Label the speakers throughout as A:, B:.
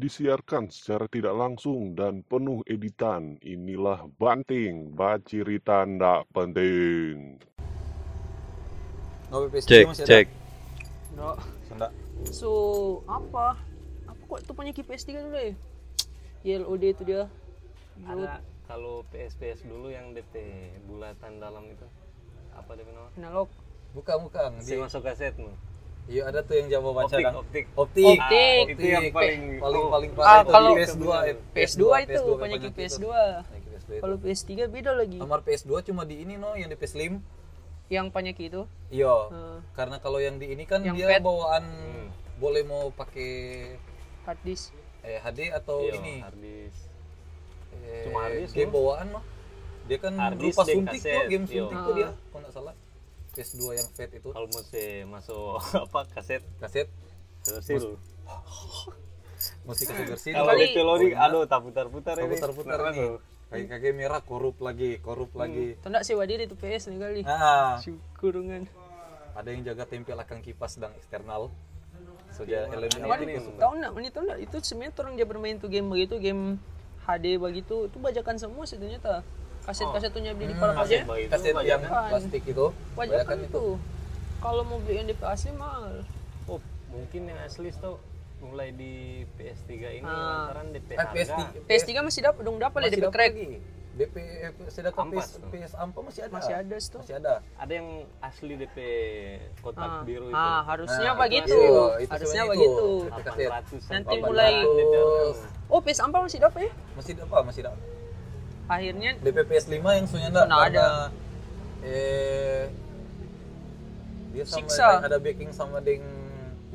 A: disiarkan secara tidak langsung dan penuh editan. Inilah Banting, Bacirita Ndak Penting.
B: Ngopi PSD
C: Cek,
B: masih ada?
C: cek.
D: Nggak.
B: Ada.
D: So, apa? Apa kok tu punya KPS 3 dulu ya? YLOD itu dia. Yud,
E: ada kalau PSPS dulu yang DP bulatan dalam itu apa DP nama?
D: analog.
B: Buka buka.
E: Si
B: Di,
E: masuk kasetmu.
B: iya ada tuh yang Jawa baca
E: Optik,
B: kan.
E: optik.
B: Optik.
E: Ah,
D: Optik.
E: itu yang paling Oh.
B: paling paling
D: Ah,
B: paling
D: kalau-
B: PS2 eh,
D: PS2 itu punya PS2.
B: Punya PS2 itu.
D: Kalau PS3 beda lagi.
B: Nomor PS2 cuma di ini no yang di PS Slim.
D: Yang punya itu.
B: Iya.
E: Hmm.
D: eh,
B: Karena kalau yang di ini kan
D: Yang
B: dia
D: pet.
B: bawaan boleh mau pakai
D: hard disk.
B: eh, HD
D: Oh,
B: atau
E: Iya,
B: ini
E: harddisk.
B: eh,
E: Cuma hard disk,
B: game
E: no?
B: bawaan mah dia kan
E: Hard disk
B: berupa
E: dan
B: suntik tuh
E: kaset,
B: game
E: iya.
B: suntik tuh dia kalau nggak salah PS2 yang fat itu
E: Kalau masih eh, masuk apa kaset
B: kaset
E: tersil.
B: musik kaset bersih
E: Kalau
D: Kali-
E: DP loading, aduh tak putar-putar ini.
B: putar-putar
E: Nggak
B: nih
E: masuk.
B: kaki kaki merah korup lagi korup
D: Hmm.
B: lagi
D: Tuh enggak sewa diri tuh PS nih kali.
B: nah
D: Syukur dengan.
B: ada yang jaga tempel akan kipas dan eksternal sudah elemen
E: aneh
B: optik
E: nih.
B: itu sudah.
D: Tahu enggak ini tahu enggak itu sebenarnya orang dia bermain tuh game begitu, game HD begitu, itu bajakan semua sih ternyata. Kaset-kaset tuh nyabdi di para
E: Kaset
D: pajak.
E: baik itu
B: kaset yang
E: bajakan.
B: plastik itu
D: Wajar
B: kebanyakan Hmm. itu
D: itu. Kalau mau beli yang di asli mahal.
E: Oh, mungkin yang asli tuh mulai di PS3 ini
D: Ah.
E: lantaran DP
B: kan PS3
E: harga.
D: PS3 masih dapat dong dapat lah
B: masih
D: DP
B: dapat
D: crack.
B: lagi. DP eh, sedangkan
E: Ampas
B: PS
E: tuh.
B: PS Ampa masih ada
D: Masih ada itu.
B: masih ada
E: Ada yang asli DP kotak
D: Ah,
E: biru itu.
D: ah, harusnya
B: Nah,
D: begitu.
B: itu gitu. asli. Itu
D: harusnya
B: sebenarnya
D: begitu.
B: itu. kaset.
E: 800
D: Nanti
E: sampai
D: mulai-
E: 800.
D: Oh, PS Ampang masih dapat ya?
B: masih ada apa masih ada
D: Akhirnya
B: DPPS 5 yang sunya enggak
D: Sunya ada.
B: eh dia sama
D: Siksa.
B: ada backing sama ding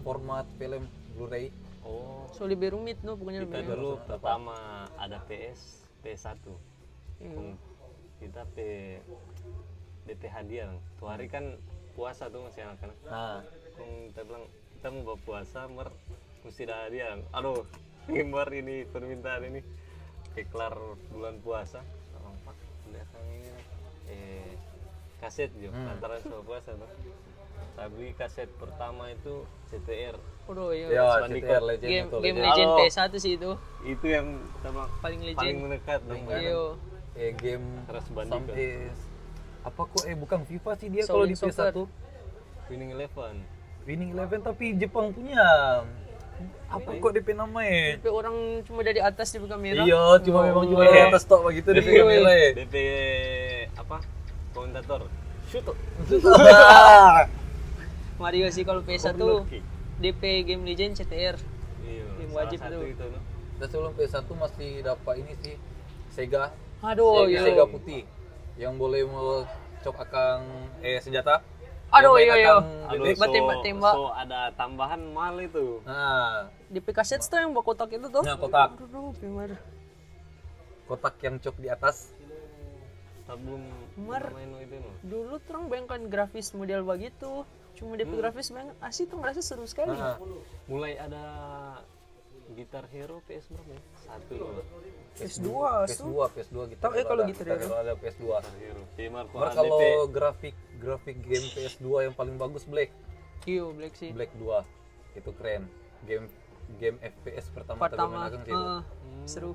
B: format film Blu-ray
E: Oh,
D: so lebih rumit no pokoknya
E: kita
D: lebih.
E: dulu pertama ada PS, PS1.
D: Hmm.
E: Kita P DP hadiah. Bang. Tuh hari kan puasa tuh masih anak-anak.
B: nah
E: Kung kita bilang kita mau buat puasa, mer mesti ada hadiah. Aduh, ini mer ini permintaan ini. Iklar bulan puasa. Tolong pak, belakang ini. Eh, kaset juga, lantaran soal puasa tuh. Saya beli kaset pertama itu CTR.
D: Bro, iya.
B: ya
E: Bandit
B: CTR
E: Cup.
B: Legend
D: Game
B: itu
D: game
B: Legend.
D: legend
E: Halo.
D: PS1 sih itu
E: Itu yang kita bilang
D: paling
E: paling
D: legend.
E: mendekat dong. kan?
D: Iya.
B: eh game
E: Keras Bandit
B: sam-
E: Cup.
B: eh, apa kok eh bukan FIFA sih dia
D: Shaolin
B: kalau di
D: Soccer.
B: PS1
E: Winning Eleven.
B: Winning Eleven tapi Jepang punya apa
E: Iya.
B: kok DP namanya
D: Tapi orang cuma dari atas Oh, di kamera.
B: eh? iya cuma memang cuma
E: Iya.
B: di atas tok begitu DP kamera ya
D: Eh.
E: DP apa? Komentator. Shoot.
D: Mario sih kalau PS1 DP game legend CTR.
E: Iya.
D: Game
E: salah
D: wajib
E: satu
D: itu.
E: itu. no.
B: Terus sebelum PS1 masih dapat ini sih Sega
D: Aduh,
B: Sega,
D: iya.
B: Sega putih yang boleh mau cok akang eh senjata. Yang
D: Aduh, iya
B: main
D: iya.
B: akang
E: Aduh,
B: bebek.
E: so,
D: tembak-tembak.
E: so ada tambahan mal itu.
B: Nah,
D: DP kaset tuh yang bawa kotak itu tuh.
B: nah kotak
D: Aduh, gimana?
B: kotak yang cok di atas.
E: Sebelum
D: Mer.
E: main itu no.
D: Dulu tuh orang bayangkan grafis model begitu. Cuma DP grafis bayangkan asli tuh ngerasa seru sekali.
B: Hmm. Nah,
E: Mulai ada gitar hero PS berapa ya? Satu dua.
D: PS2,
B: PS2, PS2 gitu.
D: Tahu, eh, kalau gitu deh,
B: Kalau ada PS2.
E: Gitar hero. Gamer
B: Mar, kalau grafik grafik game PS2 yang paling bagus Black,
D: Iya, Black sih.
B: Black 2. Itu keren. Game game FPS pertama kali main
D: Pertama,
B: akang sih Hmm. itu.
D: eh, seru.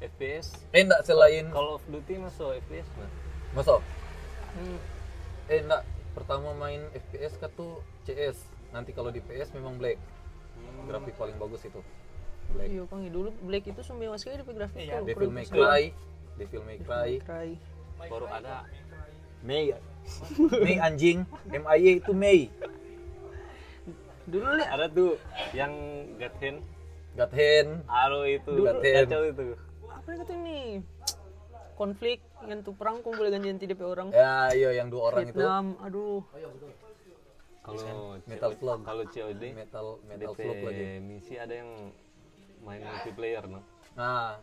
E: FPS.
B: Eh enggak selain
E: Call of Duty masuk FPS mah.
B: masuk
D: Hmm.
B: Eh enggak, pertama main FPS kan tuh CS. Nanti kalau di PS memang Black.
E: Hmm.
B: Grafik paling bagus itu. Black.
D: Iya, Kang, dulu Black itu sumbewa sekali DP grafis tuh.
B: Devil
D: Produksi
B: May
D: semua.
B: Cry, Devil May Iya, Cry.
D: Cry.
E: Baru ada
B: Mei. Mei anjing, MIA itu Mei.
D: Dulu lihat
E: ada tuh yang God Hand.
B: God Hand.
E: Aro itu
B: Dulu-
E: kacau itu.
D: apa yang kata ini? Konflik yang tuh perang kok boleh ganti DP orang.
B: Ya, iya yang dua orang itu Oh, iya.
D: Vietnam, aduh.
E: Kalau
B: Metal
E: CO
B: Slug.
E: Kalau COD
B: metal metal
E: DP
B: slug lagi.
E: misi ada yang main multiplayer no.
B: Nah,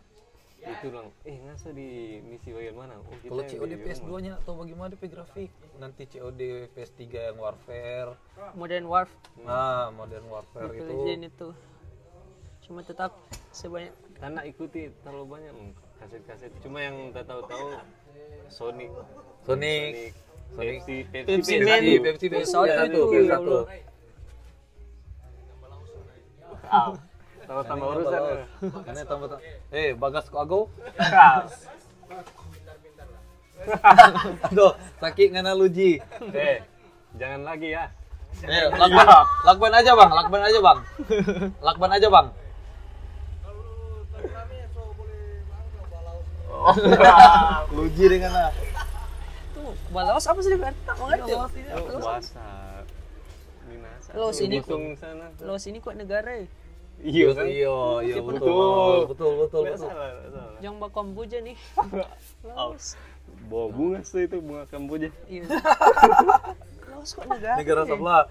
E: Itu bilang, eh ngaso di misi bagian mana? Oh, kita
B: kalau
E: yang
B: COD
E: di
B: PS2
E: rumah.
B: nya atau bagaimana DP grafik? Nanti COD PS3 yang Warfare.
D: Modern Warfare
B: Nah, Modern Warfare
D: itu
B: itu
D: legend itu. Cuma tetap sebanyak
E: Karena ikuti terlalu banyak mm, kaset-kaset. Cuma yang tak tahu-tahu Sonic.
B: Sonic. Sonic.
E: Pepsi, Pepsi,
D: Pepsi
E: Pepsi.
B: Pepsi,
D: Man.
B: Pepsi,
D: Pepsi
B: Pepsi,
D: satu,
B: Pepsi
D: ya
B: satu.
D: Allah.
E: Tambah-tambah urusan.
B: Iya.
E: ya.
B: Ini tambah tambah. Eh, Bagas Koago. Aduh, sakit ngana luji.
E: Eh, jangan lagi ya.
B: Eh, lakban, lakban aja bang, lakban aja bang, lakban aja bang. Oh, luji dengan lah.
D: Tuh, balawas apa sih kan? Tak mengerti.
E: Puasa. Minasa.
D: Lo sini,
E: Butung sana.
D: Los ini kuat negara. eh.
E: Iya kan?
B: Iya, iya
E: Betul.
B: betul, Bang. betul, betul,
E: Nggak
B: betul.
E: salah, nggak salah.
D: Jangan bakam puja nih. Laos.
E: Bawa bunga sih itu bunga kamboja.
D: Iya. Laos kuat negara. ya?
B: Negara sebelah.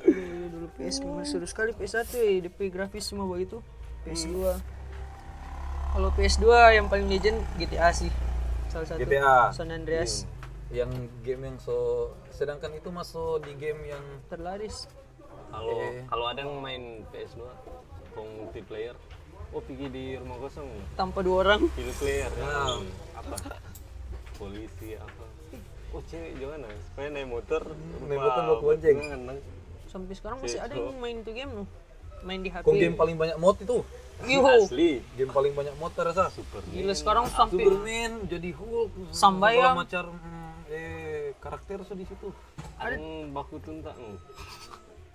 D: Dulu, dulu PS memang seru sekali PS1 eh, DP grafis semua begitu. PS2. Kalau PS2 yang paling legend GTA sih. Salah satu.
B: GTA.
D: San Andreas
B: Hmm. Yang game yang so, sedangkan itu masuk di game yang
D: terlaris.
E: Kalau
B: Eh.
E: kalau ada yang main PS2, mau multiplayer, oh pergi di rumah kosong,
D: Tanpa dua orang.
E: pilih player, ya.
B: Nah.
E: apa? Polisi apa? Oh cewek gimana? Supaya Hmm, naik motor,
B: naik motor bawa bonceng.
E: Ngeneng.
D: Sampai sekarang masih ada yang main itu game loh. Main di HP.
B: kong game paling banyak mod itu.
D: Yuhu.
E: Asli,
B: Game paling banyak mod terasa.
E: super.
D: Gila sekarang sampai
B: Superman jadi Hulk. hmm,
D: Sambayang.
B: segala Macam hmm, eh karakter so di situ.
E: Ada yang baku tuntak lu.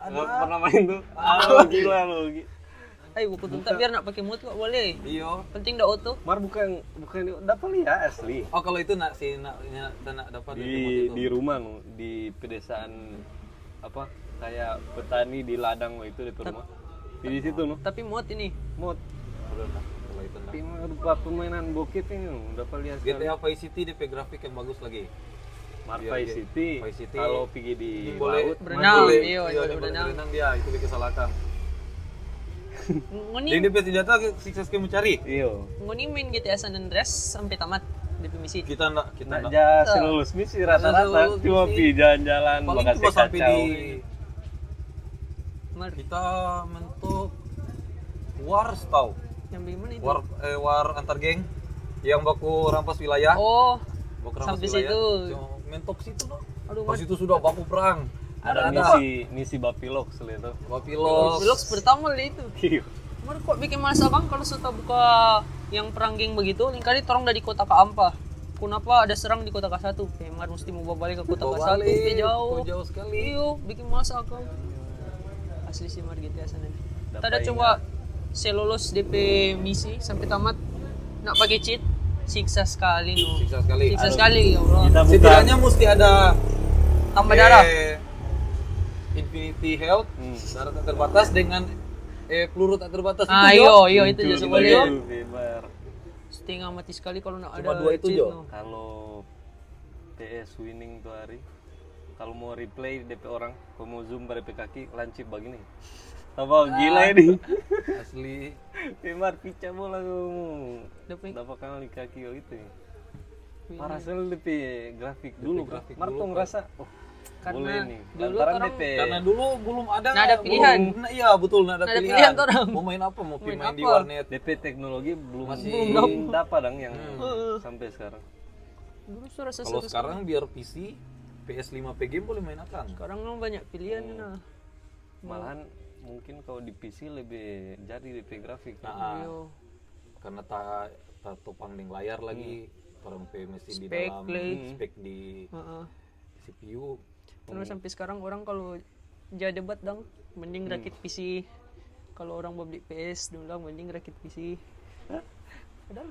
E: Nggak pernah main tuh. Ah, gila lu. gi-
D: Ayo buku tuntak biar nak pakai mood kok boleh.
B: Iya.
D: Penting dah auto.
E: Mar bukan bukan dapat lihat asli.
B: Oh kalau itu nak si nak nak, nak dapat dari mod
E: di
B: itu.
E: di rumah nu di pedesaan apa kayak petani di ladang nu, itu di rumah di situ nu
D: Tapi mood ini.
E: mod
B: Belum lah, kalau itu nak.
E: tapi rupa permainan bukit ini nu, udah lihat sekali
B: GTA Vice City DP grafik yang bagus lagi.
E: Marpai
B: Iya,
E: City
B: Vice City.
E: kalau pergi di
B: boleh
E: laut
D: Berenang,
B: boleh-
D: iya,
B: iya,
D: boleh
B: dia boleh
D: berenang.
B: berenang dia itu bikin kesalahan. Jadi
D: Ngoni
B: DP senjata sukses ke mencari.
E: iyo
D: ngoni main GTA San Andreas sampai tamat di misi.
B: Kita nak kita nak.
E: Nah, ja selulus misi rata-rata
B: Selulus
E: cuma
B: misi.
E: pi jalan-jalan
B: Paling
E: bakasnya
B: cuma sampai
E: kacau.
B: di
D: Mar
B: kita mentok Wars tau.
D: yang beli mana itu?
B: War eh, war antar geng yang baku rampas wilayah.
D: Oh,
B: baku rampas
D: sampai
B: wilayah.
D: situ.
B: Cuma mentok situ noh.
D: aduh
B: Pas
D: Mar.
B: itu sudah baku perang.
E: ada misi misi bapilok selain itu
B: Bapilos.
D: Vlog pertama lah itu.
E: iyo
B: Oh,
D: Mar kok bikin malas abang kalau suka buka yang perang geng begitu, lain kali torong dari kota Kaampa. Kenapa ada serang di kota K1? Eh, Mar mesti mau bawa balik ke kota
B: Bawa
D: K1,
B: balik,
D: eh, jauh. Iya.
B: kok jauh sekali.
D: Iyo, bikin malas aku. Asli sih Mar GTA San Andreas.
E: Dapat
D: Tada coba saya lulus DP misi sampai tamat nak pakai cheat siksa sekali no.
B: Siksa sekali.
D: Siksa sekali ya Allah.
E: kita buka
B: Setidaknya mesti ada
D: Tambah darah.
B: eh, Infinity health
E: Hmm.
B: darah tak terbatas dengan eh, peluru tak terbatas iya, itu
D: Ah, iyo, iyo itu
E: Jujur,
D: je
B: boleh.
D: sebalik.
E: jujur, bebas.
D: Setengah mati sekali kalau nak
B: Cuma
D: ada
B: dua itu,
D: cheat,
B: Jo.
D: no.
E: kalau PS winning tuh hari kalau mau replay DP orang kalau mau zoom pada DP kaki lancip begini apa gila ini
B: Jo. asli
E: Pemar pica bola kamu
D: Dapat
E: dapat kali kaki oh itu parah sekali DP grafik dulu kan
B: grafik
E: Marto
B: Iya. dulu,
E: ngerasa oh
D: Karena
E: boleh nih
D: dulu
E: lantaran
D: orang-
E: DP
B: karena Nah, dulu belum ada
D: Nggak ada pilihan.
B: belum- nah, iya betul nggak ada
D: Nggak ada
B: pilihan,
D: pilihan, orang.
B: mau main apa mau main,
D: Main
B: di
D: apa?
B: warnet
E: DP teknologi belum
B: Masih- Hmm.
E: belum dapat dong yang sampai sekarang
D: dulu suara
B: kalau
D: sesuatu
B: sekarang biar PC PS5 PG boleh main kan? apa
D: sekarang memang banyak pilihan
B: Hmm.
D: nah.
E: malahan mungkin kalau di PC lebih jadi DP grafik
B: nah,
D: Yo.
B: karena tak tak topang dengan layar lagi orang P mesti di
D: Spek,
B: dalam Hmm.
D: leh.
B: spek di
D: Heeh.
B: CPU
D: Terus sampai sekarang orang kalau jadi debat dong,
E: Hmm.
D: mending rakit PC. Kalau orang mau beli PS dulu lah, mending rakit PC. Padahal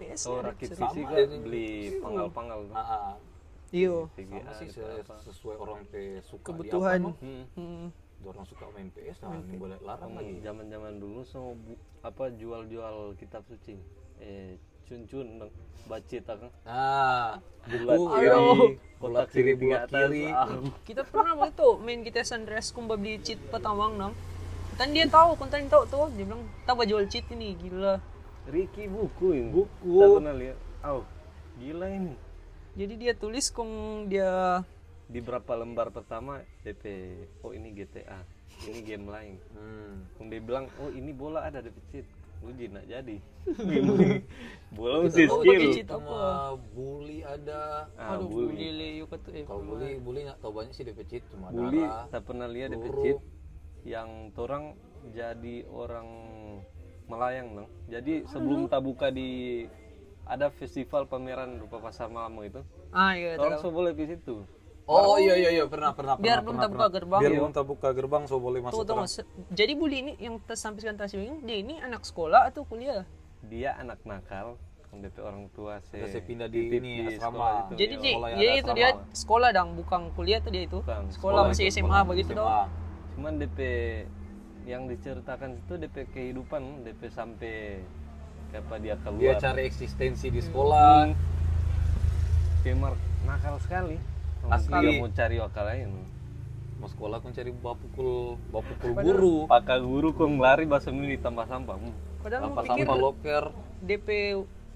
D: PS
E: kalau
D: ya,
E: rakit
D: seru.
E: PC kan beli panggal-panggal tuh.
B: Ah, ah.
D: Iyo.
E: VGA
B: sama Iya. sih se- sesuai orang P suka di
D: Kebutuhan.
B: apa, mah.
E: Hmm.
D: Hmm.
B: Dia orang suka main PS nah ini boleh larang lagi
E: Zaman-zaman dulu sama bu- apa jual-jual kitab suci. Eh cun-cun dong. bacit akang.
B: Nah,
E: Bulat
B: Oh,
E: kiri,
B: aduh.
E: kotak
B: Bulat
E: kiri, ah.
B: kiri,
E: bulat
B: bulat kiri.
E: kiri.
D: Kita pernah waktu itu main kita Sandres kumba beli cheat petamang nang. Kan dia tahu, kan tadi tahu tuh, dia bilang, "Tahu jual cheat ini, gila."
E: Ricky buku ini.
B: Buku.
E: Saya pernah lihat. Au, gila ini.
D: Jadi dia tulis kong dia
E: Di berapa lembar pertama DP oh ini GTA, ini game lain.
B: hmm.
E: Kemudian dia bilang, "Oh, ini bola ada DP cheat." Lu jadi nak jadi. Gini. bola mesti
D: tahu
E: skill.
D: pakai cheat apa?
B: Sama bully ada.
E: Ah,
D: Aduh,
E: bully.
D: bully le yuk kata eh.
B: Kalau bully, bully nggak tahu banyak sih DPC cuma
E: Bully,
B: darah.
E: tak pernah lihat DP
B: huruf.
E: cheat yang torang jadi orang melayang nang jadi sebelum tabuka di ada festival pameran rupa pasar malam itu
D: ah iya tahu.
E: orang so boleh di situ
B: Oh iya iya iya pernah pernah
D: biar belum
B: pernah,
D: terbuka gerbang iya.
B: biar belum terbuka gerbang so boleh
D: tuh
B: masuk
D: tuh Mas. jadi bully ini yang tersampaikan tadi ini dia ini anak sekolah atau kuliah
E: dia anak nakal tapi orang tua saya
B: Terus saya pindah di ini, asrama.
D: jadi
B: Iya,
D: Ji,
B: sekolah yang
D: jadi
B: ada
D: itu
B: asrama.
D: dia sekolah dong bukan kuliah tuh dia itu
E: Bukan,
D: sekolah
E: sekolah
D: masih
E: itu,
D: SMA begitu dong
E: cuman DP yang diceritakan itu DP kehidupan DP sampai apa
B: dia
E: dia keluar
B: cari eksistensi
D: Hmm.
B: di sekolah
E: Gamer nakal sekali
B: Asli.
E: dia mau cari wakal lain
D: Hmm.
B: mau sekolah kan cari bapukul bapukul guru
E: pakai guru kok ngelari bahasa ini ditambah sampah hmm.
D: padahal mau
E: Sampah
D: pikir
B: sama loker
D: DP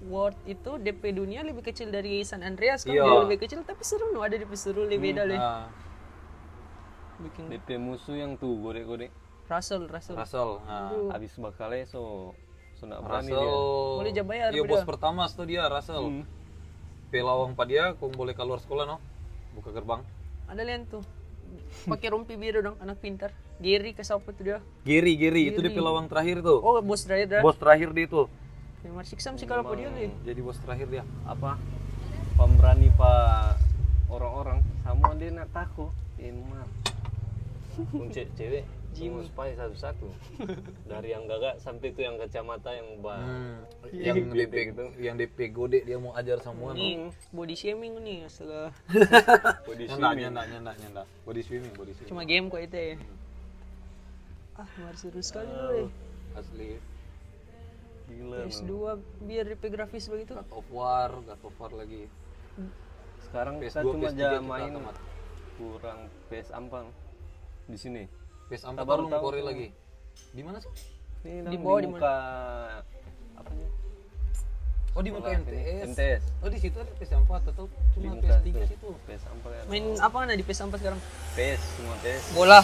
D: World itu DP dunia lebih kecil dari San Andreas kan
B: Iya.
D: dia lebih kecil tapi seru loh ada DP seru lebih beda leh
B: nah,
D: bikin
E: DP musuh yang tuh godek-godek
D: Russell Russell
B: Russell nah.
E: habis bakalnya so so nak berani
B: Russell
D: Boleh jam bayar,
B: iya
D: beda.
B: bos pertama tuh dia Russell
E: Hmm.
B: pelawang pak dia kung boleh keluar sekolah no buka gerbang
D: ada lihat tuh pakai rompi biru dong anak pintar Giri ke siapa tuh dia
B: Giri Giri itu di pelawang terakhir tuh
D: oh bos driver dah
B: bos terakhir dia itu
D: Neymar Siksam sih kalau dia nih
B: jadi bos terakhir dia
E: dia apa pemberani pak orang-orang sama dia nak taku emang Kunci cewek Jimmy spy satu-satu dari yang gagak sampai itu yang kacamata yang bah
D: Hmm.
B: yang DP yang DP gode dia mau ajar semua no.
D: ini body shaming nih astaga
E: body
B: nyanda
E: shaming.
B: nyanda nyanda nyanda body swimming body swimming
D: cuma game kok itu ya ah Neymar seru sekali loh eh.
B: asli
E: gila
D: PS2 biar DP grafis begitu
B: God of War God of War lagi
E: sekarang kita
B: PS2,
E: cuma
B: PS3
E: aja
B: kita
E: main
B: tamat.
E: kurang PS Ampang di sini
B: PS4
E: Sabar,
B: baru
E: tahu.
B: Korea lagi di mana sih
E: ini
D: Di
E: di
D: bawah, di
E: muka apa nih
B: oh di muka MTS
E: MTS
B: oh di situ ada PS4 atau
E: di
B: cuma
E: muka
B: PS3
E: tuh.
B: situ
E: PS Ampang ya.
D: main apa nih di PS4 sekarang
E: PS semua PS
D: bola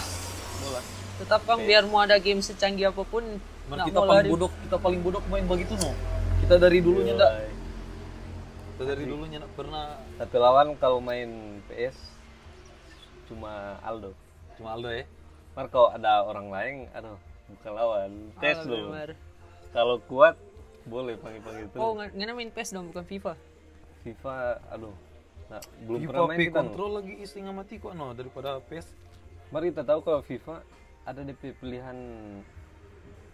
E: bola
D: tetap kang biar mau ada game secanggih apapun
B: Cuman
D: nak
B: kita
D: mau
B: paling
D: lari
B: bodoh kita paling bodoh main begitu no kita dari dulunya ndak
E: Yoi.
B: kita dari dulunya ndak pernah
E: tapi lawan kalau main PS cuma Aldo
B: cuma Aldo ya
E: Mar kalau ada orang lain aduh bukan lawan tes
D: Ah,
E: dulu
D: Neymar.
E: kalau kuat boleh panggil-panggil itu
D: oh nggak nggak main PS dong bukan FIFA
E: FIFA aduh nah, belum
B: FIFA
E: pernah main
B: P
E: kita no.
B: kontrol lagi istinya mati kok no daripada PS
E: Mari kita tahu kalau FIFA ada DP pilihan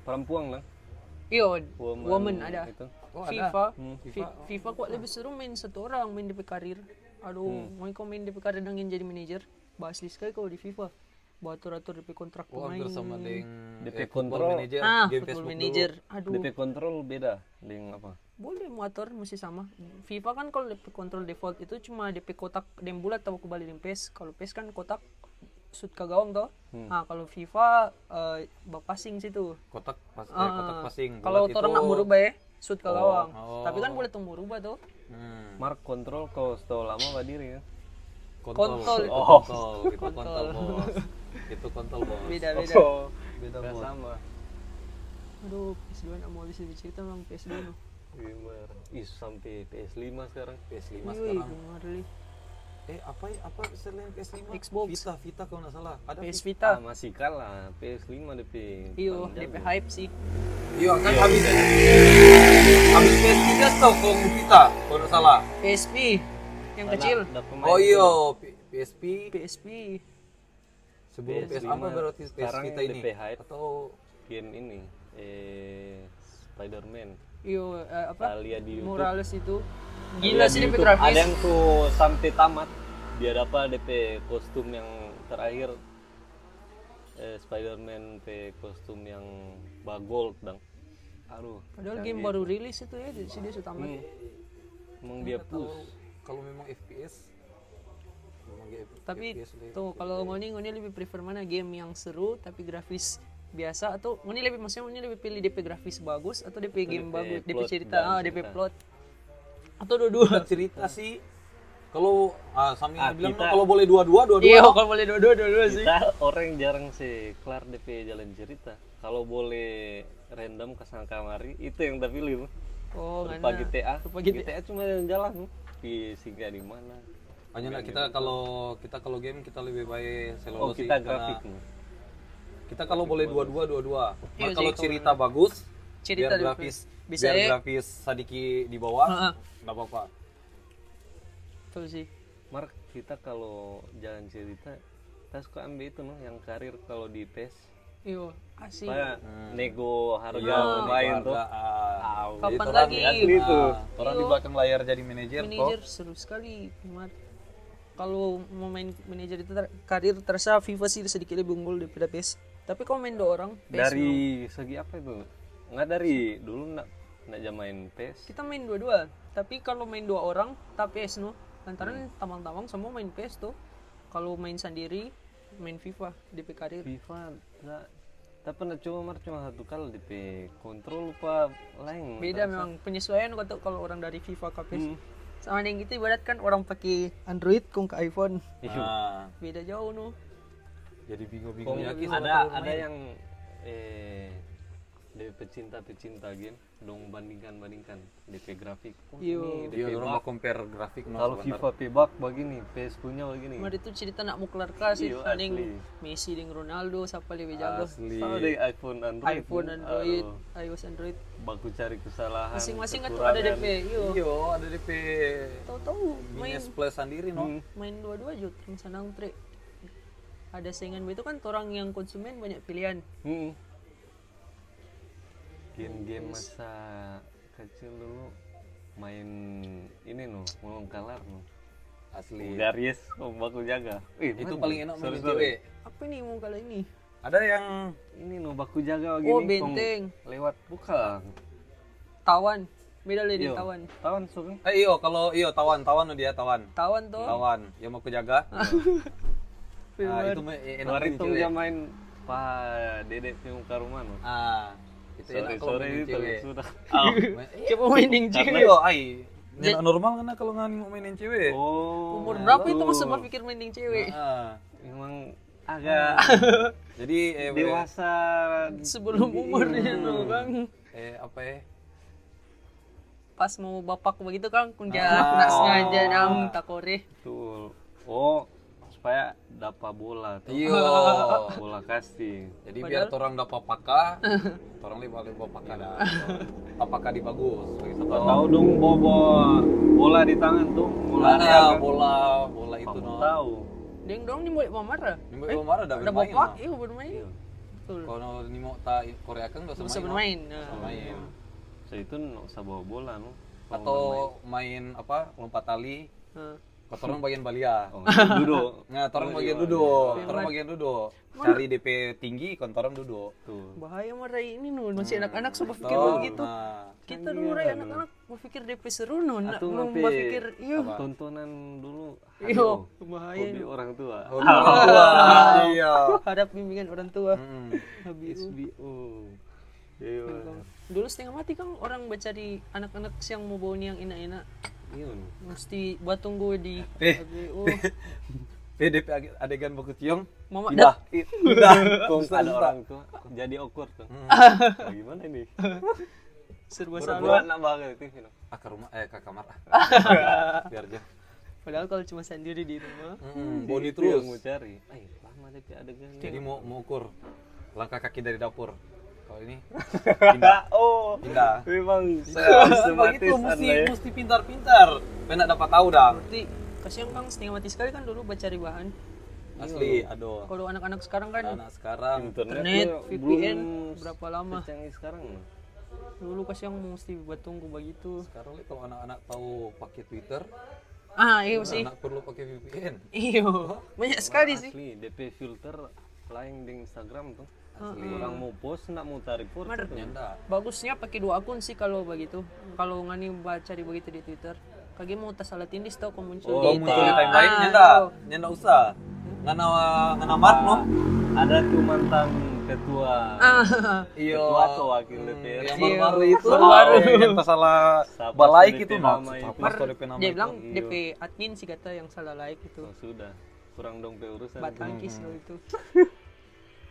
E: perempuan lah.
D: iyo Iya, woman ada
E: Itu.
B: Oh,
D: FIFA, FIFA, FIFA kok lebih seru main satu orang main DP karir. Aduh, mau kau main DP karir dengan jadi manajer? Basli sekali kalau di FIFA. Buat atur-atur DP kontrak
B: oh
D: pemain.
B: hampir sama dengan eh,
E: DP
B: Football
E: kontrol.
B: manager
D: ah,
B: game
D: football
B: Facebook
D: manager. Aduh,
E: DP kontrol beda dengan apa?
D: boleh mau atur masih sama. FIFA kan kalau DP kontrol default itu cuma DP kotak dan bulat atau kembali dengan PES. Kalau PES kan kotak shoot ke gawang toh.
E: Hmm.
D: Nah, kalau FIFA eh bak passing situ.
B: dulu. kotak pas eh,
D: Ah,
B: kotak passing
E: Hmm,
D: kalau
B: Bulat
D: orang
B: itu-
D: nak merubah ya, shoot ke gawang.
B: oh.
D: Tapi kan boleh tuh merubah tuh.
B: Hmm,
E: Mark kontrol kalau setahu lama gak diri ya.
B: kontol
D: Kontol.
B: itu
E: Oh.
B: kontol itu kontol bos itu kontol bos
D: Beda-beda.
E: Oh,
B: beda
E: gak
B: bos
E: sama.
D: Aduh, PS2 nak mau habis lebih cerita memang PS2 no.
E: Gamer. Ih sampai PS5 sekarang.
B: PS5
D: Yui,
B: sekarang
D: gemar li.
B: eh apa apa selain PS5
D: Xbox.
B: Vita Vita kalau nggak salah ada
D: PS
B: Vita.
E: Ah,
D: Vita.
E: masih kalah PS5 DP.
D: Iyo,
E: paling
D: DP
E: jago.
D: hype sih.
B: iya kan habis habis PS3 tuh kong Vita kalau nggak salah
D: PSP yang kecil.
E: Ada pemain
B: oh iya P- PSP
D: PSP.
B: sebelum
E: PS5
B: PS apa berarti PS
E: sekarang
B: Vita ini
E: DP hype.
B: atau
E: game ini eh Spider-Man.
D: Iyo, eh, apa?
E: Kita lihat di YouTube.
D: Morales itu. Gila
E: Ada
D: sih
E: di
D: DP
E: YouTube. Ada
D: grafis.
E: yang tuh sampai tamat. Dia dapat DP kostum yang terakhir eh, Spider-Man DP kostum yang bagold bang. Aduh,
D: Padahal game baru rilis itu ya, jadi dia sudah tamat.
E: emang dia push.
B: kalau memang FPS memang dia F-
D: Tapi
B: FPS udah-
D: tuh kalau ngoni ngoni lebih prefer mana game yang seru tapi grafis biasa atau ngoni lebih maksudnya ngoni lebih pilih DP grafis bagus atau DP game bagus, DP
E: plot
D: cerita, Iya,
E: dan
D: ah, DP
E: cerita.
D: plot. Atau dua-dua.
B: cerita sih kalau ah, Sami
E: Ah,
B: bilang "No,
E: kita-
B: kalau boleh dua-dua dua-dua
D: Iya, kalau boleh dua-dua dua-dua sih.
E: Kita orang jarang sih kelar DP jalan cerita. Kalau boleh random ke sana kamari itu yang kita pilih.
D: Oh,
E: Rupa
D: ngana.
E: GTA,
D: Rupa
E: GTA. cuma jalan-jalan di singgah di mana. gitu.
B: Hanya lah, kita kalau kita kalau game kita lebih baik selalu
E: Oh, kita grafik.
B: Kita kalau boleh dua-dua, dua-dua. Mar,
D: Iya,
B: kalau
D: jadi
B: cerita bagus,
D: Cerita
B: biar
D: juga.
B: grafis,
D: Bisa
B: biar
D: ya.
B: grafis Sadiki di bawah,
D: Heeh.
B: nggak apa-apa.
D: Betul sih.
E: Mark kita kalau jalan cerita kita suka ambil itu noh yang karir kalau di tes
D: Iya, asik.
E: Kayak nego harga gitu.
B: Iya,
E: orang lain Oh, tuh
B: keluargaan.
E: Tahu,
D: Kapan
E: itu
D: lagi?
E: orang asli tuh
B: Nah, orang di
D: Iya.
B: belakang layar jadi manajer,
D: manajer seru sekali Mar. kalau mau main manajer itu ter- karir terasa FIFA sih sedikit lebih unggul daripada PES tapi kalau main dua orang PES
E: dari
D: belum.
E: segi apa itu nggak dari dulu nggak nggak jamain E pes
D: kita main dua-dua tapi kalau main dua orang tak PES no
E: Hmm.
D: lantaran tamang-tamang semua main PES tuh kalau main sendiri main FIFA DP karir
E: FIFA nggak tapi pernah coba mar cuma satu kali di P kontrol lupa lain
D: beda
E: tak
D: memang penyesuaian untuk kalau orang dari FIFA ke PES
E: Hmm.
D: sama yang itu ibaratkan orang pakai Android kung ke iPhone
E: usah. Iya.
B: Nah,
D: beda jauh no
E: Hmm.
B: jadi bingung-bingung
E: Kom-
B: ya.
E: ada ada yang eh dari pecinta pecinta game dong bandingkan bandingkan DP grafik oh,
D: Iya.
E: ini
B: Dia
E: DP
B: orang
E: bug.
B: mau compare grafik no,
E: kalau
B: sebentar.
E: FIFA pebak begini PS punya begini
D: Mar itu cerita nak muklar kelas sih,
E: Iya,
D: paling
E: asli.
D: Messi dengan Ronaldo siapa lebih jago.
E: asli kalau dari iPhone Android
D: iPhone,
E: pun,
D: Android,
E: aduh,
D: iOS, Android.
E: baku cari kesalahan
D: Masing-masing kan tuh ada
E: kekurangan.
D: DP. Yo,
B: Iya, ada DP
D: tahu-tahu main
B: minus plus sendiri no.
E: Hmm.
D: main dua-dua aja terus senang tri. Ada saingan itu kan orang yang konsumen banyak pilihan.
E: Hmm. Game-game masa kecil dulu main ini no, ngomong kalar no.
B: Asli.
E: Garis ombak jaga. Ih,
B: Itu
E: mana?
B: paling enak main
E: Sorry,
B: di
E: sorry.
B: TV.
D: Apa ini mau kali ini?
B: Ada yang
E: Ini no baku jaga begini.
D: Oh,
E: kong
D: benteng.
E: Lewat bukan.
D: Tawan. Beda lah
E: Yo,
D: dengan tawan.
E: Tawan suka.
B: eh iyo kalau iyo tawan tawan no dia tawan.
D: Tawan tuh.
B: Tawan yang mau kujaga.
D: Ah.
B: Nah, itu me- enak
E: Kemarin
B: main
E: tuh
B: cewek.
E: dia main Pak Dedek film ke rumah no.
B: Ah, itu enak
E: Sorry,
B: kalau
E: sorry
B: main
E: itu
B: cewek.
E: sudah.
B: Main- eh,
D: Coba main ding
B: Karena
D: cewek.
B: iyo ai. Nggak normal kan kalau ngani mau mainin cewek.
E: Oh.
D: Umur berapa itu
E: tuh.
D: masa berpikir main ding cewek?
B: Ah.
E: Memang agak
B: Jadi eh,
E: dewasa
D: Sebelum umurnya tuh kan.
B: eh apa ya?
D: Pas mau bapak begitu kan kunja nak sengaja nang takore.
E: Betul. Oh, supaya dapat bola tuh. Oh,
B: Iyo.
E: Bola casting.
B: Jadi biar orang dapat paka, orang lebih lebih paka dah. Apakah di bagus? Bagi
D: Iya.
E: Nggak
B: satu.
E: tahu dong bobo bola di tangan tuh, bola
B: Bola,
D: Iya.
E: liar kan.
B: bola, bola itu no.
E: tahu.
D: Deng dong ni boleh mamar.
B: Ini mau marah dah
D: Iya. Ada
B: bermain.
D: bapak,
B: no.
D: iya bermain. Betul.
B: Kalau ini mau tak Korea kan nggak
D: Bisa
B: usah main.
D: bermain. eh.
B: no. Nggak usah main.
E: So itu nggak usah bawa bola no. Kalau
B: Atau main apa? Lompat tali.
D: Nah.
B: Kalau orang bagian balia.
E: nggak- oh, duduk.
B: Nah, orang bagian duduk,
D: Iya.
B: orang bagian duduk. Cari DP tinggi, kon orang duduk.
E: Tuh.
D: Bahaya marai ini nun masih anak-anak suka pikir
B: Tong,
D: begitu.
B: nah.
D: Kita dulu rai anak-anak berpikir DP seru nun, nak
E: Atau
D: belum
E: ngapain?
D: Nah, berpikir iyo.
E: Tontonan dulu.
D: Iyo,
E: aduh,
D: bahaya.
E: Hobi orang tua.
B: Oh, dua. Iya.
D: Hadap bimbingan orang tua.
B: Mm.
D: HBO.
E: HBO. Iyo.
D: Dulu setengah mati kan orang baca di anak-anak yang mau bawa ni yang enak-enak
E: Iyo. no.
D: mesti buat tunggu di "Oh,
B: Eh.
D: HBO.
B: PDP ade- adegan baku ciong.
D: Mama dah.
B: Tidak. Tidak.
E: Kok ada
B: Susah.
E: orang tua jadi awkward tuh. Oh, gimana ini?
D: serba
E: Buat
D: salah.
E: anak banget itu. Vino.
B: Ah, ke rumah eh ke kamar ah. Biar aja.
D: Padahal kalau cuma sendiri di rumah,
B: Mm, body
E: Itu
B: terus.
E: yang mau cari. Ay, lama deh adegan.
B: Jadi mau mau ukur langkah kaki dari dapur. Kalau ini
E: Pindah. Oh,
B: pindah.
E: memang
B: Begitu
E: gitu, sistematis
B: mesti
E: Anda ya.
B: mesti pintar-pintar. Penak dapat tahu dah.
D: berarti kasihan kan setengah mati sekali kan dulu baca di bahan.
B: Asli, aduh.
D: Kalau anak-anak sekarang kan
B: Anak sekarang
D: internet,
E: tuh
D: VPN
E: belum
D: berapa lama?
E: secanggih sekarang. loh.
D: Dulu kasih yang mesti buat tunggu begitu.
B: sekarang li, kalau anak-anak tahu pakai Twitter,
D: Ah, iya sih.
B: anak perlu pakai VPN.
D: Iyo, banyak sekali sih.
E: Asli DP filter lain di Instagram tuh.
D: Oh,
B: Asli.
E: Orang mau post nak mau tarik foto.
D: Mar-
E: tuh.
B: Nyanda.
D: Bagusnya pakai dua akun sih kalau begitu. Kalau ngani baca di begitu di Twitter. Kaki mau tas alat tindis tau kau muncul
E: Oh,
B: Kalau
D: di
B: muncul di
E: tak.
B: timeline,
D: Ah,
B: nyanda,
D: iyo.
B: nyanda usah. Ngana ngana mark no.
E: Ada tuh mantan ketua. Ketua atau wakil
B: Yang
E: DPR.
D: Ah. Iya.
B: Iya. baru-baru itu,
D: Baru-baru.
B: eh, yang tersalah
E: Sahabat
B: balai
E: solidaritas
B: gitu no.
E: nama itu.
B: Sahabat solidaritas
D: Dia
B: nama Iya.
D: bilang
E: Iyo.
D: DP admin sih kata yang salah like itu.
E: Oh, sudah. Kurang dong pe urusan.
D: Bat tangkis kalau itu.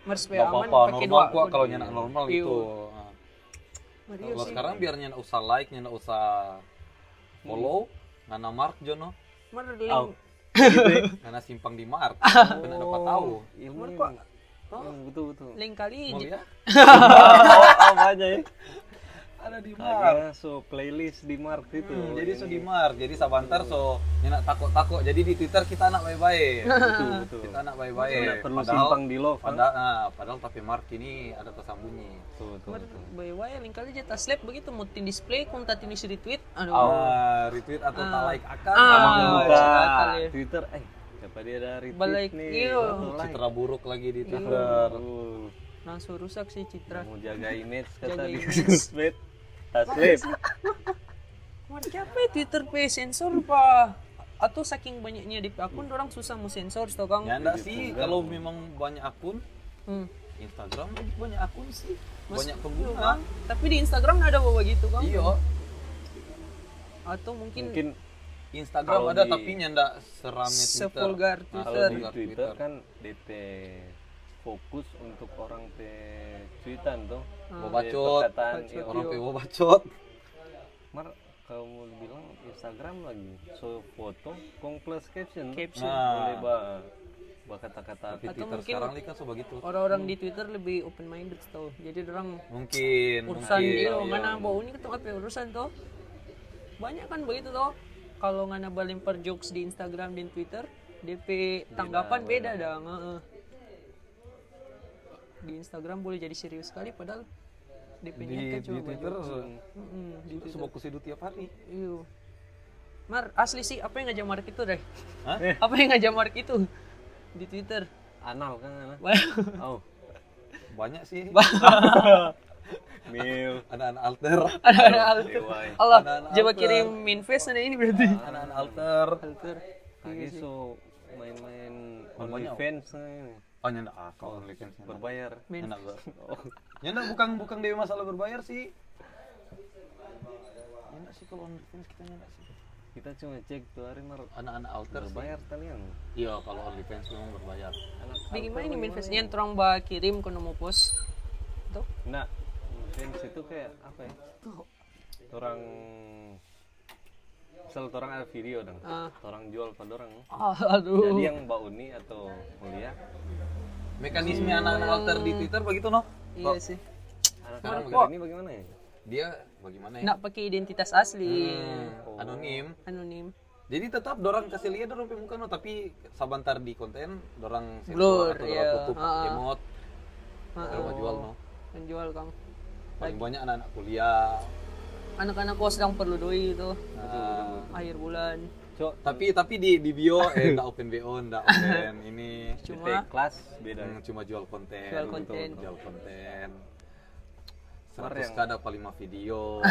D: Mar supaya
B: hmm. Gak
D: aman
B: apa-apa,
D: pakai dua
B: normal gua
D: akun.
B: kalau kan. nyana normal
D: Iya.
B: itu.
D: Mar, iyo
B: Kalau
D: sih.
B: sekarang biar nyana usah like, nyana usah follow, ngana mark jono,
D: Mar
E: Au.
D: link.
E: Gitu ya.
D: Oh.
B: ngana simpang di mark. Benar dapat tahu.
E: Ilmu
D: Mar kok Oh.
E: Hmm, betul betul.
D: Lain kali
B: Mau ya?
D: di-
B: lihat?
E: oh, oh, banyak ya.
B: Ada di Mart.
E: Kagak so playlist di gitu. Mart itu.
B: Hmm, jadi so di Mart, jadi sabantar so enak takut-takut. Jadi di Twitter kita anak baik-baik.
E: betul betul.
B: kita anak
E: Tidak
B: baik-baik.
E: perlu
B: Padahal
E: simpang di love.
B: padahal, ah, padahal tapi Mart ini ada tersambungi.
E: Betul betul.
D: Mar-
E: betul.
D: Boy wae lain kali jeta slap begitu mutin display kunta tinis retweet. Aduh.
B: Ah, retweet atau tak
D: Oh. Ah.
B: like akan
D: Ah,
E: Sama
B: sama
E: buka
B: buka.
D: kali.
E: Twitter, eh siapa dia dari
D: Balik,
E: nih?
D: iyo.
E: satu like.
B: Citra buruk lagi
D: Iya.
B: di Twitter.
E: Betul.
D: Langsung rusak sih citra.
E: Mau jaga image kata
D: Jaga
E: di
D: image.
E: sosmed. Taslip.
D: Wah, siapa ya Twitter pe sensor pak? Atau saking banyaknya di akun orang susah mau sensor tau kang.
B: Ya enggak sih,
D: Iya.
B: kalau memang banyak akun,
D: Hmm.
B: Instagram banyak akun sih.
D: Mas-
B: Banyak
D: Iya,
B: pengguna.
D: Kang. Tapi di Instagram nggak ada bawa gitu kang.
B: Iya,
D: Atau mungkin,
E: Mungkin
B: Instagram
E: Kalau
B: ada
E: di-
B: tapi ndak serame Twitter.
D: Sevulgar
B: Ah,
D: Twitter.
E: kalau di
B: sevulgar
E: Twitter kan DT fokus untuk orang te cuitan tuh.
D: Ah.
B: Mau
E: Te
B: bacot,
E: perkataan, iya,
D: bacot,
E: orang
B: orang
D: Iya.
B: pewo bacot.
E: Mar, kalau mau bilang Instagram lagi, so foto, kong plus caption, Nah.
D: Caption.
E: boleh ba, ba kata-kata
B: Tapi Twitter
D: mungkin-
B: sekarang ini kan so begitu.
D: orang-orang di Twitter lebih open minded tau. Jadi orang
B: Mungkin
D: urusan
B: mungkin,
D: dia
B: iya.
D: ngana bau ini ketua apa urusan tuh banyak kan begitu tuh kalau ngana balimper jokes di Instagram dan Twitter DP tanggapan beda dah nge- di Instagram boleh jadi serius sekali padahal kan
B: di,
D: DP-nya
B: di
D: kecoh
B: Twitter so-
D: di
B: itu sebab kusidu tiap hari.
D: Iyo. Mar, asli sih apa yang ngajak Mark itu deh?
B: Hah?
D: Apa yang ngajak Mark itu di Twitter?
E: anal kan ana. Oh,
B: Banyak sih.
E: mil,
B: Anak-anak alter,
D: Ada alter.
B: Iya,
E: dewai.
D: Allah, coba kirim minface ada ini berarti.
B: anak-anak alter.
D: Alter.
E: Lagi so main-main
B: banyak.
E: OnlyFans nah ini,
B: Oh nyanda ah, kau OnlyFans nyanda.
E: berbayar.
D: Main
B: Nyanda ber-
E: Oh,
B: Nyanda bukan bukan dewi masalah berbayar sih. Nyanda sih kalau OnlyFans kita nyanda sih.
E: kita cuma cek tuh hari mar
B: Anak-anak alter sih.
E: berbayar talian.
B: Iya, kalau OnlyFans memang berbayar.
E: Anak
D: Bagaimana
E: alter
D: ini
E: bagaimana
D: manifestnya terang bah kirim ke nomor pos. Tuh.
E: Nah, OnlyFans itu kayak apa ya? Orang misal orang ada video dong,
D: Ah. Uh.
E: orang jual pada orang. Jadi
D: Aduh.
E: yang Mbak Uni atau Mulia
B: Mekanisme anak-anak alter di Twitter begitu no?
D: Iya
B: Eh.
D: sih.
E: anak
B: Sekarang
E: anak
B: kok-
E: ini bagaimana ya?
B: Dia bagaimana ya?
D: Nak pakai identitas asli.
B: Hmm, Anonim.
D: Anonim.
B: Jadi tetap dorang kasih lihat dorang pe muka no tapi sabantar di konten dorang sensor
D: Blur,
B: atau
D: iya.
B: dorang tutup
D: Ha-ha.
B: emot. Dorang mau jual no.
D: Penjual kang.
B: Paling banyak anak-anak kuliah.
D: Anak-anak kos sedang perlu doi itu.
B: Nah,
D: Akhir bulan.
E: Cok,
B: tapi tapi di di bio eh enggak open BO, enggak open ini
E: DT kelas beda.
B: Hmm, cuma jual konten.
D: Jual konten.
B: Betul, jual konten.
E: Mar,
B: 100
E: yang-
B: k dapat 5 video.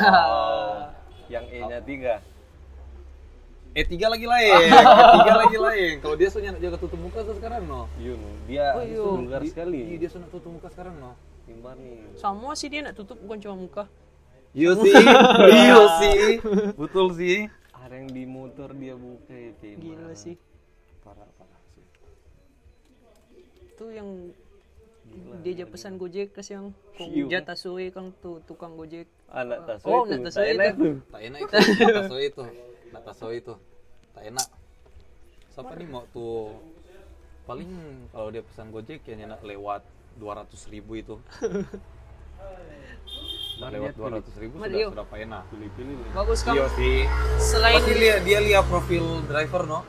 E: Yang E-nya tiga.
B: eh tiga lagi lain, eh tiga lagi lain. Kalau dia sudah jaga tutup muka so sekarang no.
E: Yun, dia
D: Oh,
E: itu
D: yun.
E: vulgar
B: Iya
E: sekali.
B: dia sudah tutup muka sekarang no.
E: Timbar nih.
D: Semua sih dia nak tutup bukan cuma muka.
B: Iya sih, iya sih, betul sih.
E: Ada yang di motor dia buka ya, Timbar.
D: Gila sih.
B: Parah parah sih.
D: Itu yang dia pesan Gojek kasih yang kong
E: Iyo.
D: jatah suwe kang tuh tukang Gojek.
E: Anak tasoe
D: Oh,
E: itu,
D: anak tasoe
E: Thailand
D: itu.
E: tuh.
B: Tak lah enak itu, nataso itu, nataso itu, tak enak. Siapa nih mau tuh? Paling kalau dia pesan gojek ya nyenak lewat 200.000 ribu itu. Nah, lewat 200.000 ribu
D: Mari,
B: sudah
D: yuk.
B: sudah enak.
E: Pilih-pilih lah.
D: Bagus kang.
B: Iya sih.
D: Selain
B: Pasti dia dia lihat profil driver no.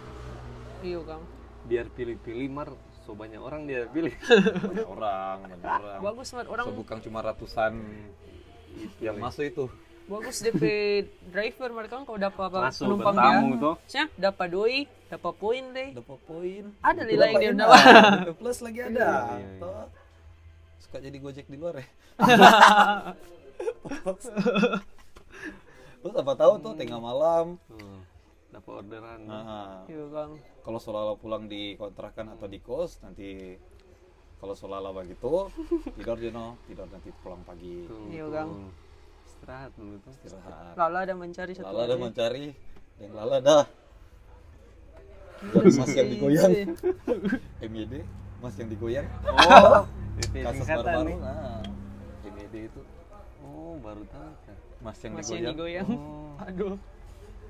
D: iyo kang.
E: Biar pilih-pilih mar so banyak orang dia pilih.
B: Banyak orang, banyak orang.
D: Bagus banget orang
B: So, bukan cuma ratusan yang masuk itu.
D: bagus DP driver mereka kan kalau dapat apa
E: Masuk
D: penumpang dia.
E: bertamu tuh.
D: Siap, dapat doi, dapat poin deh.
B: Dapat poin.
D: Ada nilai yang dia
B: Dapat
D: dapat.
B: enak. Dapat Gitu. Plus lagi ada. Toh. Iya, Suka jadi gojek di luar ya. Terus apa tahu tuh tengah malam.
E: Tuh, Hmm, Dapat orderan.
B: Nah,
D: Iya kang.
B: kalau Solala pulang di kontrakan atau di kos nanti kalau Solala begitu tidur dia no tidur nanti pulang pagi
E: Tuh,
D: Iya,
E: tuh.
D: Kang.
E: Istirahat dulu tuh.
B: istirahat.
D: Lala ada mencari satu
B: Lala dah
D: hari.
B: mencari dan Lala dah Mas yang digoyang. MYD, Mas yang digoyang.
E: Oh, DT
B: Kasus
E: singkatan
B: baru-baru.
E: nih.
B: Nah, MYD itu
E: Oh, baru tahu kan.
B: Mas yang
D: Masih yang
B: digoyang.
D: digoyang.
E: Oh,
D: Aduh.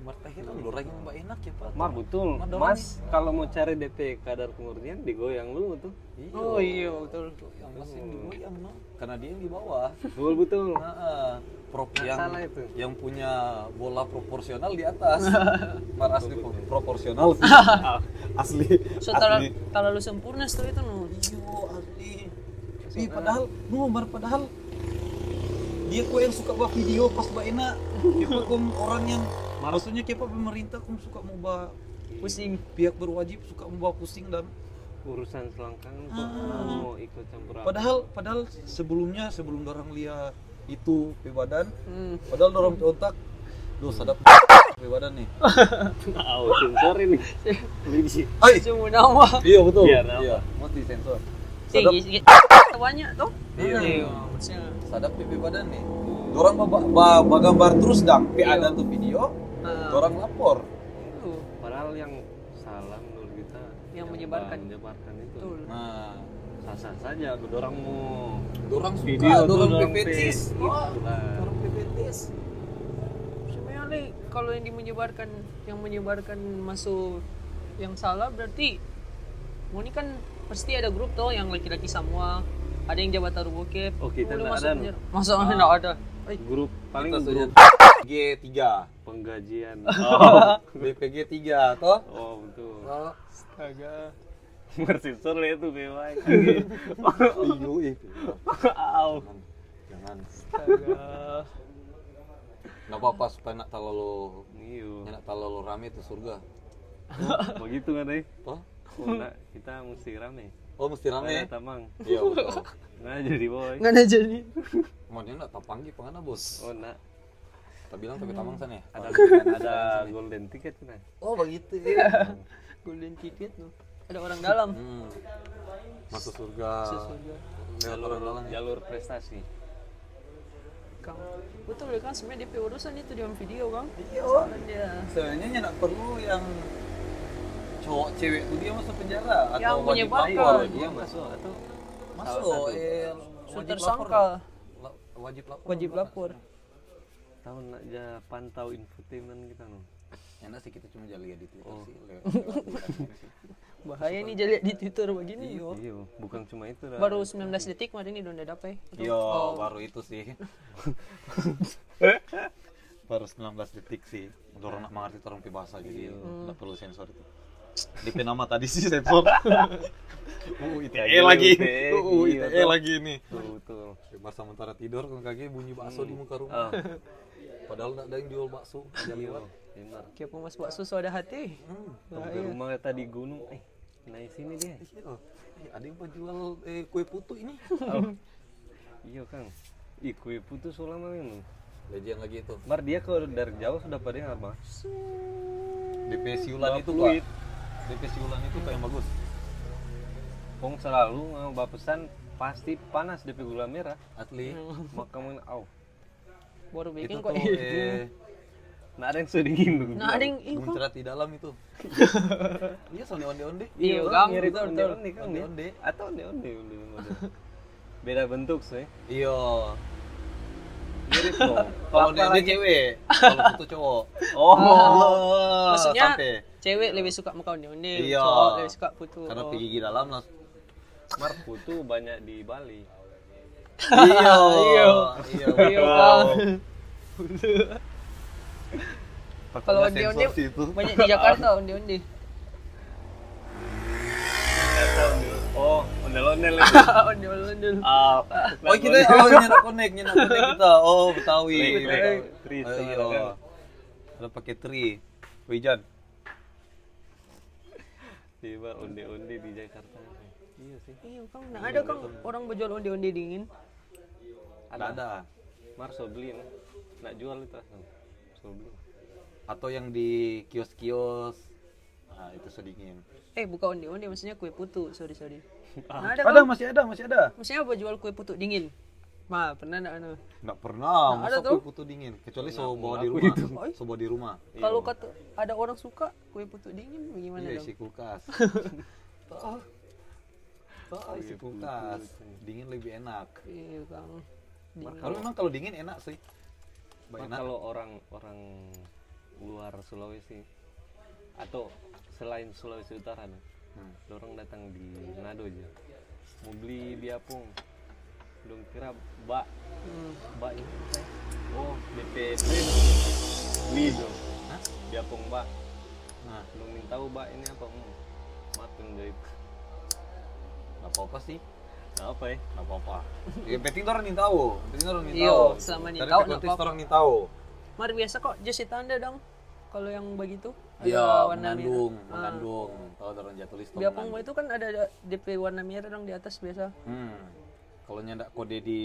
B: Mart eh itu lurah yang mbak enak ya pak.
E: Mar betul.
B: Mar,
E: Mas kalau mau cari DP kadar kemurnian digoyang dulu tuh.
D: oh iya betul
B: Tuh, yang pasti digoyang no. Karena dia yang di bawah.
E: Betul betul.
B: Nah, eh, prop yang
E: Salah itu.
B: yang punya bola proporsional di atas. Mar asli pro- proporsional. asli.
D: so terlalu, terlalu sempurna setelah itu no
B: Iyo asli. Ih, Iya, padahal, no, Mar padahal dia kok yang suka buat video pas mbak enak. Kita kom orang yang maksudnya kita pemerintah kom suka mau bah
D: pusing
B: pihak berwajib suka membawa pusing dan
E: Urusan selangkang kok
B: Ah.
E: mau ikut campur apa?
B: padahal padahal sebelumnya sebelum orang lihat itu di badan
D: hmm.
B: padahal dorong otak lu sadap di badan nih
E: Ah. Oh, sensor ini. Biji.
B: ay
D: cuma nama
B: iya betul
E: Iya, kenapa?
B: mau disensor sadap
D: tinggi banyak tuh
B: Iya.
D: iya maksudnya
B: sadap di badan nih dorong ba, ba, ba- gambar terus dang pi ada tuh video
D: Ah,
B: dorong lapor
D: itu
E: Padahal yang salah menurut kita
D: Yang menyebarkan.
E: menyebarkan itu.
D: betul
B: nah
E: Sah-sah saja dorang mau
B: dorong suka
E: Video tuh
B: dorong
E: dorang
B: PPTs
E: pe-
B: Wah,
E: itulah.
B: dorong PPTs
D: sebenarnya Li, kalau yang menyebarkan yang menyebarkan masuk yang salah berarti mau ini kan pasti ada grup tuh yang laki-laki semua ada yang jabat taruh bokep
E: Oh, kita
D: Udah
E: nggak
D: masuk
E: ada, Nu. Ah.
D: penjara. masuk nggak ada Eh,
E: grup paling
B: Kita saja
E: grup
B: G3
E: penggajian. Oh,
B: BPG 3 toh
E: oh betul.
B: Astaga.
E: Bersensor lah itu bewai.
B: Iyo ih. iya.
E: Au.
B: Jangan. Nggak apa-apa supaya nak terlalu
E: Iyo.
B: nak terlalu rame tuh surga.
E: Begitu kan eh?
B: Toh?
E: Oh, enggak, kita mesti rame.
B: Oh mesti
E: Ada
B: rame.
E: tamang.
B: Iya betul.
E: Nah jadi boy.
D: nggak ada jadi
B: Maunya nak tapanggi pengana bos.
E: Oh nak
B: Tak bilang tapi tamang sana ya.
E: ada
B: Ada.
E: ada golden ticket kan?
B: Oh begitu. ya.
D: golden ticket tuh ada orang dalam
B: Hmm. Masuk surga.
D: sesudah
B: Lewat orang dalam ya.
E: Jalur prestasi.
D: kang betul ya kan sebenarnya DP urusan itu di dalam video kang
B: Iya.
D: dia
B: Sebenarnya nak perlu yang cowok cewek tuh dia masuk penjara
D: Yang
B: atau wajib
D: menyebarkan.
B: lapor dia
E: Dia masuk atau
B: masuk eh
D: so
B: wajib
D: tersangka
B: lapor La- wajib lapor
D: wajib lapor
E: tahun nak ja pantau infotainment kita no.
B: enak Ya, sih kita cuma jalan di Twitter
E: Oh.
B: sih lewat,
D: bahaya nih jadi di twitter begini
B: Iyo.
E: Iya, bukan cuma itu dah.
D: baru 19 detik mah ini udah dapat eh. Oh.
B: Yo, Iya,
E: Oh.
B: baru itu sih. baru 19 detik sih. Untuk orang nak mengerti orang pi bahasa jadi
E: Hmm.
B: nggak perlu sensor itu. Di nama tadi sih sensor. UU ITE
E: Lagi,
B: E lagi.
E: UU,
B: UU
E: Ya, iya,
B: ITE
E: tuh.
B: E lagi nih.
E: Betul betul.
B: Mas sementara tidur kan kaki bunyi bakso di muka rumah.
E: Ah,
B: Padahal nggak ada yang jual bakso, ada
E: Iya.
B: lewat.
E: benar.
D: kayak mas bakso so ada hati
E: Sampai rumah kita di gunung, eh naik sini dia.
B: Iya. Eh, Ada yang penjual eh, kue putu ini.
E: Iya kang. Ih, kue putus ulama memang.
B: Lejian lagi itu.
E: Bar dia kalau dari jauh sudah pada yang apa?
B: DP siulan itu, Pak.
E: Fluid.
B: DP siulan itu kayak yang bagus.
E: Pong selalu mau bapesan pasti panas DP gula merah.
B: Atli.
E: Hmm. Maka mungkin au.
D: baru
B: Itu
D: bikin
B: tuh
D: kan kok
B: eh,
E: Nah ada yang sudah dingin.
D: nah ada yang ini kok
B: muncrat di dalam itu iya soalnya onde onde
D: Iya, Kang.
E: Mirip
D: Betul,
E: onde
D: betul.
E: onde kan
B: Onde
E: ya?
B: onde.
E: Atau onde onde onde onde. Beda bentuk sih.
B: iya
E: Mirip dong.
B: kalau
E: Kelapa
B: onde onde
E: lagi.
B: cewek kalau itu cowok
E: Oh.
B: oh
D: eh, maksudnya
B: sampai
D: cewek lebih suka makan undi
B: Iya.
D: cowok lebih suka putu
B: karena pergi gigi dalam langsung
E: Mar putu banyak di Bali.
B: iya
D: Iya.
B: iya
D: Iya, Kang. kalau undi undi banyak di Jakarta undi undi
E: Oh, ondel ondel.
D: undi undi
E: Ah.
B: oh kita oh nyenak konek nyenak konek kita oh betawi
D: Iya,
E: Tri, tri,
B: Betawi.
E: tri,
B: Oh,
E: tri,
B: iya
E: kan.
B: ada pakai tri Wijan
E: Tiba onde onde di Jakarta. Iya sih.
D: iya kang nah Eh, ada kang orang berjual undi undi dingin
B: ada ada
E: Mar so beli no. Nak jual itu asal. So beli.
B: atau yang di kios-kios nah itu sedingin
D: eh buka undi undi maksudnya kue putu sorry sorry nah ada
B: ada
D: kang
B: masih ada masih ada
D: maksudnya berjual kue putu dingin mah pernah nggak anu
B: Nggak pernah,
D: Nah,
B: masa
D: ada tuh. Iya,
B: kue putu dingin kecuali so bawa di rumah, so bawa di rumah.
D: kalau kata ada orang suka kue putu dingin bagaimana
B: Iya
D: dong
B: isi kulkas. oh, oh isi kulkas, dingin lebih enak.
D: iya kang
B: Kalau memang kalau dingin enak sih, Mbak
E: Mar
B: enak.
E: kalau orang orang luar Sulawesi atau selain Sulawesi Utara nah,
B: Hmm.
E: dorong datang di Manado aja mau beli biapung belum kira bak
D: Hmm.
E: bak ini apa ya? oh DP print. beli dong
B: Hah?
E: biapung bak
B: Nah,
E: belum minta tahu bak ini apa hmm. mateng dari
B: nggak apa-apa sih.
E: apa ya
B: Nggak apa-apa. Yang penting orang nih tahu. Yang penting orang nih
D: Iya,
B: tahu.
D: selama nih
B: Dari
D: tahu,
B: konteks
D: nggak apa-apa.
B: orang nih tahu.
D: Luar biasa kok jas tanda dong. Kalau yang begitu ada
B: Iya,
D: warna
B: mengandung,
D: merah. Ah.
B: mengandung. Tahu orang jatuh list
D: Biapung itu kan ada ada DP warna merah dong di atas biasa.
B: Hmm. Kalau nyandak kode di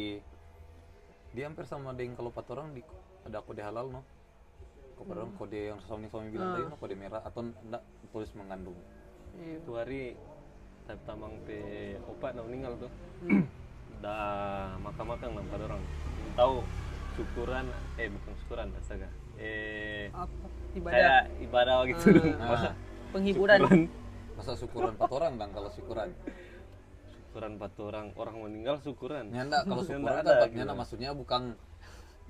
B: dia hampir sama dengan kalau empat orang di ada kode halal no. Kalau
E: Hmm.
B: orang kode yang suami-suami bilang
E: Ah.
B: tadi no kode merah atau ndak tulis mengandung.
D: Iya.
E: tu hari tapi tamang pe opat dah meninggal tu dah makan-makan lah pada orang tahu syukuran eh bukan syukuran astaga eh
D: Apa? Ibadah.
E: kayak ibadah gitu tu masa
B: Nah,
D: Penghiburan.
B: masa syukuran empat orang bang kalau syukuran.
E: syukuran patu orang orang meninggal syukuran
B: Nyanda kalau syukuran
E: Nyandak
B: kan
E: ada,
B: nyanda
E: gitu.
B: maksudnya bukan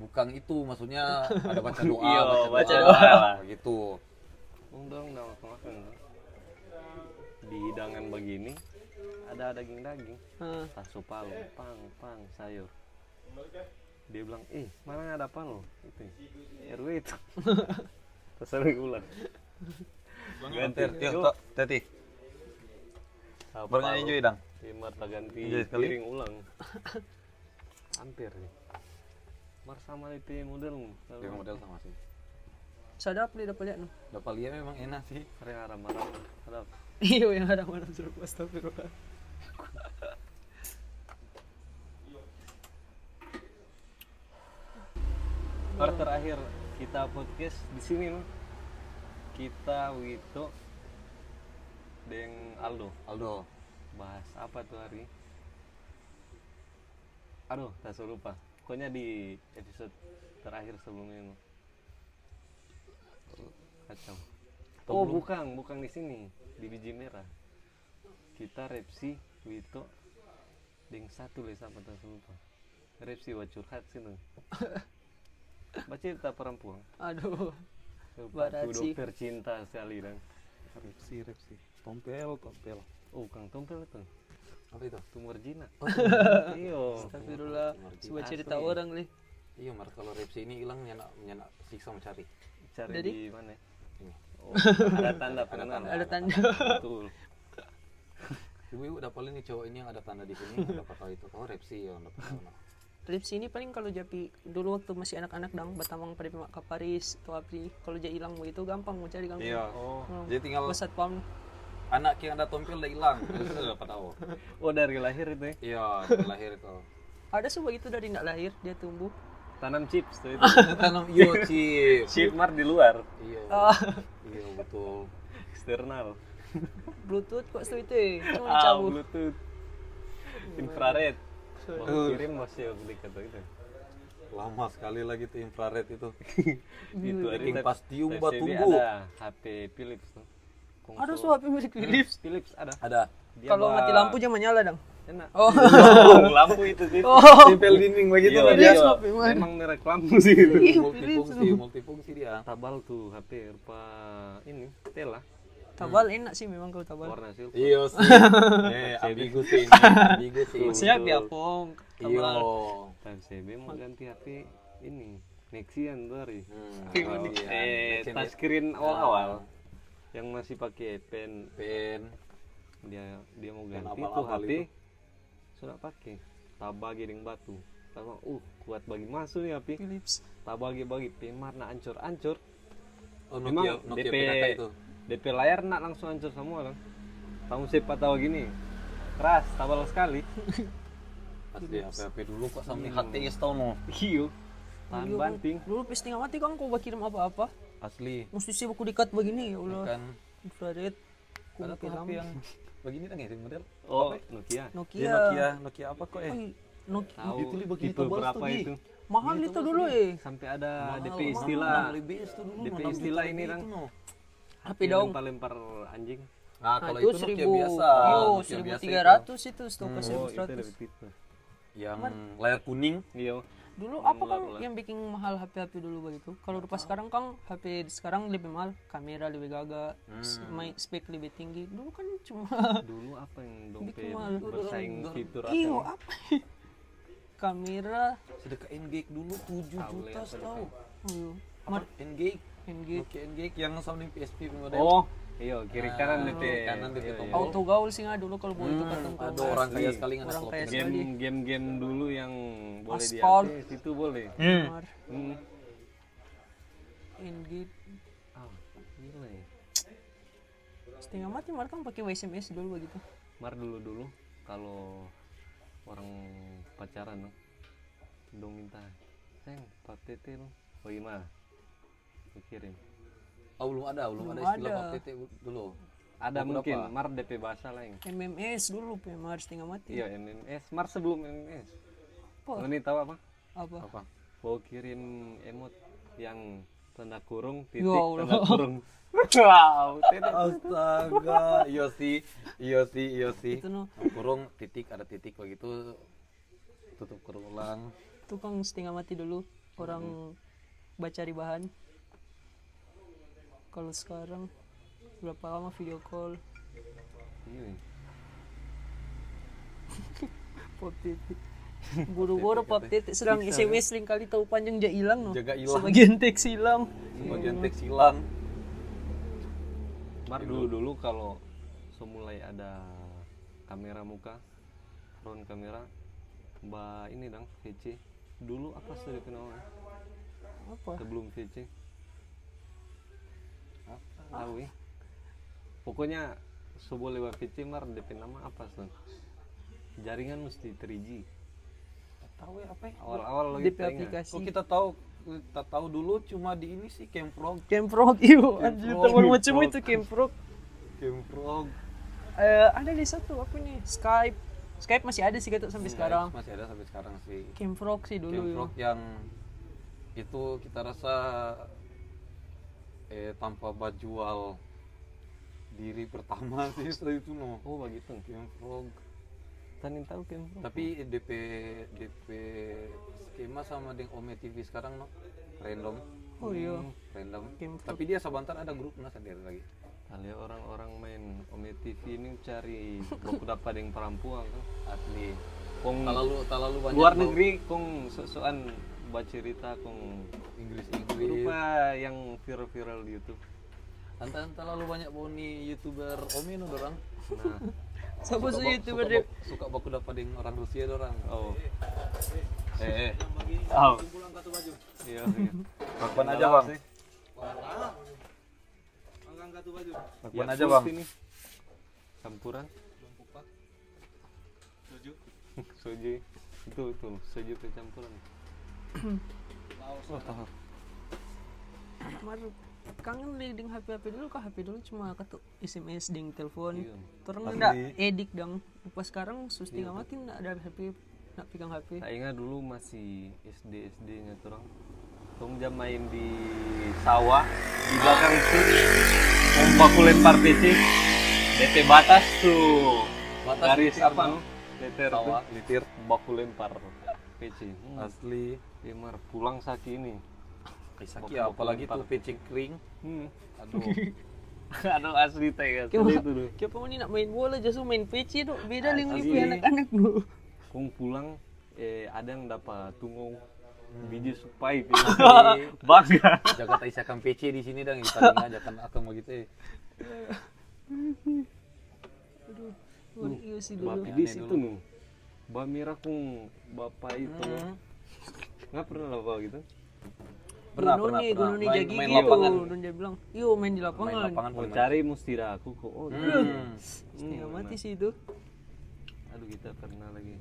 B: bukan itu maksudnya ada baca doa
E: Iya,
B: baca
E: baca
B: doa,
E: doa lah.
B: gitu
E: Oh, dong dah makan-makan tu. di hidangan begini ada daging-daging
D: Ah.
E: tasu palu pang pang sayur dia bilang eh mana ada palu itu "Eh, rw itu terus aku bilang ganti yuk
B: tadi
E: Ah,
B: pernah
E: palu.
B: hijau dang
E: Iya, Mar, tak ganti
B: Hijau sekali.
E: piring ulang hampir nih mar sama itu model
B: dia model sama sih
D: Sadap dia dapat lihat no.
B: dapat lihat memang enak sih
E: karena haram haram haram
D: Iya yang ada warna jeruk astagfirullah.
E: Mar, terakhir kita podcast di sini Mar. kita Wito deng Aldo
B: Aldo
E: bahas apa tuh hari aduh tak suruh lupa pokoknya di episode terakhir sebelumnya ini kacau oh bukan bukan di sini di biji merah kita repsi Wito ding satu les apa tak suruh lupa repsi buat curhat sini baca cerita perempuan
D: Aduh.
E: Sepatu
D: Baracik.
E: dokter cinta sekali dan
B: repsi repsi tompel tompel
E: oh kang tompel itu
B: apa itu
E: Oh, tumor Iya. jinak iyo
D: Astagfirullah. Sebuah cerita orang leh.
B: iya mar kalau repsi ini hilang nyana nyana siksa mencari
E: cari
D: Jadi?
E: di mana ya?
B: ini
E: Oh, ada tanda
B: ada tanda
E: pengenal.
D: Ada tanda.
E: Betul.
B: ibu ibu dapat lihat nih cowok ini yang ada tanda di sini dapat tahu itu oh repsi ya dapat tahu nah.
D: Trips ini paling kalau japi dulu waktu masih anak-anak dang batamang pada pimak ke Paris atau apri kalau jadi hilang begitu gampang mau cari gampang.
B: iya
E: Oh.
B: jadi tinggal
D: Pesat pam.
B: anak yang ada tompel udah hilang itu udah dapat tahu
E: Oh, dari lahir itu ya.
B: iya dari lahir kau
D: Ada sebuah itu dari nak lahir dia tumbuh.
E: Tanam chips tuh itu.
B: tanam iya, iyo chips
E: Chip mar di luar,
B: iyo
D: Ah.
B: iyo iya, betul
E: eksternal.
D: Bluetooth kok setelah itu eh. Cuma
E: Ah,
D: dicabut.
E: Bluetooth. Infrared. Mau kirim masih beli kata itu.
B: lama sekali lagi tuh infrared itu
E: Itu hari
B: Bikin
E: tab-
B: pastium
E: tab
B: buat
E: CD
B: tunggu.
E: Ada HP Philips tuh. Konsol.
D: Ada suap milik Philips.
E: Philips ada.
B: ada
E: Dia
D: Kalau
E: buat-
D: mati lampu jangan nyala dang.
E: enak.
D: Oh.
E: lampu itu sih.
B: tempel dinding begitu
E: Iya, Oh. dia memang merek lampu sih itu.
B: multifungsi multifungsi dia
E: Tabal tuh HP rupa ini tela
D: Tabal enak sih memang kalau tabal.
E: warna silver.
B: iyo sih Iya, eh ambigu sih ini Iya. ambigu sih
D: Maksudnya biapong.
B: iyo
E: Tab CB mau ganti HP ini Nexian tuh hari.
B: Hmm,
E: eh,
B: Nexian ya. Ah.
E: touchscreen awal-awal yang masih pakai pen
B: pen
E: dia dia mau ganti
B: abal-abal
E: tuh HP
B: itu.
E: sudah pakai tabah giring batu sama uh kuat bagi masuk nih HP
D: Philips.
E: tabah bagi bagi pemar nak ancur ancur
B: oh Nokia
E: memang
B: Nokia
E: DP
B: PKK itu
E: DP layar nak langsung ancur semua kan tahu siapa tahu gini keras tabal sekali
B: asli HP HP dulu kok ya, sama nih HTS tau no
E: iyo tahan banting
D: Dulu pis tengah mati kan kau buat kirim apa-apa.
B: asli
D: Mesti sih buku dekat begini ya Allah.
B: kan
D: Infrared. Ku
B: ada tuh
D: pakai
B: HP
D: lampu.
B: yang begini kan ya sih model
E: oh Nokia
B: Iya,
D: Nokia.
B: Nokia Nokia apa kok eh
D: Oi, Nokia. Gitu.
E: tahu
B: Itu li bagi
E: tipe
B: tabal
E: berapa
B: tuh, Gi.
E: itu
D: Mahal itu dulu eh.
E: sampai ada
B: Mahal,
E: DP
B: mahal,
E: istilah
B: mahal, DPS tuh dulu
E: DP
B: mahal
E: istilah
B: gitu,
E: ini,
B: itu,
E: Rang.
B: no.
D: HP
E: Yang
D: dong.
E: lempar-lempar anjing
B: Nah,
D: Nah,
B: kalau
D: itu
B: itu Nokia
D: seribu,
B: biasa.
D: yo
B: Nokia
D: seribu
B: biasa
D: tiga
B: itu.
D: ratus itu stok
E: oh itu
D: seribu seratus.
E: lebih tipe
B: yang layar kuning
E: iya
D: Dulu apa kang yang bikin mahal HP HP dulu begitu? Kalau rupa sekarang kang HP sekarang lebih mahal, kamera lebih gagah, s-
E: Hmm.
D: main spek lebih tinggi. Dulu kan cuma
E: dulu apa yang dompet
D: Bikin malu.
E: bersaing gitu fitur
D: iyo
B: oh,
D: apa? ya? kamera,
B: sedekah NGX dulu 7 juta setahun
D: iyo,
B: Apa? NGX
E: Iya,
D: NG,
B: Nokia NGX yang sounding PSP model
E: oh iya kiri kanan Iya, DP
B: Ah, kanan DP tombol
D: auto gaul sih nggak dulu kalau
E: Hmm,
D: boleh itu ketemu.
B: ada orang kaya sekali nggak
D: oh, Orang kaya
E: game
B: Iya.
D: sekali.
E: game game dulu yang boleh
D: Aspal.
E: diakses itu boleh
D: Kamar,
E: hmm.
D: NG,
E: ah gila ya
D: setengah mati mar kan pakai SMS dulu begitu.
E: mar dulu dulu kalau orang pacaran no, dong minta sayang patete lo oh gimana Lu kirim
B: oh belum ada belum, ada istilah KTT dulu
E: ada mungkin mar DP bahasa lain
D: MMS dulu, Mar setengah mati.
E: iya MMS mar sebelum MMS
D: Apa?
E: lo nih tahu apa
D: Apa?
B: apa
E: mau kirim emot yang tanda kurung titik
D: Ya Allah.
E: tanda kurung wow titik
B: astaga iya sih iya sih iya sih
D: Itu no.
B: kurung titik ada titik begitu tutup kurung ulang
D: tukang setengah mati dulu orang
B: Hmm.
D: baca di bahan kalau sekarang berapa lama video call
E: Iya.
D: pop titik buru-buru pop titik sedang sms link kali tahu panjang ja hilang no
B: ya. Jaga hilang.
D: sebagian teks hilang
B: bagian
E: Iya.
B: teks hilang
E: Mar dulu dulu kalau semulai ada kamera muka, front kamera, mbak ini dong VC. Dulu apa sih dikenalnya?
D: apa
E: Sebelum VC. Apa? Tahu ya? Pokoknya sebuah lewat VC Mar DP nama apa sih? Jaringan mesti 3G.
B: tahu ya apa ya?
E: Awal-awal lagi
D: dp
E: ingat.
D: aplikasi
B: kok kita tahu kita tahu dulu cuma di ini sih Camprog
D: Camprog iyo anjir
B: Camprog.
D: teman macam itu Camprog
B: Camprog
D: Eh, ada di satu apa nih Skype Skype masih ada sih gitu sampai sekarang
B: masih ada sampai sekarang sih
D: Camprog sih dulu ya. yo.
B: Camprog yang itu kita rasa eh tanpa bajual diri pertama sih setelah itu no
E: Oh begitu.
B: Camprog
E: Tanin tahu kan?
B: tapi DP DP skema sama dengan Ome TV sekarang no random Hmm,
D: oh iya
B: random
D: Camprog.
B: tapi dia sabantar ada grupnya sendiri lagi
E: Kali orang-orang main Ome TV ini cari buku dapat yang perempuan kan? tuh.
B: asli
E: Kong
B: talalu talalu banyak
E: luar
B: bau
E: negeri kong sosokan baca cerita kong
B: Inggris Inggris
E: lupa yang viral-viral di YouTube.
B: Entah terlalu banyak bau nih youtuber Ome no dorang
E: Nah,
D: siapa
B: Suka
D: sih
B: bak-
D: youtuber
B: suka
D: dia
B: bak- suka baku dapat dengan orang Rusia dorang
E: oh,
B: eh eh
E: oh. Iya, iya.
B: kapan aja bang
E: Iya,
B: aja,
E: full
B: Bang.
E: sini. Campuran. Soju. Itu itu soju kecampuran.
D: Maru kangen li ding HP HP dulu kah HP dulu cuma ketu SMS ding telepon
E: Iya.
D: terus nggak edik dong pas sekarang
B: Iya.
D: susti nggak mati nggak ada HP nggak pegang HP
E: Tak ingat dulu masih SD SD nya orang. Tong jam main di sawah di belakang itu. Mau baku lempar PC. DP batas tuh.
B: Batas
E: Garis
B: litir,
E: apa?
B: no?
E: no? Litir tuh.
B: Sawah, litir.
E: Baku lempar PC. Hmm.
B: asli
E: Gamer pulang saki ini.
B: Kisaki apalagi tuh PC kering
E: Hmm.
B: aduh
E: Aduh asli tega
D: Kau-
E: sekali itu dulu.
D: Kayak pun nak main bola justru main PC tuh
B: Ah,
D: beda ling
E: asli.
D: lipi anak-anak
B: Hmm.
D: dulu
E: Kung pulang eh ada yang dapat tunggu
B: Hmm.
E: biji supai
B: Asli.
E: bangga
B: jaga tak isakan PC di sini gitu. dong kita dengar akan akan begitu eh.
D: aduh Wah, iya sih dulu
E: Bapak di situ nu. Ba merah kung bapak itu. Nggak pernah lah bapak gitu.
B: pernah
D: Dulu
B: pernah
D: nih,
B: pernah
D: dulu nih
B: main,
D: jadi
B: main
D: gitu.
B: lapangan
D: Dulu dia bilang, yo main di
B: main
D: lapangan.
B: lapangan
E: Mau
B: pernah main.
E: cari mesti dah aku kok. Oh, gitu.
B: Hmm.
D: Setengah mati sih itu.
E: Aduh kita pernah lagi.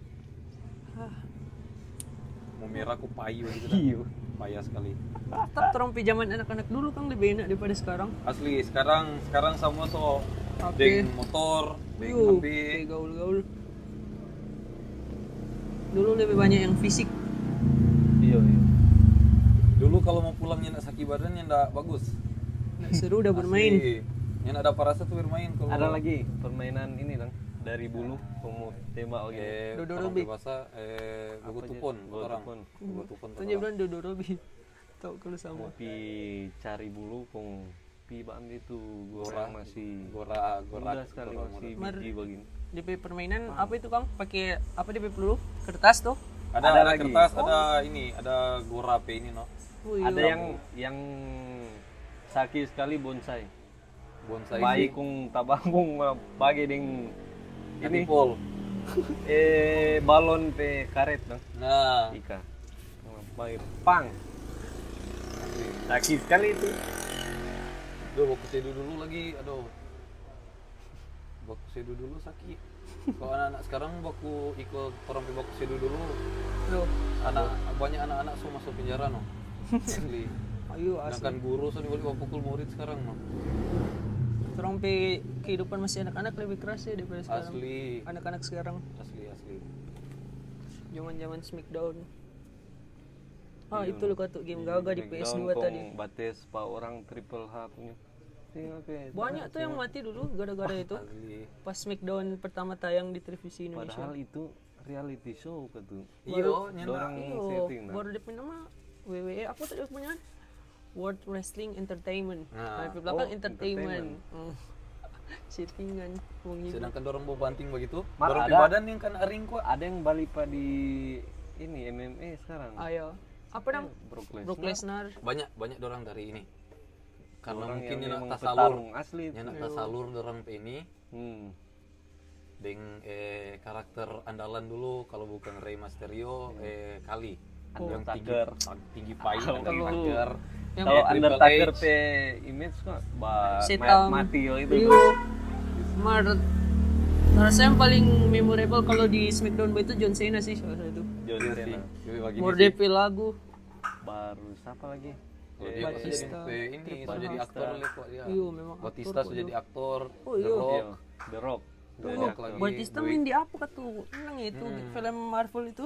B: mau merah aku payu gitu dah.
E: Iyo.
B: payah sekali
D: Tetap terompi zaman anak-anak dulu kan lebih enak daripada sekarang.
B: asli sekarang sekarang sama so
D: HP
B: deng motor deng
D: Yuh,
B: HP
D: kayak gaul-gaul. Dulu lebih banyak yang fisik.
E: Iya iya.
B: dulu kalau mau pulangnya nak sakit badannya ndak bagus
D: Nggak Nah, seru udah bermain.
B: Asli. yang ada parasa tuh bermain kalau
E: Ada lagi permainan ini dong. dari bulu umur tema oke
D: Dodo
B: orang
D: Rubi.
B: dewasa eh gugu tupon buat orang
E: tupon.
B: gugu tupon
D: Tuh
B: buat
D: dia
B: orang.
D: bilang dodorobi. Tahu kalau sama.
E: pi cari bulu kong pi bam itu goreng masih
B: gora gora
E: muda sekali
B: gora-
E: masih
D: Mar-
E: biji begini
D: DP permainan apa itu Kang? Pakai apa DP peluru? Kertas tuh.
B: ada Oh. ada, kertas ada ini ada gora p ini no
D: Wih,
E: ada yang yang sakit sekali bonsai
B: bonsai
E: baik kong tabangkung bagi ding
B: ini pol
E: eh balon pe karet dong
B: nah
E: Ika bagi pang sakit sekali itu
B: Duh, baku sedu dulu lagi, aduh. Baku sedu dulu sakit. Kalau anak-anak sekarang baku ikut orang pi baku sedu dulu,
D: Loh,
B: anak banyak anak-anak so masuk penjara no. Asli.
D: ayo asli.
B: Sedangkan guru so dibalik pukul murid sekarang no.
D: Terang pe kehidupan masih anak-anak lebih keras ya daripada sekarang.
B: Asli,
D: Anak-anak sekarang
B: asli, asli.
D: zaman-zaman smackdown. Ah, itu lu kata game gaga di PS2
E: Breakdown
D: tadi.
E: kong bates pak orang triple H punya Tengok ya? ke,
D: Banyak tuh yang mati dulu gara-gara itu.
B: Asli.
D: Pas smackdown pertama tayang di televisi Indonesia.
E: padahal itu reality show gitu
B: Iyo, nyana.
E: dorang
D: Iyo,
E: setting nah.
D: Iya. baru depan nama E. WWE apa tadi punya? World Wrestling Entertainment.
B: Nah.
D: Nah, di belakang
E: Oh,
D: entertainment. Mm. Settingan wong ibu.
B: Sedangkan orang mau banting begitu,
E: Mar,
B: orang pi
E: ada.
B: badan yang kan aring kok.
E: ada yang balik pak di ini MMA sekarang
D: Ayo. Apa nam?
E: Brock Lesnar
D: Brock Lesnar.
B: Banyak banyak orang dari ini. Karena
E: orang
B: mungkin
E: yang
B: yang
E: memang
B: nak tasalur,
E: petarung asli itu.
B: yang nak tasalur orang pi ini,
E: hmm.
B: Deng eh, karakter andalan dulu kalau bukan Rey Mysterio eh kali yang tinggi
E: Undertaker.
B: tinggi pahit
E: Kalau-
B: Undertaker
D: Oh. Yang
E: kalau
B: Triple
E: Undertaker
B: H.
E: pe image kok ba
D: Setam.
E: mayat mati yo itu
D: Rio. Mar Merasa yang paling memorable kalau di Smackdown itu John Cena sih salah satu.
E: John Cena
B: Jadi bagi
D: Mordepe lagu.
E: baru siapa lagi
B: kalau dia pasti jadi
D: Batista,
B: eh, ini so jadi aktor lah kok dia
D: Iyo Iya, memang.
B: Batista sudah jadi aktor
D: Oh,
B: The
D: iya.
B: Rock
E: Yo, The Rock
B: The
E: Jadi
B: Rock
E: aktor.
B: lagi
D: Batista main di apa tuh? Menang itu film Marvel itu.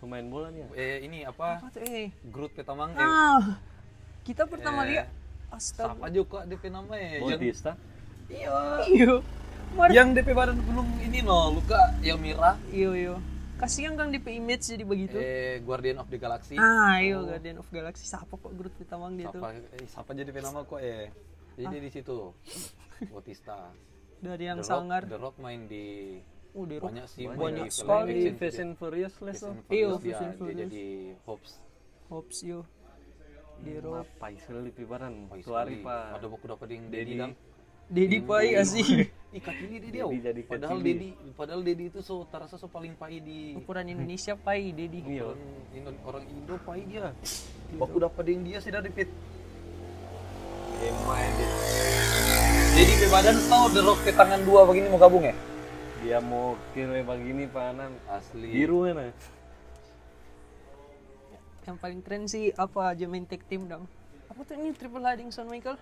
E: pemain bola ya? dia
B: eh ini apa
D: Apa tuh ini?
B: Groot Petamang eh
D: Ah. Kita pertama lihat Astaga.
B: sama juga DP nama eh yang
E: Bautista
B: iya
D: Iyo. Mar
B: yang DP badan belum ini no luka yang Mira
D: Iyo iyo. Kasihan Kang DP image jadi begitu.
B: eh Guardian of the Galaxy
D: Ah, iyo Guardian of Galaxy siapa kok Groot Pitamang dia tuh?
B: Sapa, eh, siapa jadi penama kok eh. Jadi di situ. Bautista.
D: Dari Ah. yang
B: The
D: sangar.
B: Rock, The Rock main di
D: Oh, The Rock.
B: banyak sih
D: Banyak
B: di film
D: sekali.
E: di
B: action.
E: Fast and Furious lah
B: Fast
E: so
B: and
D: Iya,
B: Furious dia,
D: Fast and
B: dia
D: Furious.
B: jadi Hobbs.
D: Hobbs iyo. The Rock.
E: apa istilah di pibaran
B: Wah,
E: tuh hari
B: sekali.
E: pak
B: Ada buku dapat yang Dedi dang. Iya.
D: Dedi Pai asih.
B: Ih, kacili Dedi au.
E: Dedi jadi
B: oh. Padahal
E: kacili.
B: Dedi, padahal Dedi itu so terasa so paling pai di
D: Ukuran Indonesia Pai Dedi.
E: Iya.
B: orang, Indo- orang Indo pai dia. Aku dapat yang dia sih dari Pit. Emang dia. Jadi di badan tau The Rock ke tangan dua begini mau gabung ya?
E: dia mau kira begini pak Anan
B: Asli.
E: biru kan
D: Yang paling keren sih apa aja main tag team dong. Apa tuh ini Triple H Shawn Michael?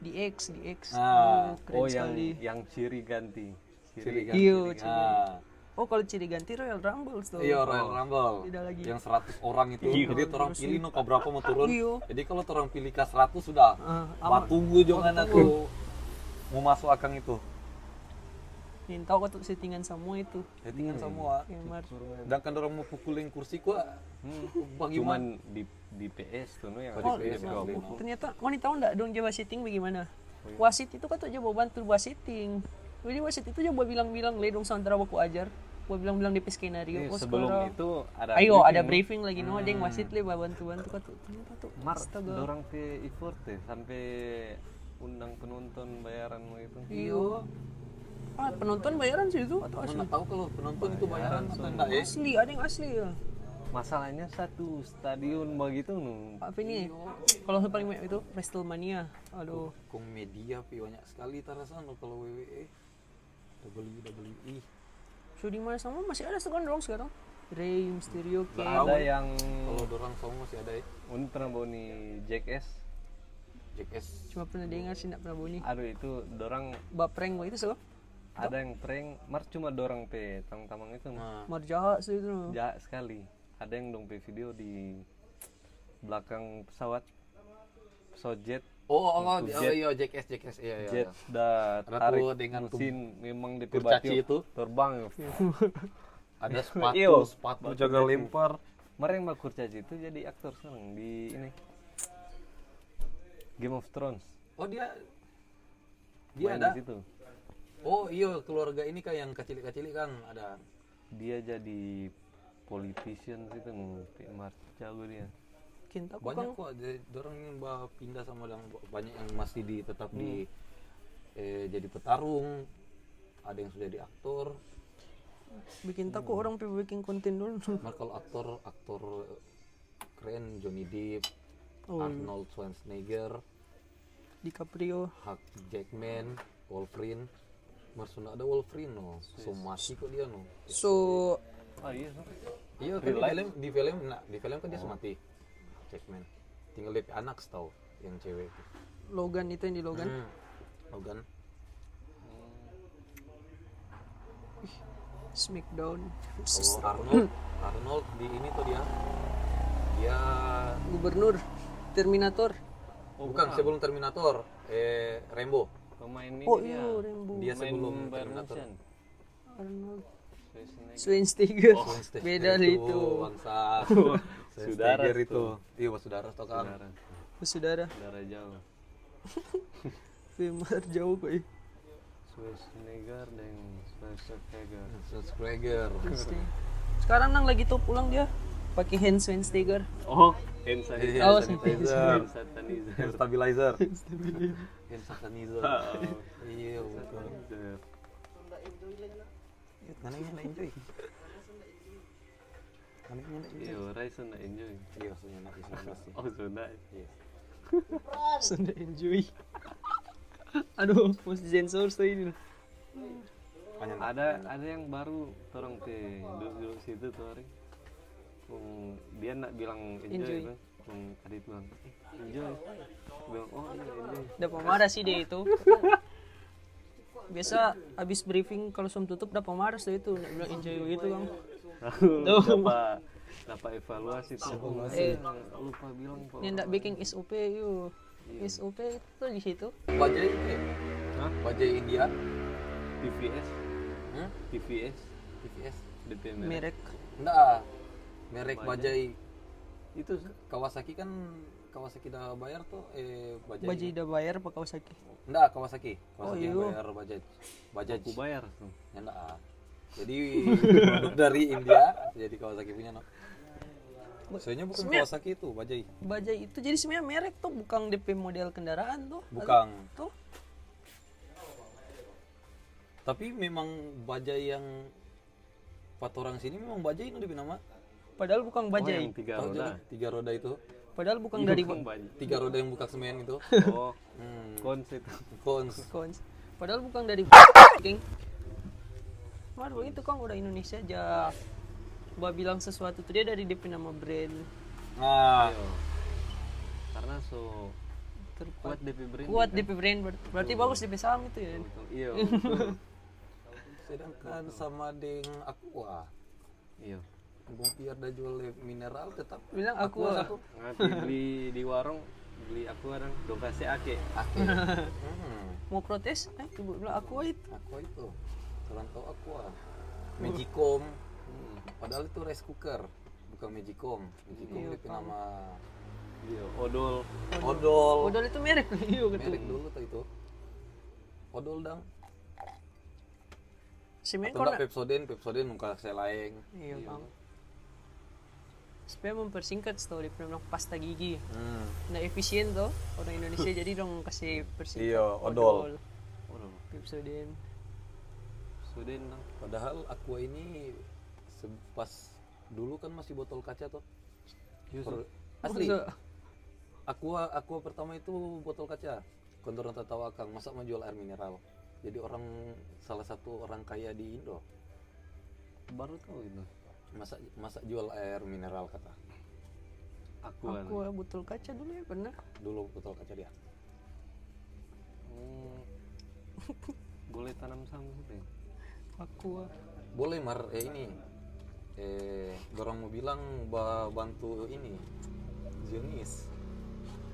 D: DX, DX.
B: Ah,
D: Oh, keren
E: oh yang
D: sekali.
E: yang ciri ganti
B: Ciri
E: ciri
B: ganti.
D: Iyo,
B: Ciri
D: ciri.
B: ganti.
D: Oh, kalau ciri ganti Royal Rumble tuh.
B: Iya Royal Rumble.
D: Tidak lagi.
B: Yang 100 orang itu. Jadi orang pilih no berapa mau turun.
D: Iya.
B: Jadi kalau orang pilih ke 100 sudah.
D: Ah,
B: Bah, tunggu jangan aku mau masuk akang itu.
D: Minta kok tuh settingan semua itu.
B: Settingan semua.
D: Kemar.
B: Sedangkan orang mau pukulin kursi kok. Bagaimana?
E: cuman di di PS tuh no yang
B: Oh,
E: di PS
B: iya.
E: kau.
D: Ternyata wanita tahu enggak dong jawa setting
E: Oh,
D: bagaimana?
E: iya.
D: Wasit itu kan tuh jawa bantu wasit setting. Jadi wasit itu jawa bilang-bilang le dong sementara aku ajar. Gua bilang-bilang di
E: Ini
D: skenario. Oh,
E: Iya, sebelum
D: sekarang-
E: itu ada
D: Ayo
E: briefing, Hmm.
D: ada
E: no?
D: briefing lagi no ada yang wasit le bawa bantu-bantu kan tuh. Ternyata tuh.
E: Mar,
D: astaga.
E: dorang ke effort deh sampai undang penonton bayaran gitu. mau itu.
D: Iyo. Ah, penonton bayaran sih itu atau asli?
B: Mana tahu kalau penonton itu bayaran atau enggak ya?
D: Asli, ada yang asli ya.
E: Masalahnya satu stadion begitu nu.
D: Apa ini?
E: Iya.
D: Kalau yang paling banyak itu Wrestlemania. Aduh.
B: Kong media pi banyak sekali tarasan no kalau E. WWE. WWE.
D: So di mana sama masih ada sekarang dong sekarang. Rey Mysterio, Kane.
E: Ada yang
B: Kalau orang semua masih ada ya.
E: un pernah bau nih Jackass.
B: Jackass.
D: Cuma pernah dengar sih nak pernah bunyi.
E: Aduh itu dorang
D: Bapreng wah itu sebab
E: ada yang prank, mar cuma dorang pe tamang-tamang itu. nu.
B: Nah,
D: marjaha sih itu. no.
E: Jahat sekali. Ada yang dong pe video di belakang pesawat pesawat jet
B: Oh, oh, oh,
E: Untuk
B: oh,
E: jet.
B: iya, Jack S, Jack S, iya, iya.
E: jet
B: iya.
E: dah
B: Ada
E: tarik
B: tuh dengan tuh
E: mesin memang di
B: kurcaci
E: Pebatiu
B: itu.
E: terbang
B: Ada sepatu,
E: Iyo,
B: sepatu.
E: Iya, jaga lempar mereka mbak kurcaci itu jadi aktor sekarang di ini Game of Thrones
B: Oh, dia dia Iya,
E: Main
B: ada.
E: di situ
B: Oh, iya, keluarga ini kan yang kecil-kecil kan ada.
E: dia jadi politician situ mimpi jago dia
D: Kinta aku kan
B: Banyak kok, jadi orang yang ba- pindah sama yang ba- banyak yang masih di tetap di
E: Hmm.
B: eh, jadi petarung. Ada yang sudah jadi aktor.
D: bikin
B: Hmm.
D: takut orang pergi bikin konten dulu.
B: Nah, kalau aktor aktor eh, keren Johnny Depp,
D: Oh, iya.
B: Arnold Schwarzenegger,
D: DiCaprio.
B: Hugh Jackman, Wolverine. Marsuna ada Wolverine no, so mati kok dia no.
D: So
E: ah iya so.
B: Iya, kan di film di film nah, di film kan dia semati. Jackman. Tinggal dia punya anak setau yang cewek. itu.
D: Logan itu yang di Logan.
B: Hmm. Logan.
D: Smackdown.
B: Kalau Arnold, Arnold di ini tuh dia dia
D: Gubernur. Terminator.
B: Oh, bukan sebelum Terminator, eh Rambo.
E: pemain ini
D: Oh
E: dia
D: iya, Rambo.
B: Dia sebelum
E: sebelum Bayern
B: Terminator.
E: Munchen
D: Arnold.
E: Schwarzenegger.
D: Schwarzenegger.
B: Stage
D: Beda
B: itu,
D: itu.
B: Bangsa.
E: Saudara
B: Saudara itu. Iya, bah, saudara tuh kan.
E: darah
D: Saudara.
E: darah jauh
D: Femar jauh kok. eh.
E: Schwarzenegger dan Schwarzenegger
B: Schwarzenegger.
D: Schwarzenegger. Sekarang nang lagi top ulang dia pakai hand Schwarzenegger.
E: oh hand sanitizer
B: Oh,
E: hand sanitizer
B: Hand stabilizer. Hand stabilizer.
E: Oh.
B: Iya, bukan. Nanti yang enjoy. Nanti yang enjoy.
E: Yo, Rai sudah enjoy.
B: Iya, maksudnya nanti sih.
E: Oh, sudah.
B: Iya.
D: Sudah enjoy. Aduh, mesti sensor tuh ini.
B: Panjang.
E: Ada ada yang baru tolong teh duduk-duduk situ tuh hari. Hmm, dia nak bilang
D: Enjoy.
E: enjoy, enjoy. Hmm, Adit bilang "Eh, enjoy. Bilang oh iya enjoy.
D: Dapat marah sih dia itu. Biasa abis briefing kalau sebelum tutup dapat marah tuh itu. Nak bilang enjoy gitu kan. Oh.
E: Lalu dapat dapat evaluasi tuh. Eh, lupa bilang Pak.
D: Ini ndak bikin SOP yuk. SOP itu di situ.
B: Wajah ini.
E: Hah?
B: Wajah India.
E: TVS,
B: Hmm?
E: TVS,
B: TVS.
E: DP merek.
D: Merek.
B: Enggak. ah. Merek bajai
E: Itu Sa.
B: Kawasaki kan Kawasaki dah bayar tuh eh bajai.
D: Baji udah bayar pakai Kawasaki.
B: Enggak, Kawasaki. Kawasaki
D: Oh,
B: yang
D: iya.
B: bayar Bajaj. Bajaj.
E: aku bayar tuh.
B: Enak. ah. Jadi produk dari India jadi Kawasaki punya no. Soalnya bukan Kawasaki itu, Bajaj.
D: Bajai itu jadi sebenarnya merek tuh bukan DP model kendaraan tuh.
B: Bukan.
D: Tuh.
B: Tapi memang Bajaj yang empat orang sini memang Bajaj itu lebih nama.
D: Padahal bukan
E: Oh,
D: Bajai.
E: yang tiga
B: Tahu
E: roda.
B: jadi tiga roda itu,
D: Padahal bukan dari
E: Bukan banyak.
B: tiga roda yang buka semen itu.
E: Oh,
B: Hmm,
E: konsep.
B: cons.
D: Kons. Padahal bukan dari King. Baru itu kan udah Indonesia aja. Bah bilang sesuatu tuh dia dari DP nama brand
B: Nah,
E: Karena so kuat
D: terkuat
E: DP brand.
D: kuat DP brand ber- berarti bagus DP saham itu ya
E: Iya.
B: sedangkan sama dengan Aqua,
E: Iya.
B: Gompiar dah jual mineral tetap
D: bilang aku
B: Aqua
D: lah
B: satu.
E: Nanti beli di warung beli aku kadang dong kasih ake.
B: Aku. Hmm,
D: mau protes eh ibu bilang aku itu
B: Aqua itu. Kurang tahu Aqua. Magicom. Hmm, Padahal itu rice cooker, bukan Magicom. Magicom
D: Iya,
B: itu nama
E: Iya. Odol.
B: Odol.
D: modal itu merek iya gitu
B: Merek dulu tuh itu. Odol dang.
D: si
B: Atau
D: mengkor
B: enggak Pepsodent, Pepsodent muka saya laeng.
D: iya bang supaya mempersingkat story pernah bilang pasta gigi
B: Hmm.
D: nah efisien tuh orang Indonesia jadi dong kasih persingkat
B: Iya, odol.
E: Odol.
D: Pepsodent
E: Suden dong.
B: Padahal Aqua ini se- pas dulu kan masih botol kaca tuh.
E: Iya. so.
B: Per- Asli.
D: Masa?
B: Aqua Aqua pertama itu botol kaca. Kantor Tata Wakang masa menjual air mineral. Jadi orang salah satu orang kaya di Indo
E: Baru tahu itu.
B: masa masa jual air mineral kata.
E: Aku. kan.
D: aku botol kaca dulu ya pernah
B: Dulu botol kaca dia.
E: Hmm. Boleh tanam sama gitu. ya?
D: aku
B: Boleh mar eh, ini. Eh, orang mau bilang ba- bantu ini. Zionis.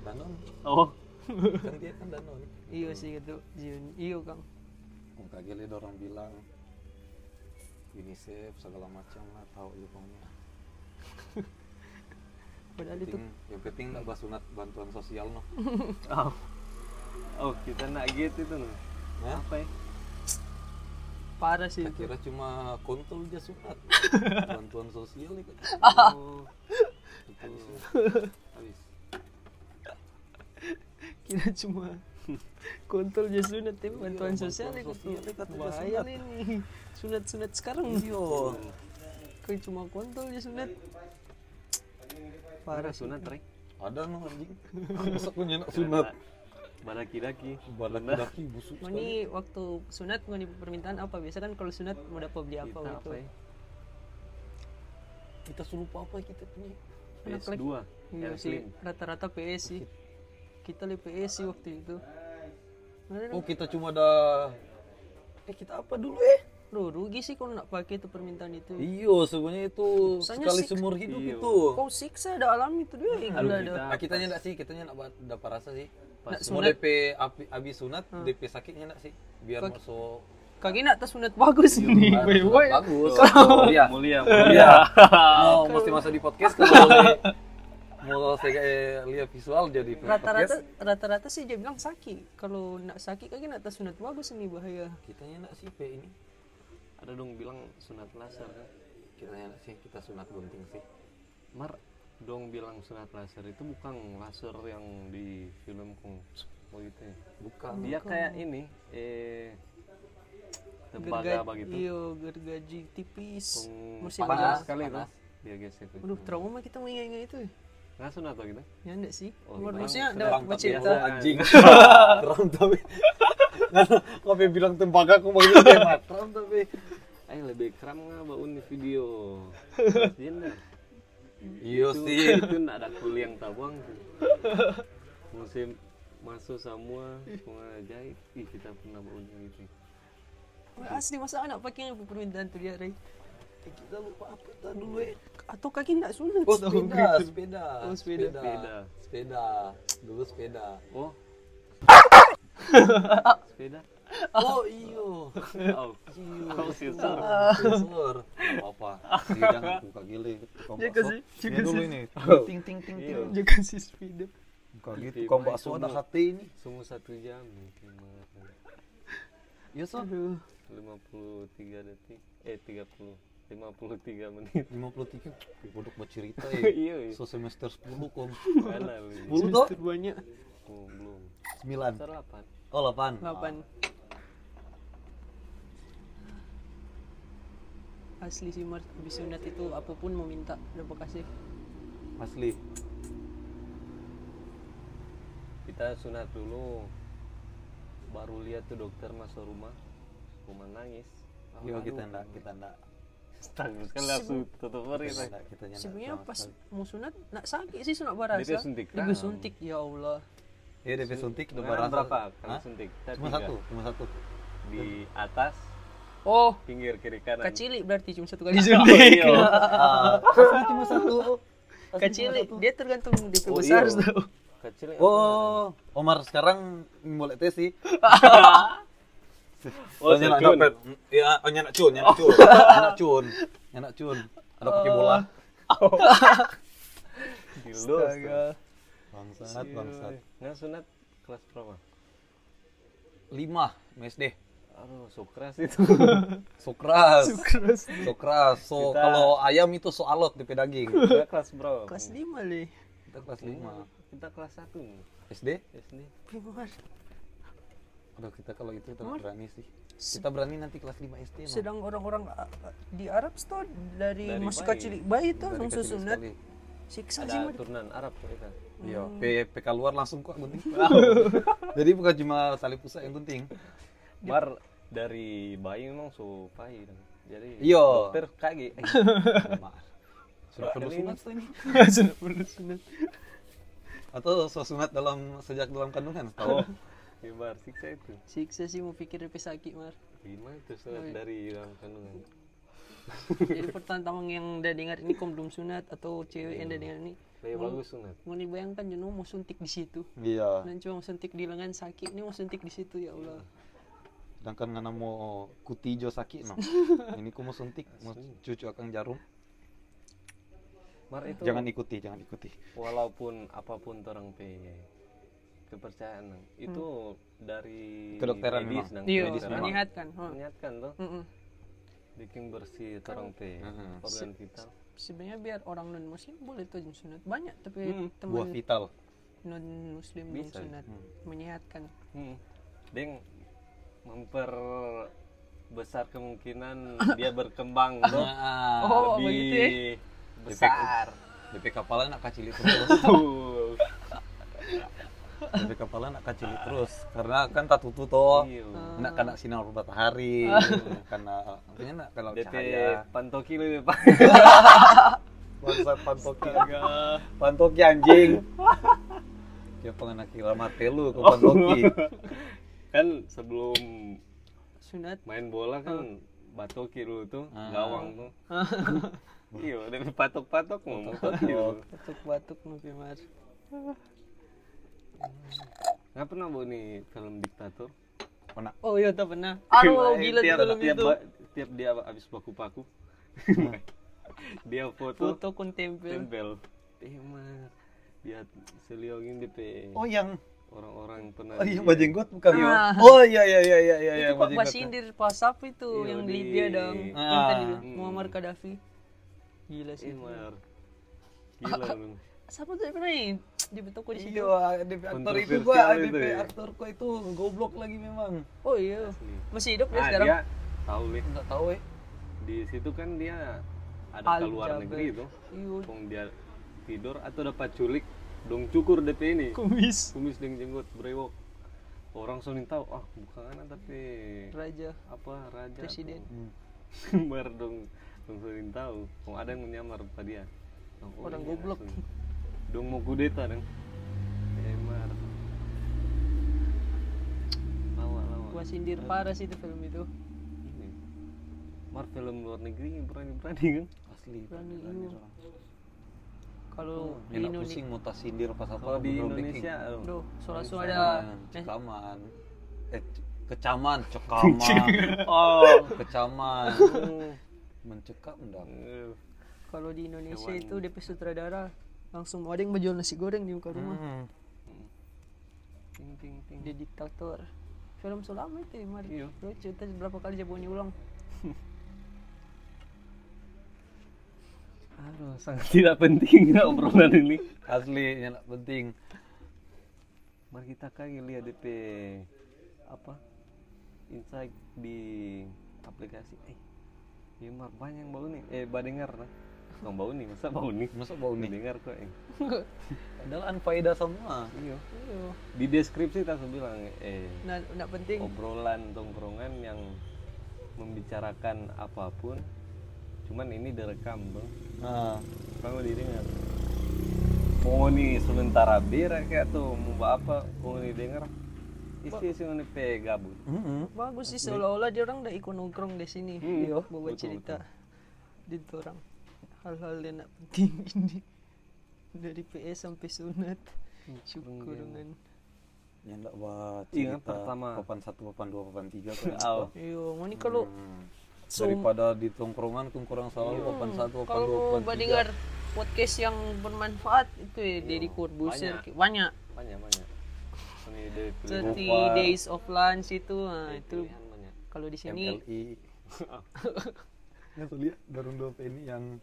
B: Danon
E: Oh.
B: kan dia kan danon
D: iyo sih gitu Jiun iyo kang
B: kagak ada orang bilang UNICEF segala macam lah tahu lu pokoknya
D: padahal itu
B: penting yang penting nggak basunat bantuan sosial noh
E: oh. oh kita nak gitu itu loh
B: ya
E: apa ya
D: parah sih
B: tak
D: itu
B: kira cuma kontol aja sunat bantuan sosial nih
E: oh. habis habis
D: kira cuma kontrol aja
E: Iya,
D: sunat tapi bantuan
B: bantuan
D: sosial ikut
B: sosial ikut aja
D: bahaya
B: sunat.
D: ini sunat sunat sekarang
E: Iya.
B: iyo
D: kau cuma kontrol aja sunat
E: ada
D: parah sih
E: sunat rek
B: ada noh anjing besok punya nak sunat
E: badaki-daki
B: badak daki busuk
D: Mau
B: sekali
D: nih waktu sunat mau nih permintaan apa biasa kan kalau sunat mau dapat beli apa
E: kita
D: gitu
E: apa ya
B: kita suruh apa kita punya
D: Anak
E: PS2
D: Iya
E: yang
D: sih
E: slim
D: rata-rata PS sih kita lihat PS sih waktu itu Mana-
B: oh kita cuma ada eh kita apa dulu eh
D: Bro, rugi sih kalau nak pakai itu permintaan itu.
E: Iya.
B: iyo sebenarnya itu
D: Soalnya
B: sekali
D: sih-
B: seumur hidup
E: Iyo.
B: itu
D: Kau siksa ada alam itu dia
E: Aduh,
D: yang ada
E: kita-
D: ada.
B: Nah, kitanya enggak sih, kitanya enggak dapat rasa sih.
D: Nak
B: Semua
D: sunat. Hmm.
B: DP api, abis sunat, DP sakitnya enggak sih? Biar
D: Kok-
B: masuk
D: Kaki nak tas sunat bagus ini.
B: Ah, sunat
D: Woi,
B: bagus.
E: mulia
B: Mulia.
E: mulia
B: Mulia. Mau mesti masuk di podcast kalau boleh. mau saya kayak lihat visual jadi
D: Rata-rata rata-rata sih dia bilang sakit. Kalau nak sakit kaki nak tas sunat bagus ini bahaya.
B: kitanya enggak sih pe ini.
E: ada dong bilang sunat laser kan
B: Kitanya enggak sih, kita sunat gunting sih.
E: Mar dong bilang sunat laser itu bukan laser yang di film kung Fu gitu ya.
B: Bukan.
E: Dia kayak ini eh tembaga
D: Gergaji,
E: begitu.
D: Iyo, gergaji tipis.
E: Kung
D: Mesti
E: Oh, panas
D: iya. panas.
B: panas.
E: sekali itu.
B: panas.
E: Dia gesek itu.
D: Aduh, trauma kita mengingat itu.
E: Nggak sunat apa gitu?
D: Ya enggak sih?
E: Oh,
D: Luar-
E: iya.
D: Maksudnya ada
B: Terang tapi
D: bercerita.
E: biasa.
B: ya. Oh, anjing. Terang tapi. Kau yang bilang tembaga aku mau tembak.
E: Kram tapi eh lebih kram nggak baun di video. Gender.
B: Iya
E: Itu-
B: sih.
E: Itu nggak ada kuliah yang tabang. Musim masuk semua pengajaib. Ih kita pernah baun gitu.
D: Wah, Asli masa anak pakai yang permintaan tu dia, Ray.
B: Eh, Kita lupa apa tadi dulu eh.
D: Atau kaki nak sunat.
B: Oh
D: tau.
B: sepeda, sepeda,
D: Oh, sepeda.
B: sepeda, sepeda, dulu sepeda.
E: Oh. Sepeda.
B: Oh Ah. iyo,
E: Oh.
B: iyo,
E: Oh, sensor.
B: sensor, apa apa, jangan buka gile,
D: Dia kasih,
B: Iya
D: dia
C: Ini
D: kasih,
C: dulu ini. Ting ting ting ting.
E: Iya.
D: dia kasih sepeda.
C: Bukan gitu
B: Iya,
C: kok bakso
E: Semua-
C: ada hak.
B: ini.
E: Semua satu jam mungkin Mar.
B: Iya so,
D: Aduh.
E: 53 detik. Eh 30. 53 menit.
B: lima puluh tiga, bodoh bercerita ya.
E: Iya, iya.
B: So semester sepuluh kom,
E: Mana lu?
B: sepuluh toh,
D: Semester banyak.
E: Oh, Belum.
B: sembilan,
E: Semester 8.
B: oh delapan,
D: Lapan. Asli sih Mar, habis sunat itu apapun mau minta, udah kasih.
B: asli.
E: Kita sunat dulu. Baru lihat tuh dokter masuk rumah. Rumah nangis.
B: Yo Iya, kita ndak, kita ndak,
E: Tangis kan langsung tutup kan? hari.
B: kita ndak, kita ndak.
D: Iya, Sebenarnya
B: sama
D: pas
B: sekali.
D: mau sunat, nak sakit sih sunat berasa.
E: Dia suntik kan?
D: Dia suntik, ya Allah.
B: Iya DP suntik, udah
E: Kemarin
B: berasa.
E: berapa? Kali
B: Hah?
E: Kan suntik. Kita
B: Cuma
D: ya?
E: tiga.
B: satu, cuma satu.
E: Di atas,
D: Oh,
E: pinggir kiri kanan. Iya. Oh,
D: kacili berarti cuma satu kali suntik.
B: Ah, asli cuma satu.
D: Kacili, dia tergantung DP
E: Oh,
D: besar
E: iya.
D: tau.
E: Kecil. ya?
B: Oh, Omar sekarang mulai tes sih.
E: Oh,
B: nyenak
E: secun.
B: dompet. Iya, oh, nyenak cun, nyenak cun. Nyenak cun. Nyenak cun. Ada pakai
D: Oh.
B: bola.
E: Dildo.
B: Bangsat, bangsat.
E: Iya. Nggak sunat kelas berapa?
B: Lima, MSD.
E: Aduh, sukres itu.
B: Sokras. Sokras. So,
E: Kita-
B: kalau ayam itu so alot di pedaging.
E: Kita kelas berapa?
D: Kelas lima leh.
B: Kita kelas lima.
E: Kita kelas 1
B: SD?
E: SD.
D: Pimar.
B: Aduh, kita kalau itu kita berani sih. Kita berani nanti kelas 5 SD. Mang.
D: sedang orang-orang uh, uh, di Arab tuh dari,
E: Dari
D: masuk
E: bayi.
D: kecil bayi tuh
B: Dari
D: langsung
B: kecil
D: sunat
B: sekali.
D: siksa sih
E: Ada
D: Mar.
E: turunan Arab kok kita.
B: Iya, P- PK luar langsung kok gunting. Jadi bukan cuma tali pusat yang gunting.
E: Bar dari bayi memang supai. dan Jadi
B: Iya.
E: dokter kaki. Eh,
B: Sudah perlu
E: Ini-
B: sunat tuh ini.
D: Sunat perlu sunat.
B: Atau so sunat dalam sejak dalam kandungan setahu.
E: di bar siksa itu.
D: siksa sih mau pikir lebih sakit mar Iya.
E: Gimana itu sunat dari dalam kandungan?
D: jadi pertama yang udah dengar ini kondom sunat atau cewek yang udah dengar ini
E: Lebih bagus sunat.
D: mau dibayangkan you know, mau suntik di situ
B: Iya.
D: dan cuma mau suntik di lengan sakit ini mau suntik di situ ya Allah
B: Sedangkan ngana mau kutijo sakit no. Ini ku mau suntik, mau cucu akang jarum.
E: Mar itu
B: Jangan ikuti, jangan ikuti.
E: walaupun apapun orang pe kepercayaan nang. itu dari
B: Kedokteran memang.
E: medis nang.
D: Hmm. iya
E: Medis memang.
D: menyehatkan ha.
E: Menyehatkan tuh
D: Mm-mm.
E: bikin bersih orang pe
B: Heeh.
E: organ vital.
D: sebenarnya biar orang non muslim boleh tuh jin sunat banyak tapi
B: Buah
D: teman
B: vital.
D: non muslim jin
E: Bisa.
D: sunat menyehatkan
E: Hmm. Deng memperbesar kemungkinan dia berkembang tuh.
F: Nah,
D: Oh,
E: lebih
D: begitu ya?
E: besar.
F: DP kapalnya nak kacil itu bos.
E: Tuh.
B: Tapi kepala nak kecil terus karena kan tak tutu toh.
E: Iya.
B: Nak kena sinar matahari, kena artinya nak
D: Oh,
B: kalau
E: DP
B: cahaya.
E: pantoki lebih pak.
B: Bangsat pantoki. Pantoki anjing. Dia pengen kira mati lu ke
E: Oh.
B: pantoki.
E: kan sebelum
D: sunat
E: main bola kan batoki dulu tuh gawang tuh iya dari patok-patok mau batoki dulu
D: batuk batuk nabi mar
E: nggak pernah bu nih film diktator
B: Mana?
D: oh iya tak pernah aduh
E: Main
D: gila gitu. tuh
E: tiap,
D: film
E: tiap,
D: itu
E: ba- tiap dia abis paku-paku dia foto
D: foto kontempel
E: tempel emang dia seliongin di pe
B: Oh yang
E: orang-orang yang pernah
B: oh, yang
D: iya,
E: di-
B: bajenggot bukan yo?
D: Ah.
B: Oh iya iya iya iya iya
D: itu
B: yang
D: pak
B: bajenggot.
D: Basindir pas apa itu
E: Iya,
D: yang
E: di-
D: di Libya dong
B: Ah.
D: Yang tadi bilang, Muammar Gaddafi gila sih
E: Imar. Eh, gila lu
D: siapa tuh yang main di bentuk di situ
B: Iya, DP aktor itu
E: Kontroversial
B: gua,
E: itu
B: DP
E: ya.
B: aktor gua itu goblok lagi memang.
D: oh iya masih hidup dia
E: nah
D: sekarang
E: dia tahu nih
B: Enggak tahu eh.
E: di situ kan dia ada
D: Al
E: keluar
D: Jaber.
E: negeri tuh
D: iya
E: Pong dia tidur atau dapat culik dong cukur DP ini
D: kumis
E: kumis dengan jenggot brewok orang sering tahu ah bukan anak tapi
D: raja
E: apa raja
D: Presiden.
E: sumber dong dong sering tahu Pong ada yang menyamar pada dia Dong, oh
D: Orang
E: iya,
D: goblok.
E: sering. dong mau kudeta dong emar lawa lawa
D: gua sindir parah sih itu film itu
E: ini mar film luar negeri berani berani kan
B: Asli.
D: berani iya kalau di
B: Enak
D: Indonesia
B: pusing mau tas sindir pas apa
E: kalau di
B: bener-bener
E: Indonesia aduh.
D: Duh, soalnya
B: bikin.
D: suara ada
B: Cekaman, Cekaman. Eh, c- kecaman, cekaman.
E: oh
B: kecaman. Mencekam dah.
E: Eh,
D: kalau di Indonesia itu DP sutradara langsung ada yang menjual nasi goreng di muka rumah
E: Hmm. ting ting ting
D: Hmm. dia diktator film Sulam itu ya, Mar
E: Iya.
D: lucu terus berapa kali dia bunyi ulang
E: Aduh, sangat tidak penting ya obrolan ini.
B: Asli, yang nak penting.
E: Mari kita kan lihat DP apa insight di aplikasi. Eh, Yumar banyak bau nih. Eh, badengar lah. Nggak bau nih, masa bau nih?
B: Masa bau nih?
E: Dengar kok. Eh.
B: Padahal anfaedah semua.
E: Iya.
D: Iya.
E: Di deskripsi tak bilang eh
D: nah nggak penting
E: obrolan tongkrongan yang membicarakan apapun. Cuman ini direkam bang.
B: Nah,
E: Kamu didengar. Mau nih sementara bira kayak tuh mau buat apa? Mau nih dengar. Isi isi ini pe gabut.
B: mm
D: bagus sih seolah-olah dia orang udah ikut nongkrong di sini
B: Hmm,
D: iya bawa cerita di orang hal-hal yang nggak penting ini dari PS sampai sunat
B: Hmm,
D: syukur
B: iya.
D: dengan
B: yang enggak buat
E: Ingat
B: cerita
E: pertama.
B: papan satu, papan dua, papan tiga
E: Au.
B: kan.
D: iyo mau nih kalau
B: daripada di tongkrongan kan kurang selalu papan satu papan dua
D: kalau
B: papan
D: mau dengar podcast yang bermanfaat itu
B: Iya.
D: ya dari Corbuzier banyak, banyak.
E: Banyak banyak. Ini dari pilihan
D: Seperti Days of Lunch itu
B: Iya,
D: nah, itu
E: banyak.
D: kalau di sini
B: MLI nggak tuh lihat Garung Dove ini yang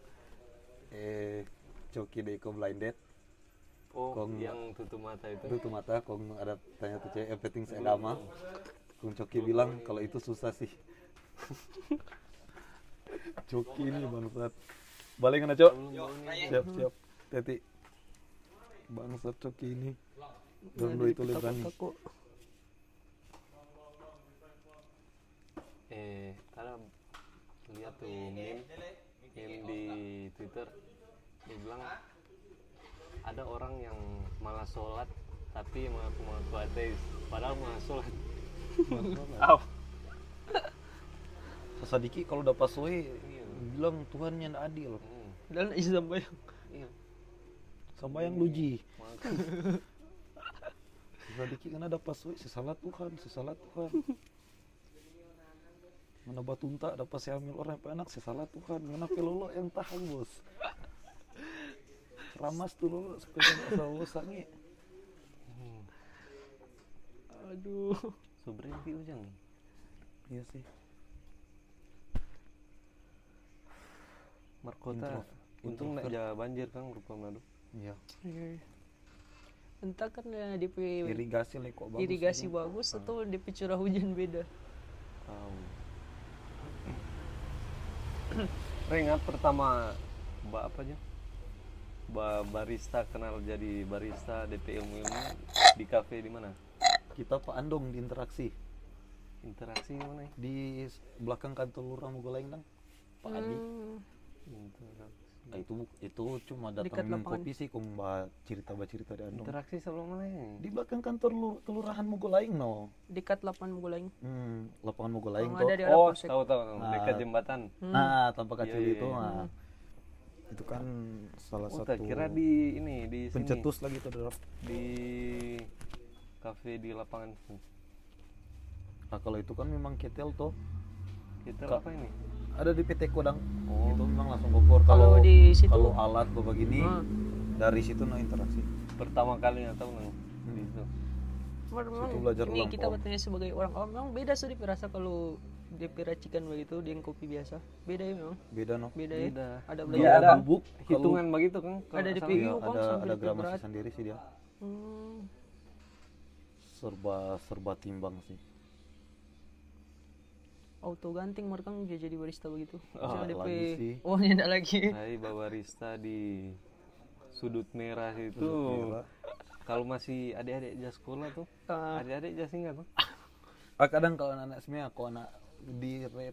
B: eh coki deko blinded
E: Oh,
B: Kong-
E: yang tutup mata itu.
B: tutup mata kong ada tanya tuh cewek everything saya lama kong coki bilang kalau itu susah sih coki ini bangsat balik aja cok siap siap hati bangsat coki ini Garung Dove itu lebih berani
D: takut
E: Eh, ada lihat tuh meme meme di Twitter dibilang ada orang yang malah sholat tapi mengaku mengaku ateis padahal malah sholat
B: Sasadiki kalau udah pas soe bilang Tuhannya nggak adil
E: Hmm,
D: Dan isi sambayang.
E: iya
B: sambayang luji
E: mantap
B: Bisa dikit kan ada pas "Wih, sesalah Tuhan, sesalah Tuhan. Mana batunta dapat saya ambil orang yang enak sesalah Tuhan. Mana pelolo yang tahan bos. Ramas tuh lolo sepeda asal bos sangi.
D: Aduh.
E: so berhenti ujang nih
B: Iya sih.
E: Markota untung nak ja banjir kang rupa Manado
B: Iya.
D: Iya, iya. Entah karena DP
B: Irigasi lah kok bagus. iya.
D: irigasi bagus atau DP curah hujan beda.
E: tahu Rengat pertama mbak apa aja mbak barista kenal jadi barista DP ilmu ilmu di kafe di mana
B: Kita Pak Andong di interaksi
E: interaksi mana ya?
B: di s- belakang kantor lurah kan? Mugolang Dang. Pak Adi.
D: Hmm,
E: interaksi
B: Nah, itu bu- itu cuma
D: Dekat
B: datang minum
D: lapangan.
B: kopi sih kok mbak cerita mbak cerita di Andong.
E: interaksi sebelum mana ya?
B: Di belakang kantor lur- kelurahan Mugolang no.
D: Dekat lapangan Mugulang.
B: Hmm, lapangan Mogolaing
D: Yang
B: tuh.
D: ada di hmm.
E: oh
D: arah Polsek.
E: tahu tahu tahu.
B: Nah.
E: dekat jembatan
B: Nah, tanpa
E: Iya,
B: kacil
E: iya,
B: itu
E: iya.
B: nah. Itu kan salah
E: oh
B: satu
E: tak kira di ini di sini
B: pencetus lagi tuh Dor.
E: di kafe di lapangan
B: Nah, kalau itu kan memang ketel tuh.
E: kita
B: Ka-
E: apa ini
B: Ada di PT Kodang.
E: Oh.
B: Itu memang langsung kompor kalau
D: Kalau di situ-
B: kalau alat tuh begini
D: Ah.
B: dari situ no interaksi.
E: pertama kali nggak tahu nang
B: Hmm.
E: itu
D: Cuman memang
B: Situ belajar
D: ini
B: ulang,
D: kita
B: Om.
D: bertanya sebagai orang awam memang beda sih DP rasa kalau DP racikan begitu dengan kopi biasa. Beda ya memang.
B: Beda Iya. no.
D: Beda ya.
E: Beda.
D: Ada
B: Kalau
D: belajar.
E: Iya, ada
B: bubuk, kalau-
E: hitungan begitu kan kalau
D: Ada
E: nggak
D: di
E: salah.
D: video.
B: Iya,
D: Bang,
B: ada
D: sambil
B: ada
D: lebih
B: gramasi
D: berat.
B: sendiri sih dia.
D: Hmm.
B: Serba serba timbang sih.
D: Auto ganting mereka dia jadi barista begitu.
B: Ah,
D: Misalnya DP.
B: lagi sih.
D: Oh, ini ada lagi.
E: Hai barista di sudut merah itu
B: Sudut merah.
E: kalau masih adik-adik jas sekolah tuh
D: Ah.
E: adik-adik jas ingat tuh
B: Ah, kadang kalau anak-anak SMA, kalau anak di RP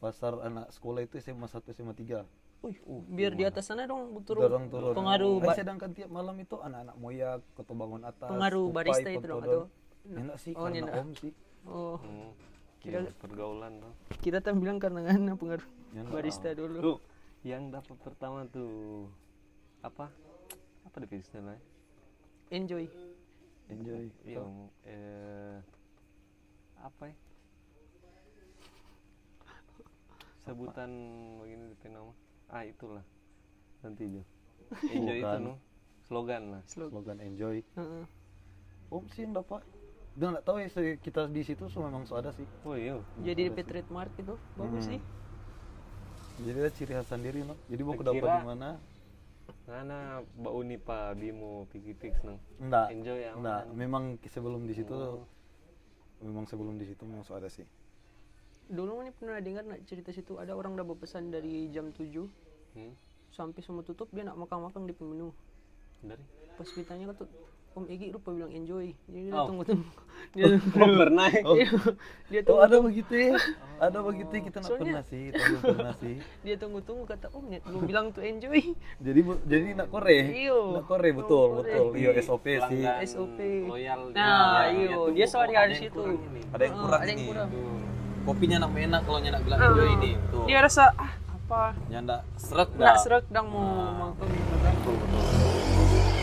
B: pasar anak sekolah itu SMA 1 SMA 3
E: Wih, uh,
D: Biar di atas sana dong turun,
B: dorong turun
D: pengaruh
B: Nah,
D: ba-
B: sedangkan tiap malam itu anak-anak moyak kota bangun atas
D: Pengaruh
B: Kupai,
D: barista itu dong,
B: Pontodon.
D: atau-
B: enak sih
D: Oh,
B: karena
D: enak.
B: om sih
D: Oh,
E: hmm,
B: Iya.
D: Kira-
E: gila, pergaulan tuh
D: kita kan bilang karena karena pengaruh
B: Ya, nggak
D: barista dulu.
E: Tuh, yang dapat pertama tuh apa apa deh istilahnya
D: Enjoy.
B: enjoy
E: yang eh, apa ya sebutan begini di nama ah itulah nanti aja enjoy itu
B: Slogan.
E: no slogan lah
D: Slow.
B: slogan enjoy
D: Heeh.
B: om sih yang dapat dan nggak tahu ya se- kita di situ semua memang so ada sih
E: oh iya
D: Jadi DP trademark itu bagus sih.
B: jadi ada ciri khas sendiri no. jadi mau
E: Kira-
B: dapat di mana
E: karena mbak Unipa Bimo Pikitix nang
B: enggak
E: Enjoy Oh. ya,
B: enggak memang sebelum di situ memang sebelum di situ memang so ada sih
D: Dulu nih pernah dengar nak cerita situ ada orang udah berpesan dari jam 7
E: hmm?
D: sampai semua tutup dia nak makan-makan di menu.
E: dari
D: Pas ditanya kata Om Egi lupa bilang enjoy. Jadi dia
E: Oh.
D: tunggu-tunggu. Dia
E: belum pernah
D: dia
B: Oh
D: tunggu
B: ada begitu ya, ada begitu ya, kita nak
D: Soalnya-
B: pernah sih, kita belum pernah sih.
E: Oh,
D: dia tunggu-tunggu kata Om net belum bilang tuh enjoy.
B: Jadi bu- jadi nak kore,
D: Iyo.
B: nak kore betul
D: Nak kore.
B: betul, iya SOP sih.
D: SOP.
E: loyal
D: Nah,
G: Iya,
E: dia.
D: iyo,
E: Tuh,
D: dia
E: oh,
D: soal di
E: ada
D: hari
E: yang
D: situ.
E: kurang ini.
B: Ada yang
D: Heeh,
B: kurang
D: ada yang
B: nih.
D: kurang.
E: Tuh,
G: kopinya nak enak kalau nyenak bilang
D: Ah.
G: enjoy ini
E: Oh.
G: tuh
D: Dia rasa ah apa
G: nyenak seret
D: nak
E: Nah.
G: dah
D: serak dang mau makan.
G: betul betul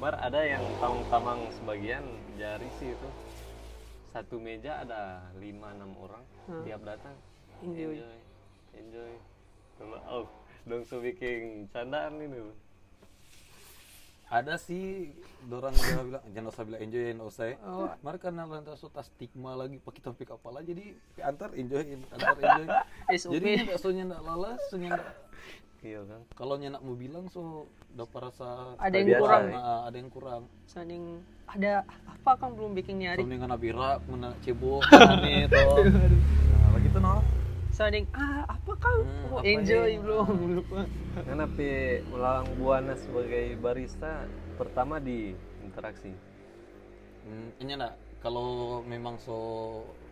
E: Bar ada yang tamang-tamang sebagian jari sih itu. Satu meja ada lima enam orang tiap datang.
D: Hmm. Enjoy.
E: Enjoy. Enjoy. Coba oh, dong so bikin candaan ini. loh.
G: ada sih dorang dia bilang jangan usah bilang enjoy jangan usah ya.
D: Oh.
G: mereka karena lantas so tak stigma lagi pakai topik apalah jadi pi antar enjoy in- antar enjoy
D: SOP.
G: jadi nyenak so nyenak lalas so nyenak
E: Iya kan.
G: kalau nyenak mau bilang so dapat rasa
D: Ada yang
E: Biasa,
D: kurang.
E: ya.
G: Nah, ada yang kurang
D: Sanding ada apa kan belum bikin nyari.
G: Sampai dengan abira, menak cebok, aneh toh.
B: Nah, begitu no.
D: Sanding ah apa kan
E: Hmm,
D: mau
E: apa
D: enjoy
E: nih?
D: belum lupa.
E: Karena pe ulang buana sebagai barista pertama di interaksi.
G: Hmm, ini nak kalau memang so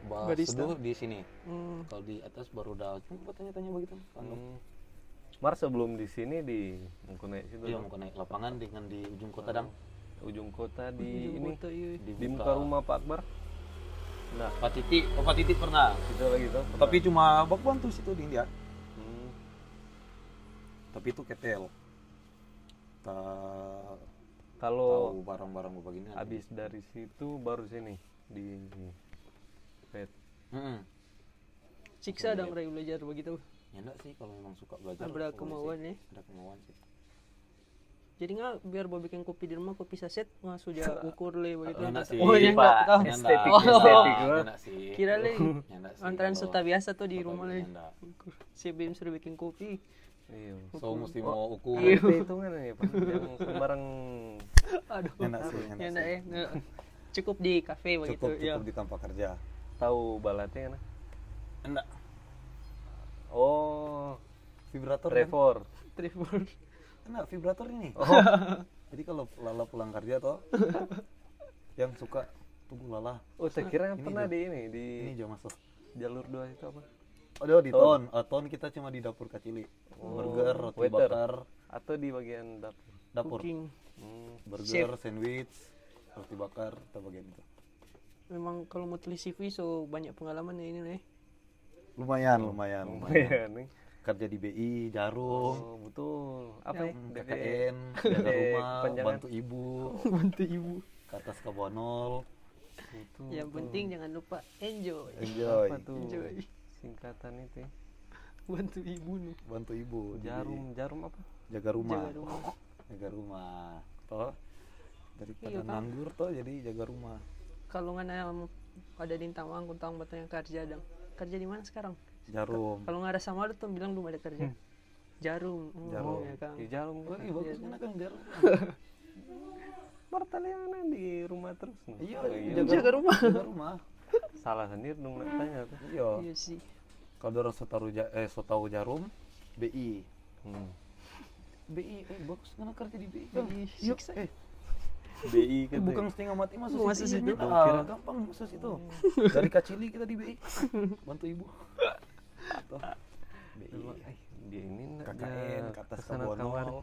G: bahas
D: Barista.
G: seduh di sini.
D: Hmm.
G: Kalau di atas baru udah cuma tanya-tanya begitu. Kan
E: Hmm. Mar sebelum di sini di Mengkunek situ.
G: dia
B: Iya,
E: dong.
G: mau ke naik lapangan dengan di ujung kota dang.
E: Ujung kota di
D: Ujung
E: ini
D: kota, iya.
E: di muka rumah Pak Akbar. Nah,
H: Pak Titi, oh Pak Titi pernah.
E: itu lagi tuh. Hmm,
B: Tapi cuma bak bantu situ di India. Tapi itu ketel. Tak
E: kalau
H: Tahu
B: Oh.
H: barang-barang gue begini. ada.
E: habis dari situ baru sini di Pet.
B: Hmm,
H: Mm-mm.
D: Siksa dong Ray belajar begitu.
H: Ya enggak sih kalau memang suka belajar.
D: Ada
H: boleh
D: kemauan
H: sih.
D: ya.
H: Ada kemauan sih.
D: Jadi nggak biar bawa bikin kopi di rumah kopi saset nggak sudah ukur le begitu.
H: Ya enggak sih.
D: Oh iya
E: Pak.
D: nggak tahu.
H: Ya enggak.
E: Estetik,
B: Oh.
H: Ya
E: estetik.
H: enggak. Ya
B: Iya.
H: enggak sih.
D: Kira le
H: Ya enggak sih,
D: antara
H: kalau-
D: serta biasa tuh di
H: kalau
D: rumah
H: gini
D: le.
H: enggak.
D: Ukur. Si Bim sudah bikin kopi.
E: Iya.
H: So mesti mau ukur.
E: Ada hitungan ya, Pak. Jangan sembarang
D: Aduh.
B: enak sih, enak
D: Ya
B: sih.
D: enggak ya. nggak. Cukup di kafe begitu
B: Cukup
D: ya.
B: cukup di tempat kerja.
E: tahu balatnya kan.
H: Enggak.
E: Oh,
B: Vibrator kan?
E: Trevor.
D: Trevor.
B: Enak vibrator ini. Jadi kalau Lala pulang kerja toh yang suka tunggu Lala
E: Oh, saya kira pernah
B: tuh.
E: di ini di
B: ini jauh masuk.
E: jalur dua itu apa?
B: Oh, di Iya.
E: Ton.
B: ton. Eh, ton kita cuma di dapur kacili.
E: Oh,
B: Burger, roti
E: waiter.
B: bakar,
E: Atau di bagian dapur.
B: dapur.
D: Cooking.
E: Hmm.
B: Burger, sandwich, roti bakar, atau bagian itu.
D: Memang kalau mau tulis CV so banyak pengalaman ya ini le.
B: Lumayan, lumayan, lumayan.
E: Iya nih.
B: Kerja di BI, Jarum,
E: Oh, betul. Apa ya?
B: hmm,
E: DPE.
B: KKN, jaga
E: Eh,
B: rumah,
E: kepanjangan.
B: bantu ibu,
D: Bantu ibu.
B: ke atas ke Bonol,
E: Betul.
D: Yang penting jangan lupa enjoy.
B: enjoy,
E: Iya. Apa tuh?
D: Enjoy.
E: Singkatan itu ya.
D: Bantu ibu nih.
B: bantu ibu,
E: Oh,
B: di
E: Jarum, jarum apa?
B: BI. jaga rumah,
D: Jaga rumah.
B: jaga rumah, toh daripada
D: Iya, Pak.
B: nganggur toh jadi jaga rumah.
D: kalau nggak ada ada di Tawang Kuntang batang yang kerja dong kerja di mana sekarang
B: Jarum,
D: kalau nggak ada sama lu tuh bilang belum ada kerja Hmm. jarum Oh,
B: Jarum.
D: ya kan
E: Di jarum gua.
B: Ih, bagus
D: iya.
B: mana kan jarum?
E: Martaliana di rumah terus. nih.
B: Iya,
E: Oh, iya.
D: Jaga rumah.
B: Jaga rumah.
E: Salah sendiri dong nak tanya tuh.
B: Iya.
D: iya sih
B: Kalau dorong setahu ja- eh setahu jarum, BI.
E: Hmm.
B: BI, eh bagus karena kerja di BI.
D: Jadi siksa
B: Eh,
E: BI kan.
B: bukan setengah mati masuk
D: Masuk
B: situ. iya,
D: situ.
B: Nyata.
E: Gua kira-
B: gampang masuk situ.
D: Oh, iya.
B: Dari kacili kita di BI. Bantu ibu. Tuh. BI.
D: Iya.
E: eh, Dia ini nak
B: KKN,
E: ja-
B: kata
E: pesanan kamar.
B: Sabono.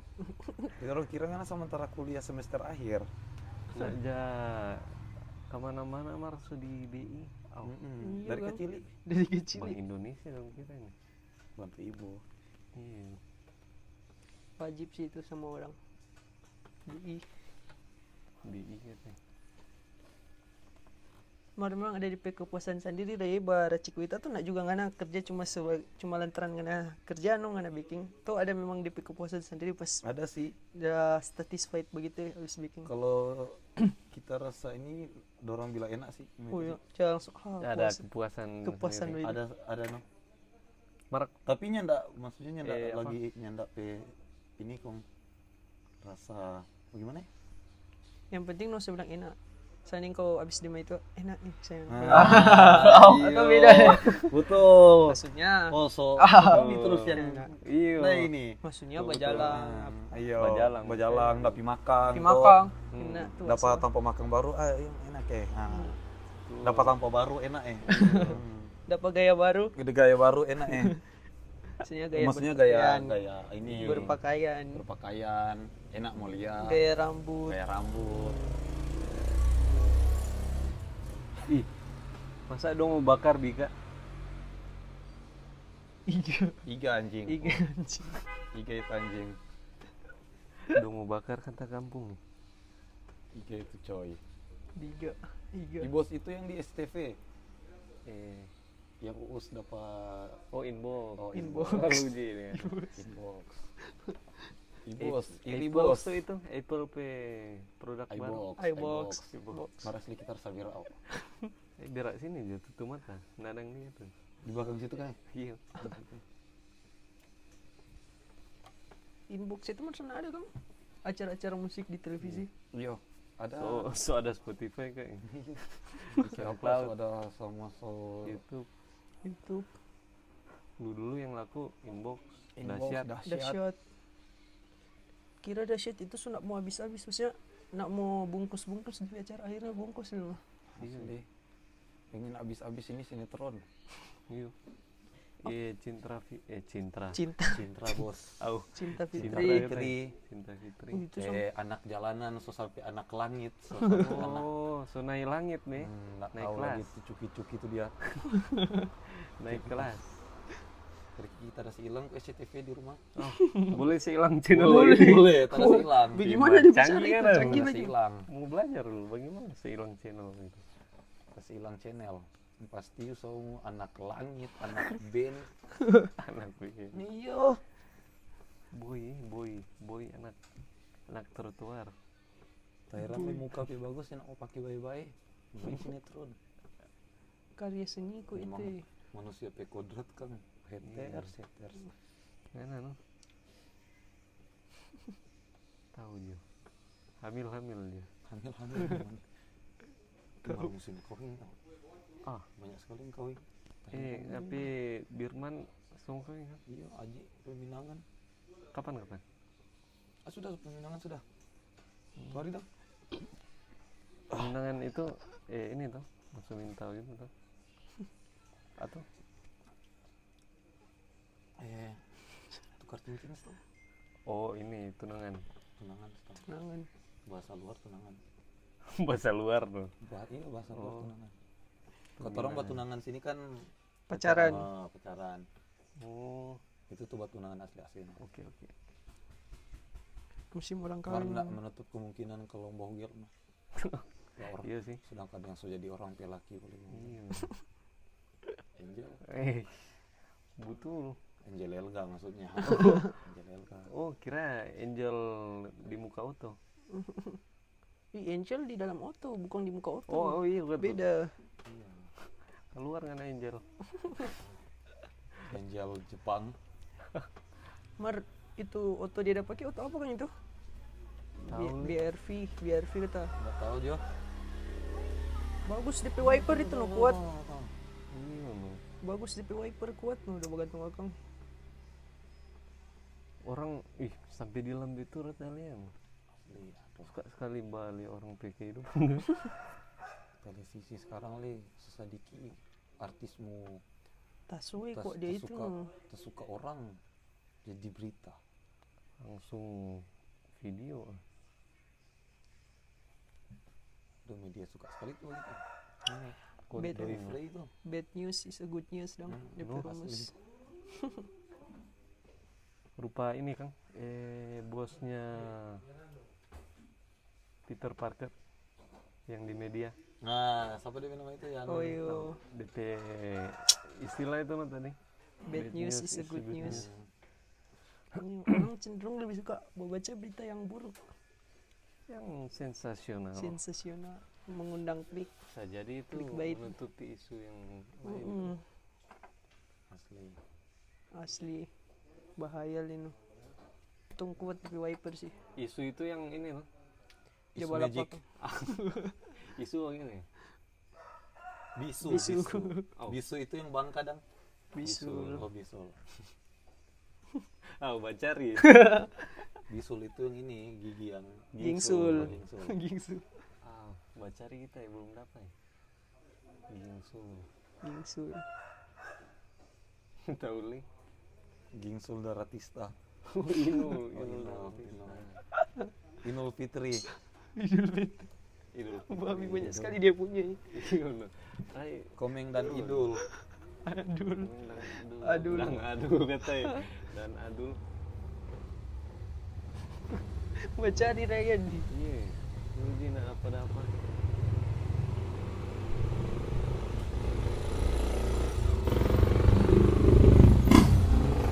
B: Kita orang kira kan sementara kuliah semester akhir.
E: Nak ja kemana-mana marsu di BI. Oh,
B: Mm-mm.
D: Iya,
B: Dari
D: Bang.
B: kacili
D: dari kecil ya.
E: Bank
D: nih.
E: Indonesia dong kita ini.
B: bantu ibu.
E: Iya.
D: wajib sih itu sama orang jadi
E: BI katanya.
D: Memang ada di kepuasan sendiri dari baracik kita tuh nak juga ngana kerja cuma sebagai cuma lantaran ngana kerja no ngana baking tuh ada memang di kepuasan sendiri pas
B: Ada sih
D: udah satisfied begitu ya, habis baking
B: kalau kita rasa ini dorong bila enak Gitu sih.
D: oh iya Jangan langsung ah,
E: Ada
D: puas.
E: kepuasan.
D: kepuasan
E: sendiri.
D: begitu.
B: Ada ada no.
E: Merek
B: tapi nyandak maksudnya nyandak
E: Eh, apa?
B: lagi nyandak pe ini kong rasa bagaimana ya?
D: yang penting no saya bilang enak Sanding kau abis dima itu enak nih sayang
B: Ah.
D: atau beda
B: betul
D: maksudnya
B: oh so kami terus yang
E: Iya.
B: nah ini
D: maksudnya bajalan
B: Hmm, ayo
E: Bajalang.
B: bajalang dapat makan
D: pimakang
E: Hmm.
D: enak tuh
B: dapat
D: asal.
B: tanpa makan baru ah iya, enak eh nah.
D: Hmm.
B: dapat tanpa baru enak eh Hmm.
D: dapat gaya baru
B: gede gaya baru enak eh
D: maksudnya gaya
B: maksudnya gaya
D: berpakaian,
B: gaya Iya. ini
D: berpakaian
B: berpakaian enak mau lihat
D: gaya Hmm. rambut
B: gaya rambut
E: Ih. Masa dong mau bakar Bika?
D: iga
B: iga anjing
D: iga Iya. anjing
B: iga itu anjing
E: Dong mau bakar kata kampung.
B: Iga itu coy.
D: iga iga
B: Di bos itu yang di STV
E: Eh.
B: yang Uus dapat
E: Oh inbox.
B: Oh,
D: Inbox.
E: Lalu di ini kan.
B: inbox. Ibos,
D: Eh,
B: ini
E: Inbox
B: bos.
E: tuh itu Apple Pay produk
B: iBox,
E: baru.
D: iBox.
E: Inbox.
B: Marah sedikit harus sabir au.
E: Eh, berak sini aja tutup mata. Nadang dia tuh.
B: Di belakang situ kan.
E: Iya.
D: inbox itu macam ada kamu acara-acara musik di televisi
B: Iya. Ada
E: So, so ada Spotify kayak.
B: cloud
E: SoundCloud,
B: ada sama so
E: YouTube.
B: Iya.
D: itu
E: Dulu dulu yang laku inbox,
B: Inbox,
E: dahsyat.
D: dahsyat kira dahsyat itu so nak mau habis-habis maksudnya nak mau bungkus-bungkus di acara akhirnya bungkus dulu
B: Asli. Pengen abis-abis ini sinetron.
E: Iya. Oke, Cintra Fi- eh Cintra.
D: Cinta.
E: Cintra bos. Au.
D: Cinta
E: Cinta
D: Fitri.
E: Fitri. Cinta Fitri.
D: Oh, itu sama.
B: eh anak jalanan so sampai anak langit so sampai anak
E: Oh, sunai langit nih.
B: Hmm, nggak
E: Naik
B: tahu lagi
E: kelas.
B: tuh cuki-cuki tuh dia
E: Naik kelas.
B: Riki tadi si hilang ke SCTV di rumah
E: Oh, boleh sih hilang channel ini.
B: boleh tadi si hilang
D: Bagaimana dia bisa
E: Canggih kan,
D: naik ke
E: Bang?
D: canggih
B: tadi si
D: lagi?
B: hilang
E: Mau belajar dulu bagaimana sih hilang channel gitu? itu.
B: tadi si hilang channel pasti so anak langit anak band
E: Anak gue.
B: iyo
E: Boy, boy, boy anak anak trotoar.
B: Terakhir muka pi bagus yang mau pakai bye-bye Main sinetron
D: Karya seniku itu.
B: Memang. manusia pe kodrat kan haters haters
E: Mana no? Tahu dia. Hamil-hamil dia.
B: hamil hamil memang. Cuma musim kawin tau.
E: Ah.
B: banyak sekali yang kawin
E: Eh, tapi Birman sungkai kan?
B: iya aji peminangan
E: Kapan kapan?
B: ah sudah peminangan sudah dua hari dah
E: Pemenangan itu eh ini tuh langsung minta gitu tuh. Atau
B: eh tukar cincin tuh
E: oh ini tunangan
B: tunangan setahun.
D: Nangan.
B: bahasa luar tunangan
E: bahasa luar tuh.
B: bah iya bahasa luar
E: Oh.
B: tunangan kata orang buat tunangan sini kan
D: Pacaran.
B: eh, pacaran
E: Oh
B: itu tuh buat tunangan asli asli
E: oke oke.
D: Musim orang kawin.
B: karena menutup kemungkinan kalau mbah gil mah Ya, orang
E: Iya sih.
B: sedangkan yang sudah jadi orang pelaki boleh
E: Iya.
B: angel
E: eh butuh.
B: angel elga maksudnya angel elga
E: Oh kira Angel di muka auto.
D: Ih, Angel di dalam auto, bukan di muka auto.
E: Oh, oh iya betul.
D: Beda.
E: Keluar kan Angel.
B: angel Jepang
D: Mer, itu auto dia ada pakai auto apa kan itu? B- BRV, BRV kata.
B: nggak tahu Jo
D: Bagus DP wiper itu no kuat.
B: Oh.
E: Iya loh.
D: Bagus DP wiper kuat no udah gantung akang.
E: Orang ih sampai di lambe itu retalian.
B: Asli, aduh
E: Suka sekali Bali orang PK itu.
B: televisi sekarang li sesadiki artismu
D: Tasui
B: Tas-
D: kok dia itu.
B: tersuka, tersuka orang jadi berita
E: Langsung video.
B: udah media suka sekali tuh gitu.
E: Kode
D: Beda.
B: dari Frey itu
D: Bad news is a good news dong.
B: Hmm,
D: DP
B: no,
D: rumus.
E: rupa ini kang eh bosnya Peter Parker yang di media
B: nah siapa dia nama itu ya
D: Oh iyo.
E: DP istilah itu mah tadi
D: Bad news is a good news. Ini Orang cenderung lebih suka membaca berita yang buruk,
E: yang
D: Oh.
E: sensasional
D: sensasional, mengundang klik.
E: bisa jadi itu
D: Clickbait.
E: menutupi isu yang lain
D: Mm-mm.
B: asli
D: Asli bahaya lino. Tung kuat DP wiper sih.
E: isu itu yang ini loh
B: Isu
D: Coba
B: magic.
D: lapor.
E: isu yang ini
B: bisu
D: Bisu.
B: bisu
E: Oh.
B: bisu itu yang bang kadang
D: Bisul.
B: oh bisul
E: ah bacari
B: bisul itu yang ini gigi yang
D: Gingsul.
B: Gingsul.
D: Gingsul.
E: ah bacari kita ya belum dapat ya Gingsul
D: Gingsul.
E: tahu li
B: gingsul daratista
D: iya.
E: Inul
B: oh,
E: Inul
B: Inul Inul Inul Fitri
E: Inul
D: Babi banyak sekali dia punya.
E: Inul Rai
B: Komeng dan Idul
D: Aduh.
E: adul
D: Adul.
E: dan adul katanya ya. dan adul
D: Baca di Ryan.
E: iya rugi nak apa apa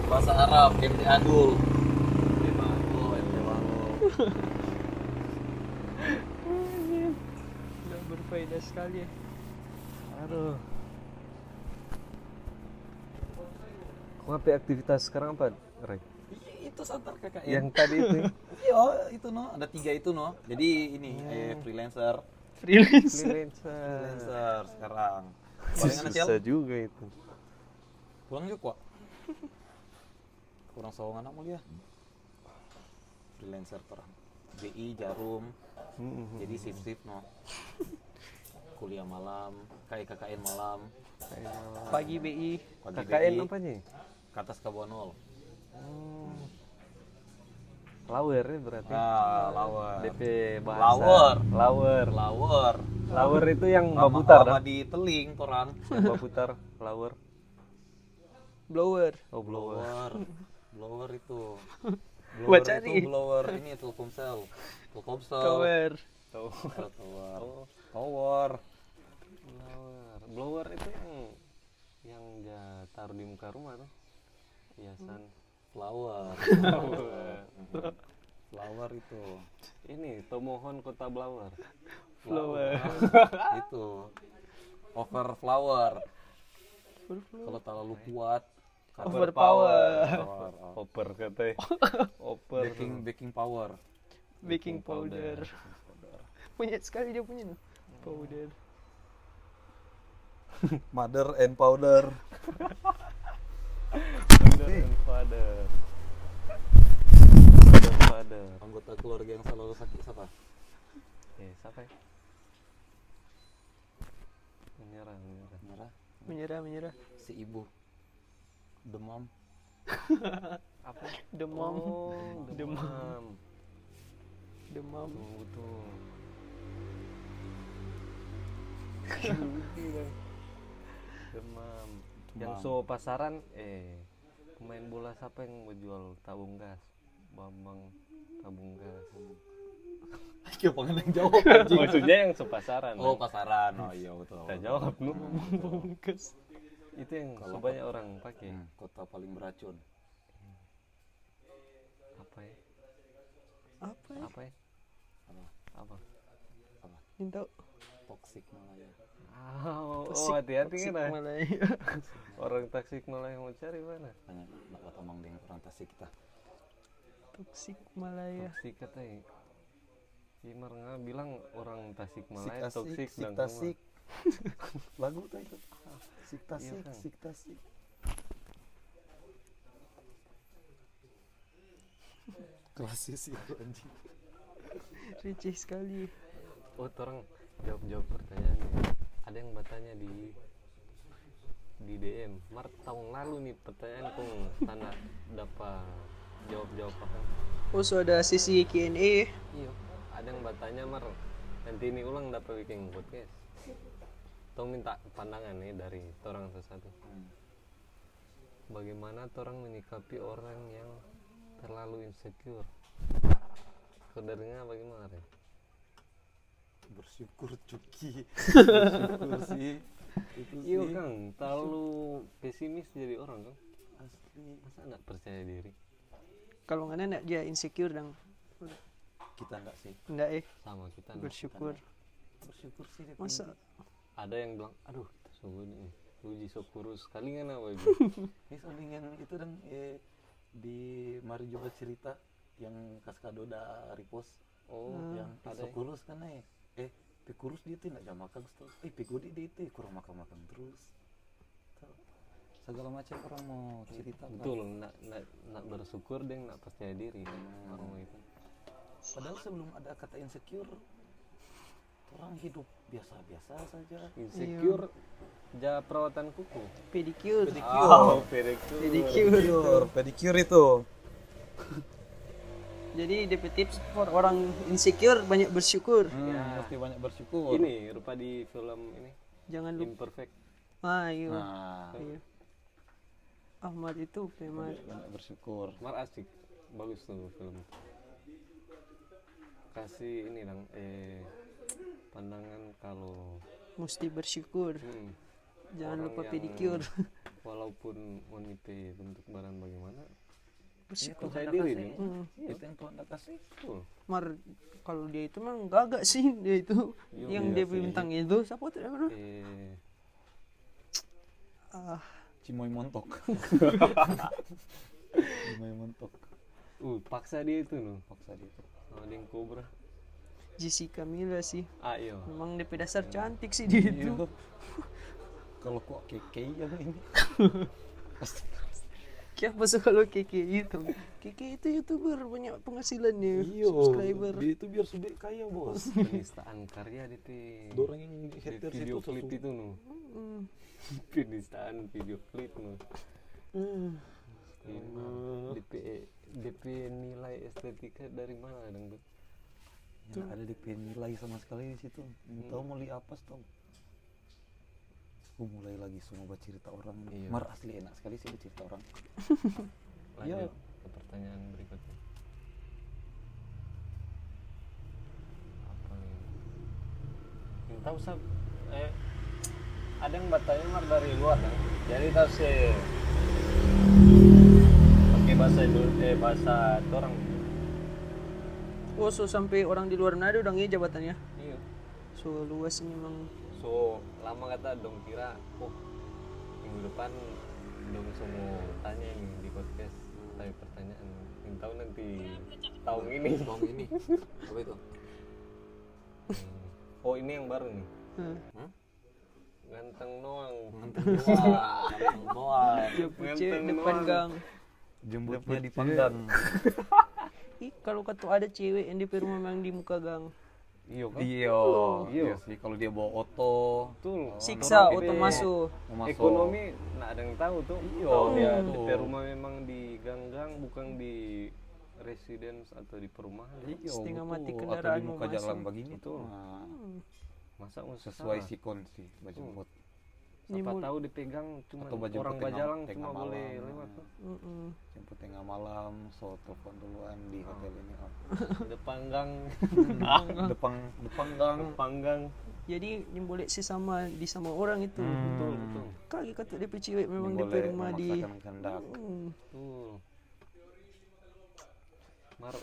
B: bahasa Arab MT Adul MT Mango MT Mango
D: Udah berfaedah sekali ya.
E: aduh kau apa aktivitas sekarang apa Rai
B: itu santar KKN
E: yang tadi itu
B: iya itu no ada tiga itu no jadi ini eh, freelancer
D: Freelance.
E: freelancer
B: freelancer sekarang paling anak
E: susah juga itu
B: pulang juga kok kurang sawang anak mulia
D: Hmm.
B: freelancer terang BI Jarum
D: Hmm.
B: jadi shift shift no kuliah malam kayak KKN malam
D: pagi E. BI
B: Pagi
E: KKN
B: DI,
E: apa nih?
B: Katas Kabonol.
E: Lawer ya berarti.
B: Ah, lawer.
E: DP bahasa.
B: Lawer.
E: Lawer.
B: Lawer.
E: Lawer itu yang
B: Lama-
E: baputar
B: lama
E: dah.
B: di teling orang.
E: Yang baputar lawer.
D: blower
E: Oh, blower.
B: Blower. Blower itu. Blower
D: Baca
B: itu
D: nih.
B: blower ini Telkomsel. Telkomsel.
D: tower
B: Tower. Tower.
E: Blower. Blower itu yang yang nggak taruh di muka rumah tuh. Iya,
B: Hmm.
E: Hiasan.
B: Flower.
E: Blower.
B: Flower itu.
E: Ini Tomohon Kota Blower.
B: Flower. itu. Over flower. Kalau terlalu kuat.
D: Over power
B: Power.
E: Oper katanya. Oper.
B: Baking baking power.
D: baking powder Hmm. punya sekali dia punya tuh powder
C: mother and powder
E: Mother and father. Mother and father.
B: Anggota keluarga yang selalu sakit siapa?
E: Eh, siapa ya? Menyerah, menyerah.
B: Merah.
D: menyerah menyerah
B: Si ibu. Demam.
E: Apa?
D: demam
E: Oh, demam.
D: demam
E: Tunggu tuh. demam. Yang
B: Demam.
E: so pasaran, eh pemain bola siapa yang mau jual tabung gas? Bambang tabung gas.
B: Kau pengen Iya, yang jawab.
E: Maksudnya yang sepasaran.
B: Oh
E: kan?
B: pasaran. Oh iya betul.
E: Kita jawab lu.
D: Bungkus.
E: Itu yang
B: Kalau
E: banyak orang pakai.
B: Hmm, Kota paling beracun.
E: Apa ya?
D: apa ya?
E: Apa ya? Apa?
D: minta
B: Toxic malah ya.
E: Oh, oh hati-hati kan. ah.
D: mana
E: Orang taksik malah yang mau cari mana?
B: Tanya nak kata mang dengan orang Tasik kita.
D: toksik
C: Iya.
D: Malaya
E: Toksik katanya. ya. Si Marnga bilang orang ya, Tasik
C: sik
E: Malaya
C: asik
E: toksik
C: sik
E: dan
C: tasik lagu tuh itu
E: Iya
C: sik tasik
E: Kang.
C: sik tasik klasis itu anjing
D: receh sekali
E: Oh, orang jawab-jawab pertanyaan. ya. Ada yang bertanya di di DM. Mart tahun lalu nih pertanyaan kong tanah dapat jawab-jawab apa?
D: oh so ada sisi Q&A
E: Iya. Ada yang bertanya Mar, nanti ini ulang dapat bikin podcast. Tong minta pandangan nih dari orang satu-satu. Bagaimana orang menyikapi orang yang terlalu insecure? Saudaranya bagaimana? Re?
C: bersyukur cuki bersyukur sih itu
E: Iya
C: sih
E: kang, terlalu pesimis jadi orang kang.
C: asli
E: Masa nggak percaya diri?
D: kalau nggak enak dia insecure dan
B: Kita enggak sih.
D: enggak eh
E: Sama kita. nah.
D: bersyukur
C: bersyukur sih dia
D: masa
E: Ada yang bilang, aduh, kita sungguh nih. Uji syukur sekali kan apa
B: Ini solingan itu dan eh, di mari coba cerita yang kaskado da repost
E: Oh,
B: yang
E: ada ya?
B: kurus kan eh eh pi kurus dia tuh nggak jam makan terus eh pi gede dia tuh kurang makan makan terus Tuh. segala macam orang mau cerita Pak.
E: betul nak nak nak bersyukur deh nak percaya diri orang itu
B: padahal sebelum ada kata insecure orang hidup biasa-biasa saja
E: insecure ja perawatan kuku
D: pedicure
E: oh pedicure
D: pedicure
C: pedicure itu
D: jadi DP tips for orang insecure banyak bersyukur
B: Ya.
C: Hmm, mesti banyak bersyukur
E: ini rupa di film ini
D: jangan lupa
E: imperfect
D: ah iya
B: nah
D: Iya. Ahmad itu memang
C: banyak bersyukur
E: mar asik bagus tuh film kasih ini dong eh pandangan kalau
D: mesti bersyukur.
E: hmm,
D: Jangan
E: orang
D: lupa
E: yang
D: pedicure.
E: walaupun wanita bentuk badan bagaimana
D: bersyukur.
E: percaya diri nih
D: Hmm.
C: Iya.
B: itu yang Tuhan dah kasih
E: Betul.
D: Mar kalau dia itu memang gagak sih dia itu
E: Iya,
D: yang
E: iya
D: dia bintang itu siapa tuh namanya?
E: eh
D: Ah,
C: cimoy montok cimoy montok
E: uh paksa dia itu loh
C: paksa dia tuh.
E: sama ada yang kobra
D: Jessica Mila sih.
E: ah iya
D: Memang DP dasar cantik sih dia
C: Iya.
D: itu.
C: kalau kok keke yang ini
D: Siapa sih kalau Kiki itu? Kiki itu youtuber banyak penghasilannya,
E: Iya.
D: subscriber.
C: dia itu biar sudah kaya bos
E: penistaan karya di ti-
C: dorong yang
E: ya, eh. di
C: haters
E: video
C: itu
E: klip itu nu
D: Hmm.
E: penistaan video klip eh, mah. Emang DP DP nilai estetika dari mana dong?
C: Nggak ada DP nilai sama sekali di situ. Nggak Tahu mau li apa tau? Gue mulai lagi semua baca cerita orang.
E: Iya.
C: Mar asli enak sekali sih baca cerita orang.
E: Lanjut ke pertanyaan berikutnya. Apa nih? Yang tahu sab eh ada yang bertanya mar dari luar kan? Jadi tahu sih pakai bahasa Indo- eh bahasa orang.
D: Oh, so sampai orang di luar Manado udah ngi jabatannya.
E: Iya.
D: So luas ini memang.
E: So lama kata dong kira, oh minggu depan dong semua tanya nih di podcast tapi pertanyaan yang tahu nanti tahun ini.
B: Bang ini apa itu?
E: Hmm. Oh ini yang baru nih.
D: Hmm.
E: Ganteng doang.
B: Wah, Noah.
D: Dia pucet
E: Ganteng
D: depan
E: doang.
D: gang.
C: Jembutnya dipanggang.
D: Ih, kalau kata ada cewek yang di rumah memang di muka gang.
E: Iya kan?
I: Iya, iya sih kalau dia bawa oto
E: Betul.
D: Siksa,
E: Orang
D: auto
E: gede.
D: masuk.
I: mau masuk
E: Ekonomi nggak ada yang tahu tuh.
I: Iya,
E: Tahu dia
I: betul.
E: DP rumah memang di gang-gang bukan di residence atau di perumahan.
I: Iya,
D: Setengah
I: betul.
D: mati
I: Atau
D: kendaraan
I: di
D: mau
I: muka jalan
D: masuk. Hmm.
I: begini tuh.
E: Betul.
I: Nah,
E: Masa usah
I: sesuai
E: salah.
I: sikon sih baju bot.
D: Ini
E: Siapa
D: mul-
E: tahu dipegang cuma
I: Atau baju
E: orang
I: tengah-
E: Bajalang
I: tengah
E: cuma
I: malam.
E: boleh lewat tuh.
D: Mm-mm.
I: Jemput tengah malam, so telepon duluan di
D: Hmm.
I: hotel ini. Oh.
E: depan gang,
I: Depang, depang gang.
E: depan gang.
I: Hmm.
D: Jadi nyembolek si sama di sama orang itu.
E: Betul, betul.
D: Kaki kata dia cewek memang di
I: Boleh
D: rumah di.
I: memaksakan kehendak.
D: Hmm.
E: Betul. Mar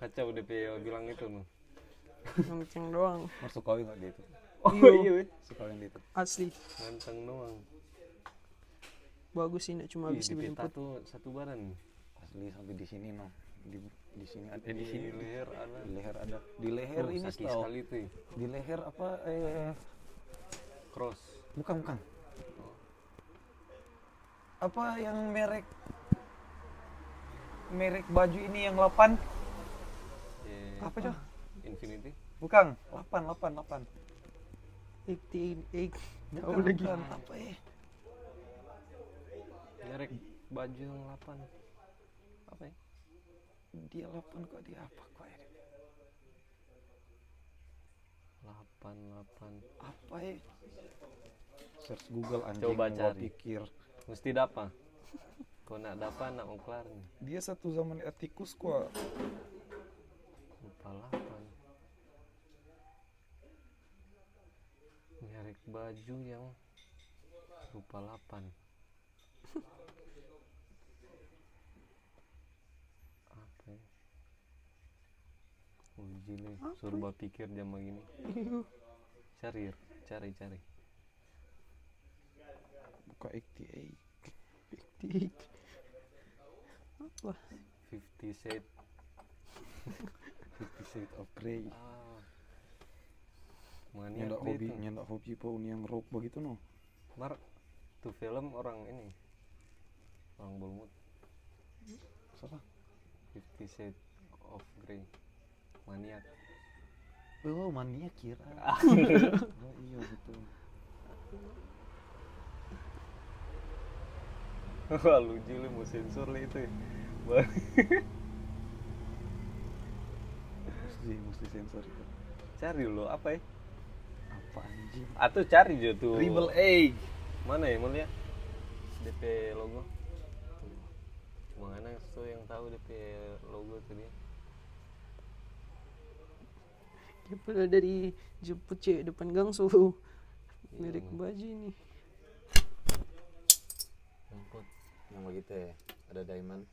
E: kacau DP bilang itu Mar.
D: Yang doang
I: Masuk kawin nggak dia itu?
E: Oh iya,
I: Suka kawin dia itu.
D: asli.
E: ganteng doang.
D: Bagus sih nak cuma
E: Ih,
D: habis
E: DP
D: dijemput.
E: tato satu baran.
I: Asli sampai di sini no. Di, di sini ada eh,
E: Di
I: di sini
E: leher ada.
I: di leher ada di leher
E: Tuh,
D: Oh,
I: ini
E: sakit
I: tau
E: sekali tuh.
I: di leher apa eh
E: Cross. ya.
I: bukan bukan apa yang merek merek baju ini yang 8
E: Eh,
I: apa coba
E: infinity.
I: bukan 8 8 8
D: Eighty- eight-
I: bukan, bukan. apa ya
E: Merek baju yang 8. Apa
D: eh?
E: ya?
I: dia 8 kok dia apa kok ya
E: 8 8.
I: apa ya search Google anjing
E: Coba
I: gua
E: cari.
I: pikir
E: Mesti dapa. Kau nak dapa nak ongklar nih.
I: dia satu zaman etikus kok
E: Lupa 8. Merek baju yang lupa 8. Apa ya? Oh, jile, serba pikir jam begini. Cari, Ir. cari, cari.
I: buka 88
D: eight. Apa?
E: 50 set.
I: Shade of Grey
E: Ah. Maniak
I: nyendak
E: dia
I: hobi
E: itu.
I: nyendak hobi pun yang rock begitu no
E: Mar, tuh film orang ini. Orang Bollywood.
I: siapa
E: Fifty Shades of Grey maniak
I: oh mania kira oh iya betul
E: wah lucu lu mau sensor lu itu ya. Wah,
I: mesti mesti sensor itu
E: cari lo apa ya
I: apa anjing
E: atau cari aja tuh
I: Rebel Egg
E: mana ya mulia DP logo mana tuh yang tahu DP logo tuh dia
D: Dia pula dari jemput cewek depan gang
I: Ya,
D: suruh merek
E: Iya.
D: baju ini.
B: Rumput. Yang begitu ya, ada diamond.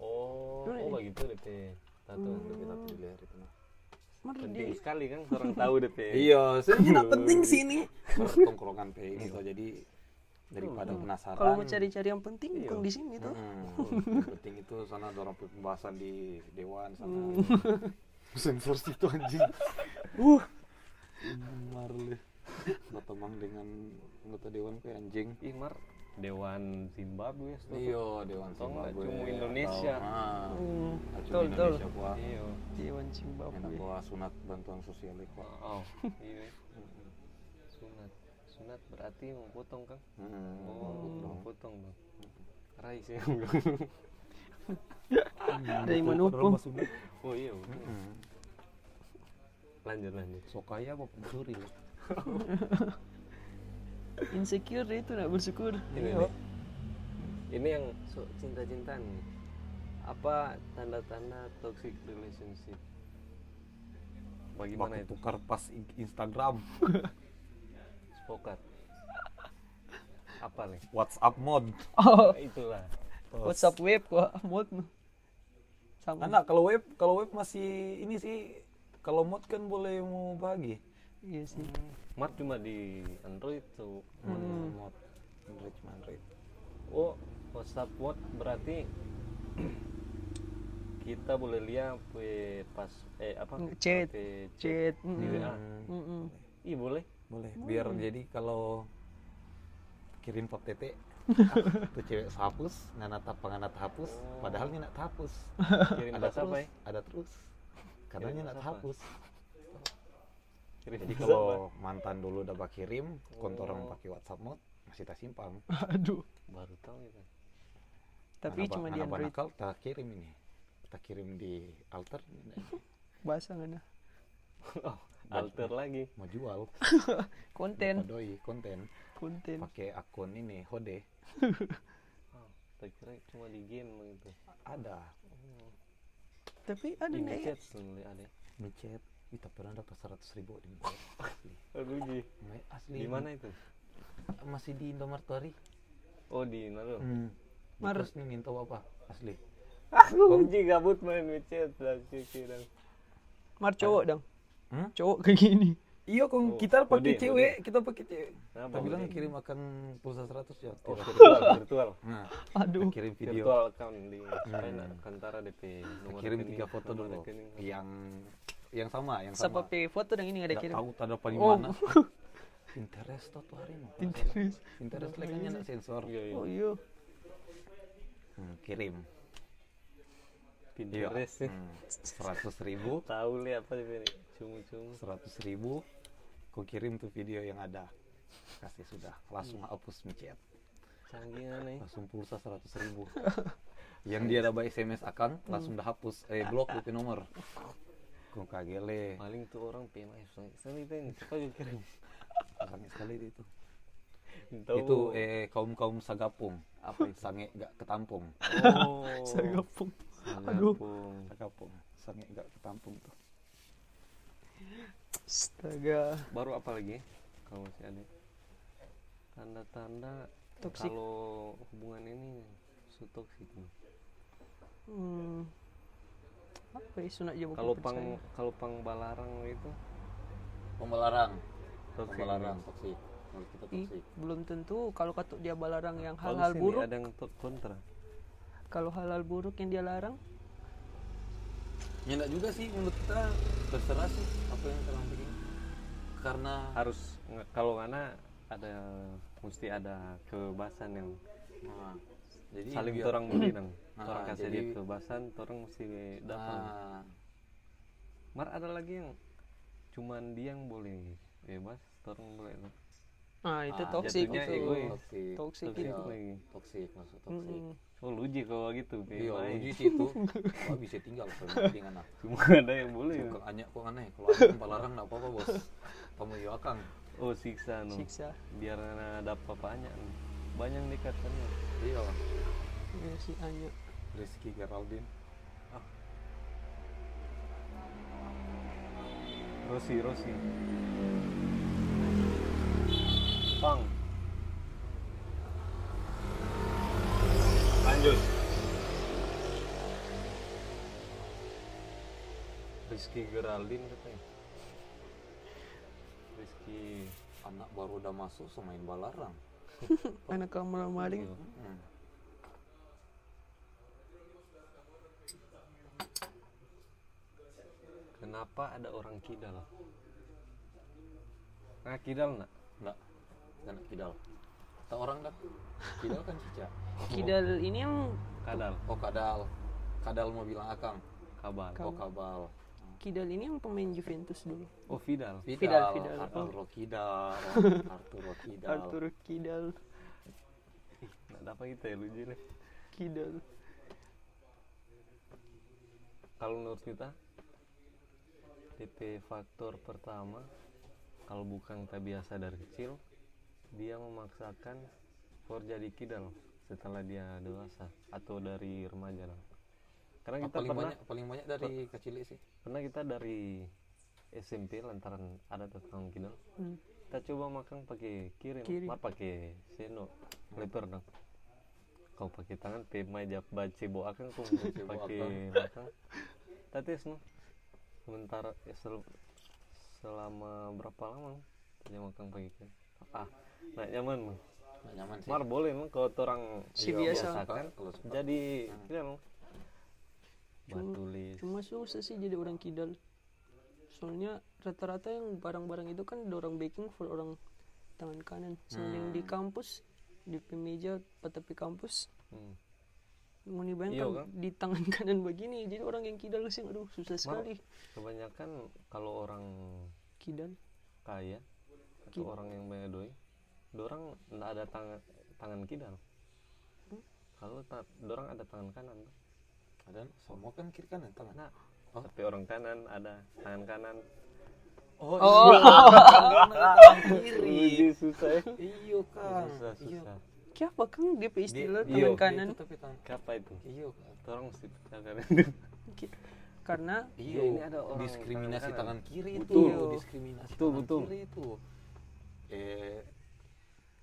E: oh oh begitu DP tato
B: Tapi tapi di leher itu mah.
D: Mar
E: penting
D: dia.
E: sekali kan orang tahu DP
B: Iya, sebenarnya nak penting sih ini. Pertongkrongan PE gitu. Jadi daripada penasaran.
D: Kalau mau cari-cari yang penting bukan di sini tuh.
B: Hmm, yang penting itu sana dorong pembahasan di dewan sana.
D: Hmm.
B: Sensor situ anjing.
D: Uh,
B: Marle. Bertemang dengan anggota dewan kayak anjing.
E: Ih, Mar, Dewan Zimbabwe tuh.
B: Iya, dewan
E: Tau nggak,
B: Zimbabwe.
E: cuma Indonesia.
B: Ah,
D: Oh, Betul,
B: cuma Indonesia gua.
E: Iya.
D: Dewan
B: Enak
D: Zimbabwe.
B: gua sunat bantuan sosial gua.
E: Oh, iya. Oh, Sunat. sunat berarti mau potong kang
B: Hmm.
E: oh mau potong bang rai sih
D: Dari mana
I: Padahal
D: hukum?
I: Mas Sunat
E: oh iya betul. lanjut lanjut
B: Sok kaya apa pencuri lu?
D: Insecure itu nak bersyukur.
E: ini nih. ini yang so, cinta cintaan apa tanda-tanda toxic relationship bagaimana
I: Waktu
E: itu
I: tukar pas in- Instagram
E: spokat apa nih
I: WhatsApp mod
D: Oh,
E: itulah
D: WhatsApp web kok mod nu. Sama.
I: anak kalau web kalau web masih ini sih kalau mod kan boleh mau bagi
D: Iya sih.
E: mat cuma di android tuh
I: mod Android cuma Android
E: Oh, WhatsApp bot berarti kita boleh lihat eh, pas eh apa?
D: Chat.
E: pakai chat
D: Chat. Hmm.
E: di WA.
D: Mm-mm.
E: Ih, boleh.
I: boleh biar jadi kalau kirim pap tete
B: Tuh cewek hapus, ngana tap ngana hapus, padahal nya nak hapus.
E: Oh. Kirim
B: Ada
E: bahasa
B: terus,
E: apa ya?
B: ada terus. Karena
E: Kirim
B: nya nak
E: WhatsApp,
B: hapus.
E: Kirim
B: Jadi
E: bahasa apa? Oh.
B: kalau mantan dulu udah bak kirim, kontoran pakai WhatsApp mod masih tak simpang.
D: Aduh.
E: baru tahu itu.
D: Tapi
B: Anak ba-
D: cuma di
B: anak
D: Android
B: banakal tak kirim ini. Tak kirim di alter
D: bahasa ngana.
E: Oh, alter lagi.
B: mau jual.
D: Konten,
B: Doi konten
D: konten.
B: pakai akun ini Hode.
E: Oh, tak kira cuma di game gitu.
B: Ada
D: Tapi ada ya?
E: Di
D: nih.
E: chat sendiri ada.
B: micet. Kita pernah dapat 100 ribu di micet. Asli.
E: Aduh, di,
B: Ma- Asli.
E: Oh, di mana itu?
B: Masih di Indomaret Tori.
E: Oh, di Nalo.
B: Hmm.
D: Mar-
B: Terus nih minta apa? Asli.
E: Komji gabut main chat lah cuci dan.
D: Mar cowok dong.
B: Hmm?
D: Cowok kayak gini.
I: iya kong kita
E: Hode,
I: pakai cewek
D: Eh,
I: kita pakai
E: Oh,
I: cewek
E: Kenapa?
B: Tapi bilang
E: Budi?
B: kirim akan pulsa 100 ya.
E: Oh,
B: Tidak.
E: virtual, virtual.
B: Nah,
D: Aduh.
B: kirim video. Hmm.
E: virtual account di Spain Kantara DP nomor
B: kirim
E: rekening,
B: tiga foto
E: nomor
B: dulu.
E: rekening.
B: Yang yang sama, yang
D: Siapa
B: sama.
D: pe foto dong ini nggak ada
B: Nggak
D: kirim.
B: tahu tanda paling
D: Oh.
B: mana. Pinterest tuh tuh hari mah.
D: Pinterest.
B: Pinterest lekannya nak sensor.
E: Iya, iya.
D: Oh iya.
B: Hmm, kirim. Iya.
E: Pinterest sih.
B: Hmm, 100 ribu,
E: Tahu li apa sih ini? Cumu-cumu.
B: 100 ribu. Ku kirim tuh video yang ada. Kasih sudah. Langsung hapus micet.
E: Canggih aneh.
B: langsung pulsa seratus ribu yang dia ada by sms akan langsung dah hapus eh blok itu nomor kok kagele
E: Paling tuh orang PMS lagi. Sekali itu yang suka juga kirim.
B: orangnya sekali dia itu
E: Tahu.
B: itu eh kaum kaum sagapung
E: apa itu?
B: sange gak ketampung
E: Oh.
D: Sagapung.
E: Aduh.
B: sagapung sange gak ketampung tuh
D: Astaga.
E: Baru apa lagi? ya? Kalau masih ada tanda-tanda
D: Toxic.
E: kalau hubungan ini so toxic nih.
D: Hmm. Apa ya sunat juga
E: Kalau pang kalau pang balarang itu
B: pembelarang
E: toxic.
B: pembelarang toksik menurut kita toksik
D: belum tentu kalau katuk dia balarang yang
E: Kalau
D: hal-hal
E: sini
D: buruk
E: ada yang to- kontra.
D: kalau hal-hal buruk yang dia larang
J: Ya enggak juga sih menurut kita terserah sih apa yang kalian bikin. Karena
E: harus nge- kalau ngana ada mesti ada kebasan yang
B: nah,
E: jadi
B: jadi
E: saling
B: biar-
E: torang beri nang
B: Ah,
E: torang kasih
B: iya. jadi-
E: dia kebasan torang mesti
J: Ah,
E: datang
B: nah,
E: mar ada lagi yang cuman dia yang boleh bebas torang boleh tuh.
D: ah itu
B: Ah,
D: toksik
E: jatuhnya
D: itu
E: egois.
B: toksik
D: toksik
E: Toxic
D: itu
E: lagi
B: toksik maksud toksik
D: Mm-mm.
E: oh luji kalau gitu
B: Iya,
E: baik.
B: uji sih itu. Wah, bisa tinggal kalau dengan anak.
E: cuma ada yang boleh
D: Iya.
B: Bukan anyak kok aneh. Kalau anyak pembelarang enggak apa-apa, Bos. Kamu iya, yo akang.
E: oh siksa no
D: siksa
E: biar ngana ada papanya no. banyak dekat kan
B: Iya,
D: Iya si Anya
B: Rizky Geraldine.
E: Rosi Rosi Pang lanjut Rizky Geraldine katanya Rizky
B: Anak baru udah masuk so main balarang.
D: anak kamar
E: Iya.
D: maling
B: Mm.
E: kenapa ada orang kidal nah kidal nak
B: Enggak. Anak kidal. Kata orang dah. Kidal kan cica.
D: kidal ini yang
E: kadal
B: Oh, kadal. Kadal mau bilang akang.
E: kabal
B: Oh, kabal. Ah,
D: Kidal ini yang pemain Juventus dulu.
E: Oh Vidal.
D: Vidal, Vidal.
B: Arturo Kidal, Arturo Kidal.
D: Arturo Kidal,
E: Nggak ada apa gitu ya lucu nih.
D: Kidal.
E: Kalau menurut kita titik faktor pertama kalau bukan tak biasa dari kecil dia memaksakan for jadi kidal setelah dia dewasa atau dari remaja lah. Karena kita
B: paling
E: pernah
B: banyak paling banyak dari kecil sih.
E: pernah kita dari SMP lantaran ada tukang kidal
D: Hmm.
E: kita coba makan pakai kiri,
D: Kiri.
E: mar pakai sendok leper dong kau pakai tangan pemai jap baca boa kan kau pakai makan tatis no sementara eh, sel- selama berapa lama dia makan pakai kiri ah nak nyaman no.
B: Nggak nyaman sih. kan?
E: mar boleh no kalau orang
D: Si
E: juga
D: biasa. Ah.
E: biasakan
B: Kalau suka.
E: jadi kira no
D: Cuma-
E: batulis
D: Cuma susah sih jadi orang Kidal. Soalnya rata-rata yang barang-barang itu kan ada orang baking full orang tangan kanan. Soalnya yang di kampus di meja tepi kampus
E: Hmm.
D: mau dibayangkan
E: Iya, kan?
D: di tangan kanan begini jadi orang yang kidal sih aduh susah sekali
E: kebanyakan kalau orang
D: kidal
E: kaya atau
D: Kidal.
E: orang yang banyak doi dorang nggak ada tangan tangan kidal kalau ta- dorang ada tangan kanan
B: Dan semua kan kiri kanan tangan.
E: nah tapi orang kanan ada tangan kanan
B: Oh, tangan kiri.
E: Ih, susah ya
B: Iyo kan.
E: susah
B: Iyo.
E: susah
D: Kenapa kang dia pe istilah
E: Di-
D: tangan
E: iya.
D: kanan
B: Itu tapi tangan.
E: apa itu
B: Iyo kan.
E: dorang mesti tangan kanan
D: Ki- karena
B: Iya,
E: ini ada orang
B: diskriminasi tangan,
E: tangan
B: kiri
E: Betul.
B: itu, diskriminasi
E: Betul,
B: tangan
E: betul.
B: kiri itu. Eh,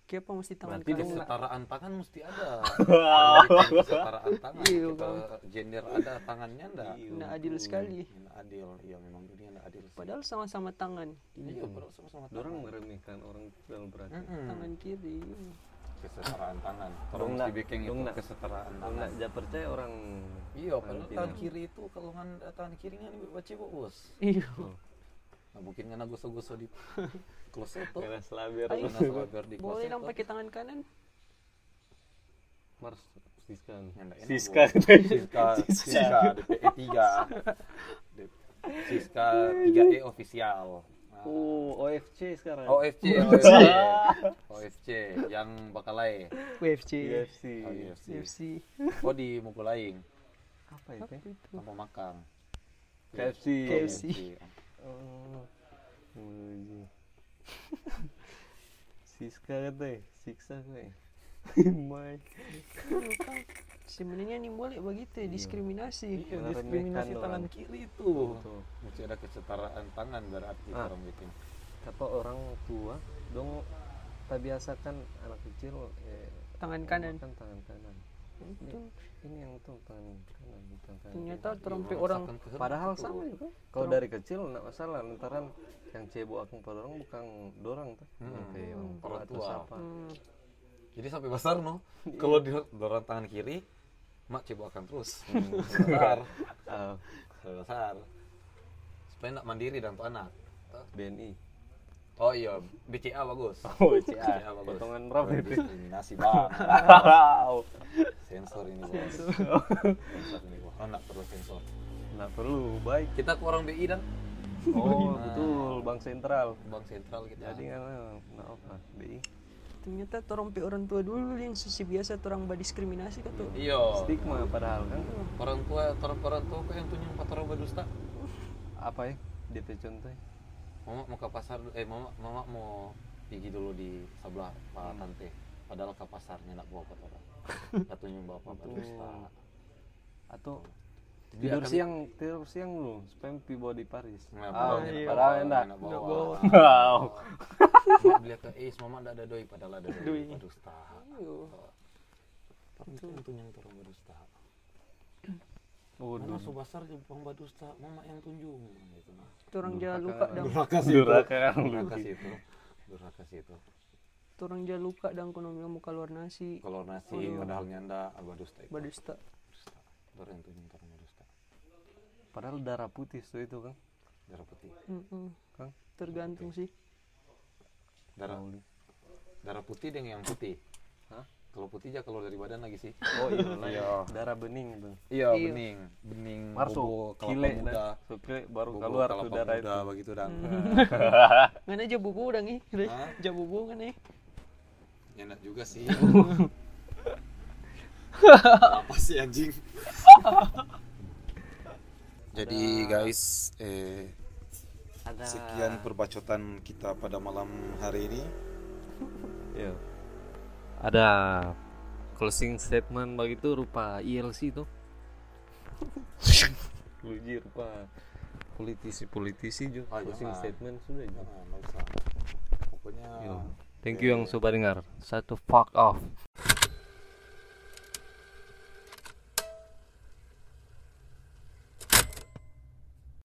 D: kenapa mesti tangan
E: Berarti
D: kanan
B: kesetaraan tangan mesti ada. Kalau kita kesetaraan tangan,
D: Iya,
B: kita gender ada tangannya enggak?
D: Nggak adil sekali
B: Nggak adil, iya memang dunia nggak adil. sih.
D: padahal sama-sama tangan
B: Iya, padahal sama-sama tangan.
E: dorang meremehkan orang kidal berarti
B: Mm-mm.
D: tangan kiri
B: Kesetaraan tangan. Tolong
E: Dong,
B: mesti
E: nak.
B: bikin
E: Dong,
B: itu
E: nak.
B: kesetaraan
E: Dorang
B: tangan.
E: nggak ja percaya orang
B: Iya,
E: tangan
B: padahal tangan kiri itu kalau nggak ada tangan kirinya nih baca bos.
D: iya
B: Nah, bukannya nak gosok-gosok di kloset tuh.
E: karena selabir
B: Karena selabir di
D: boleh
B: kloset
D: dong
B: tuh.
D: pakai tangan kanan
E: mars siska
B: Yang nggak enak,
E: siska
B: Bu. Siska, Siska, DPE 3 Siska 3E official Nah,
E: oh OFC sekarang
B: OFC, OFC OFC, yang Bakalai
D: UFC
E: UFC
B: Oh, UFC.
D: UFC
B: Oh di Mukulaing,
E: apa itu
B: sama Makang
E: KFC
D: KFC.
E: oh Muji. Siska kata ya? siksa kau Mai
D: sebenarnya nih boleh begitu ya,
B: Iya,
E: Iya.
D: diskriminasi
E: Meremehkan
B: diskriminasi
E: orang.
B: tangan kiri itu
E: Betul.
B: Mesti ada kesetaraan tangan berarti
E: Ah.
B: orang bikin
E: Kata orang tua dong tak biasakan anak kecil eh,
D: tangan kanan
E: makan tangan kanan
D: Itu
E: ini yang tuh tangan kanan bukan tangan
D: ternyata
B: Iya,
D: orang pe orang
B: memaksakan
E: kiri.
B: kehendak
E: padahal
B: itu.
E: sama juga kalau dari kecil nggak masalah lantaran yang cebok aku pada orang bukan dorang tuh
B: Hmm.
E: Yang kayak orang tua
B: Orang
E: atau
B: tua.
E: siapa
D: Hmm,
B: Jadi sampai besar no
E: Iya.
B: Kalau di dorong tangan kiri Mak cebokan terus Hmm, Besar
E: Ah,
B: Sampai besar Supaya nggak mandiri dan tuh anak
E: BNI
B: Oh iya, BCA bagus.
E: Oh,
B: BCA bagus.
E: Potongan berapa
B: Bukan
E: itu?
B: Diskriminasi bang.
E: Wow.
B: sensor ini bos. sensor ini bos. Oh, nggak perlu sensor.
E: Nah perlu baik.
B: Kita ke orang BI dan
E: Oh betul Bank Sentral.
B: bank sentral kita.
E: Jadi kan nggak apa BI.
D: ternyata orang pe orang tua dulu yang susi biasa orang berdiskriminasi kan kata
B: iya.
E: Stigma padahal kan
B: Orang tua, orang orang tua kok yang punya empat orang berdusta.
E: apa ya DP contoh?
B: Mama mau ke pasar, eh mama mama mau pergi dulu di sebelah Pak Tante. Padahal ke pasarnya nak bawa kotoran. Satunya bawa berdusta.
E: Atau
B: Dia
E: tidur
B: akan-
E: siang tidur siang lu supaya pi bawa di Paris.
B: Nah,
E: Ah,
B: padahal enak
E: iya. padahal
B: bawa,
E: enak.
B: enak bawa.
E: Wow.
B: Mak beli ke Is, mama enggak ada doi padahal ada doi. Berdusta.
E: Iya.
D: Iyo.
B: Itu untungnya itu orang berdusta.
E: Waduh.
B: Mama subasar di bang berdusta, mama yang tunjung gitu.
D: orang jalan luka dan
B: Durhaka sih itu.
E: Durhaka kan lu.
B: Durhaka sih itu. Durhaka sih itu.
D: orang jalan luka dan kono bilang muka luar nasi
B: Kalau
E: Oh,
B: nasi
E: iya.
B: padahal nyanda berdusta itu.
D: badusta
B: Berdusta. Orang yang tunjung orang berdusta.
E: Padahal darah putih tuh itu kan.
B: Darah putih.
D: Mm-mm.
E: Kang?
D: tergantung sih
B: Darah darah putih dengan yang putih.
E: Hah?
B: Kalau putih aja kalau dari badan lagi sih.
E: Oh iya, iya. darah bening itu.
B: Iya,
D: Iya.
B: bening, bening,
E: Marso,
B: bobo, kelapa
E: Kile
B: muda,
E: dah. Sopre baru
B: bobo,
E: keluar
B: kelapa
E: tuh darah
B: muda
E: itu.
B: begitu dan.
D: Ngana aja bubu udah nih,
B: Hah?
D: aja bubu kan nih.
K: Hmm.
B: Enak juga sih. Apa sih anjing?
K: Jadi guys, eh,
E: Ada.
K: sekian perbacotan kita pada malam hari ini.
E: Iya. Ada closing statement begitu rupa E ILC itu. Luji rupa politisi-politisi juga
B: Oh,
E: closing
B: jangan.
E: statement sudah juga.
B: Nah, nggak usah. Pokoknya
E: Thank you yang sudah dengar. Satu fuck off.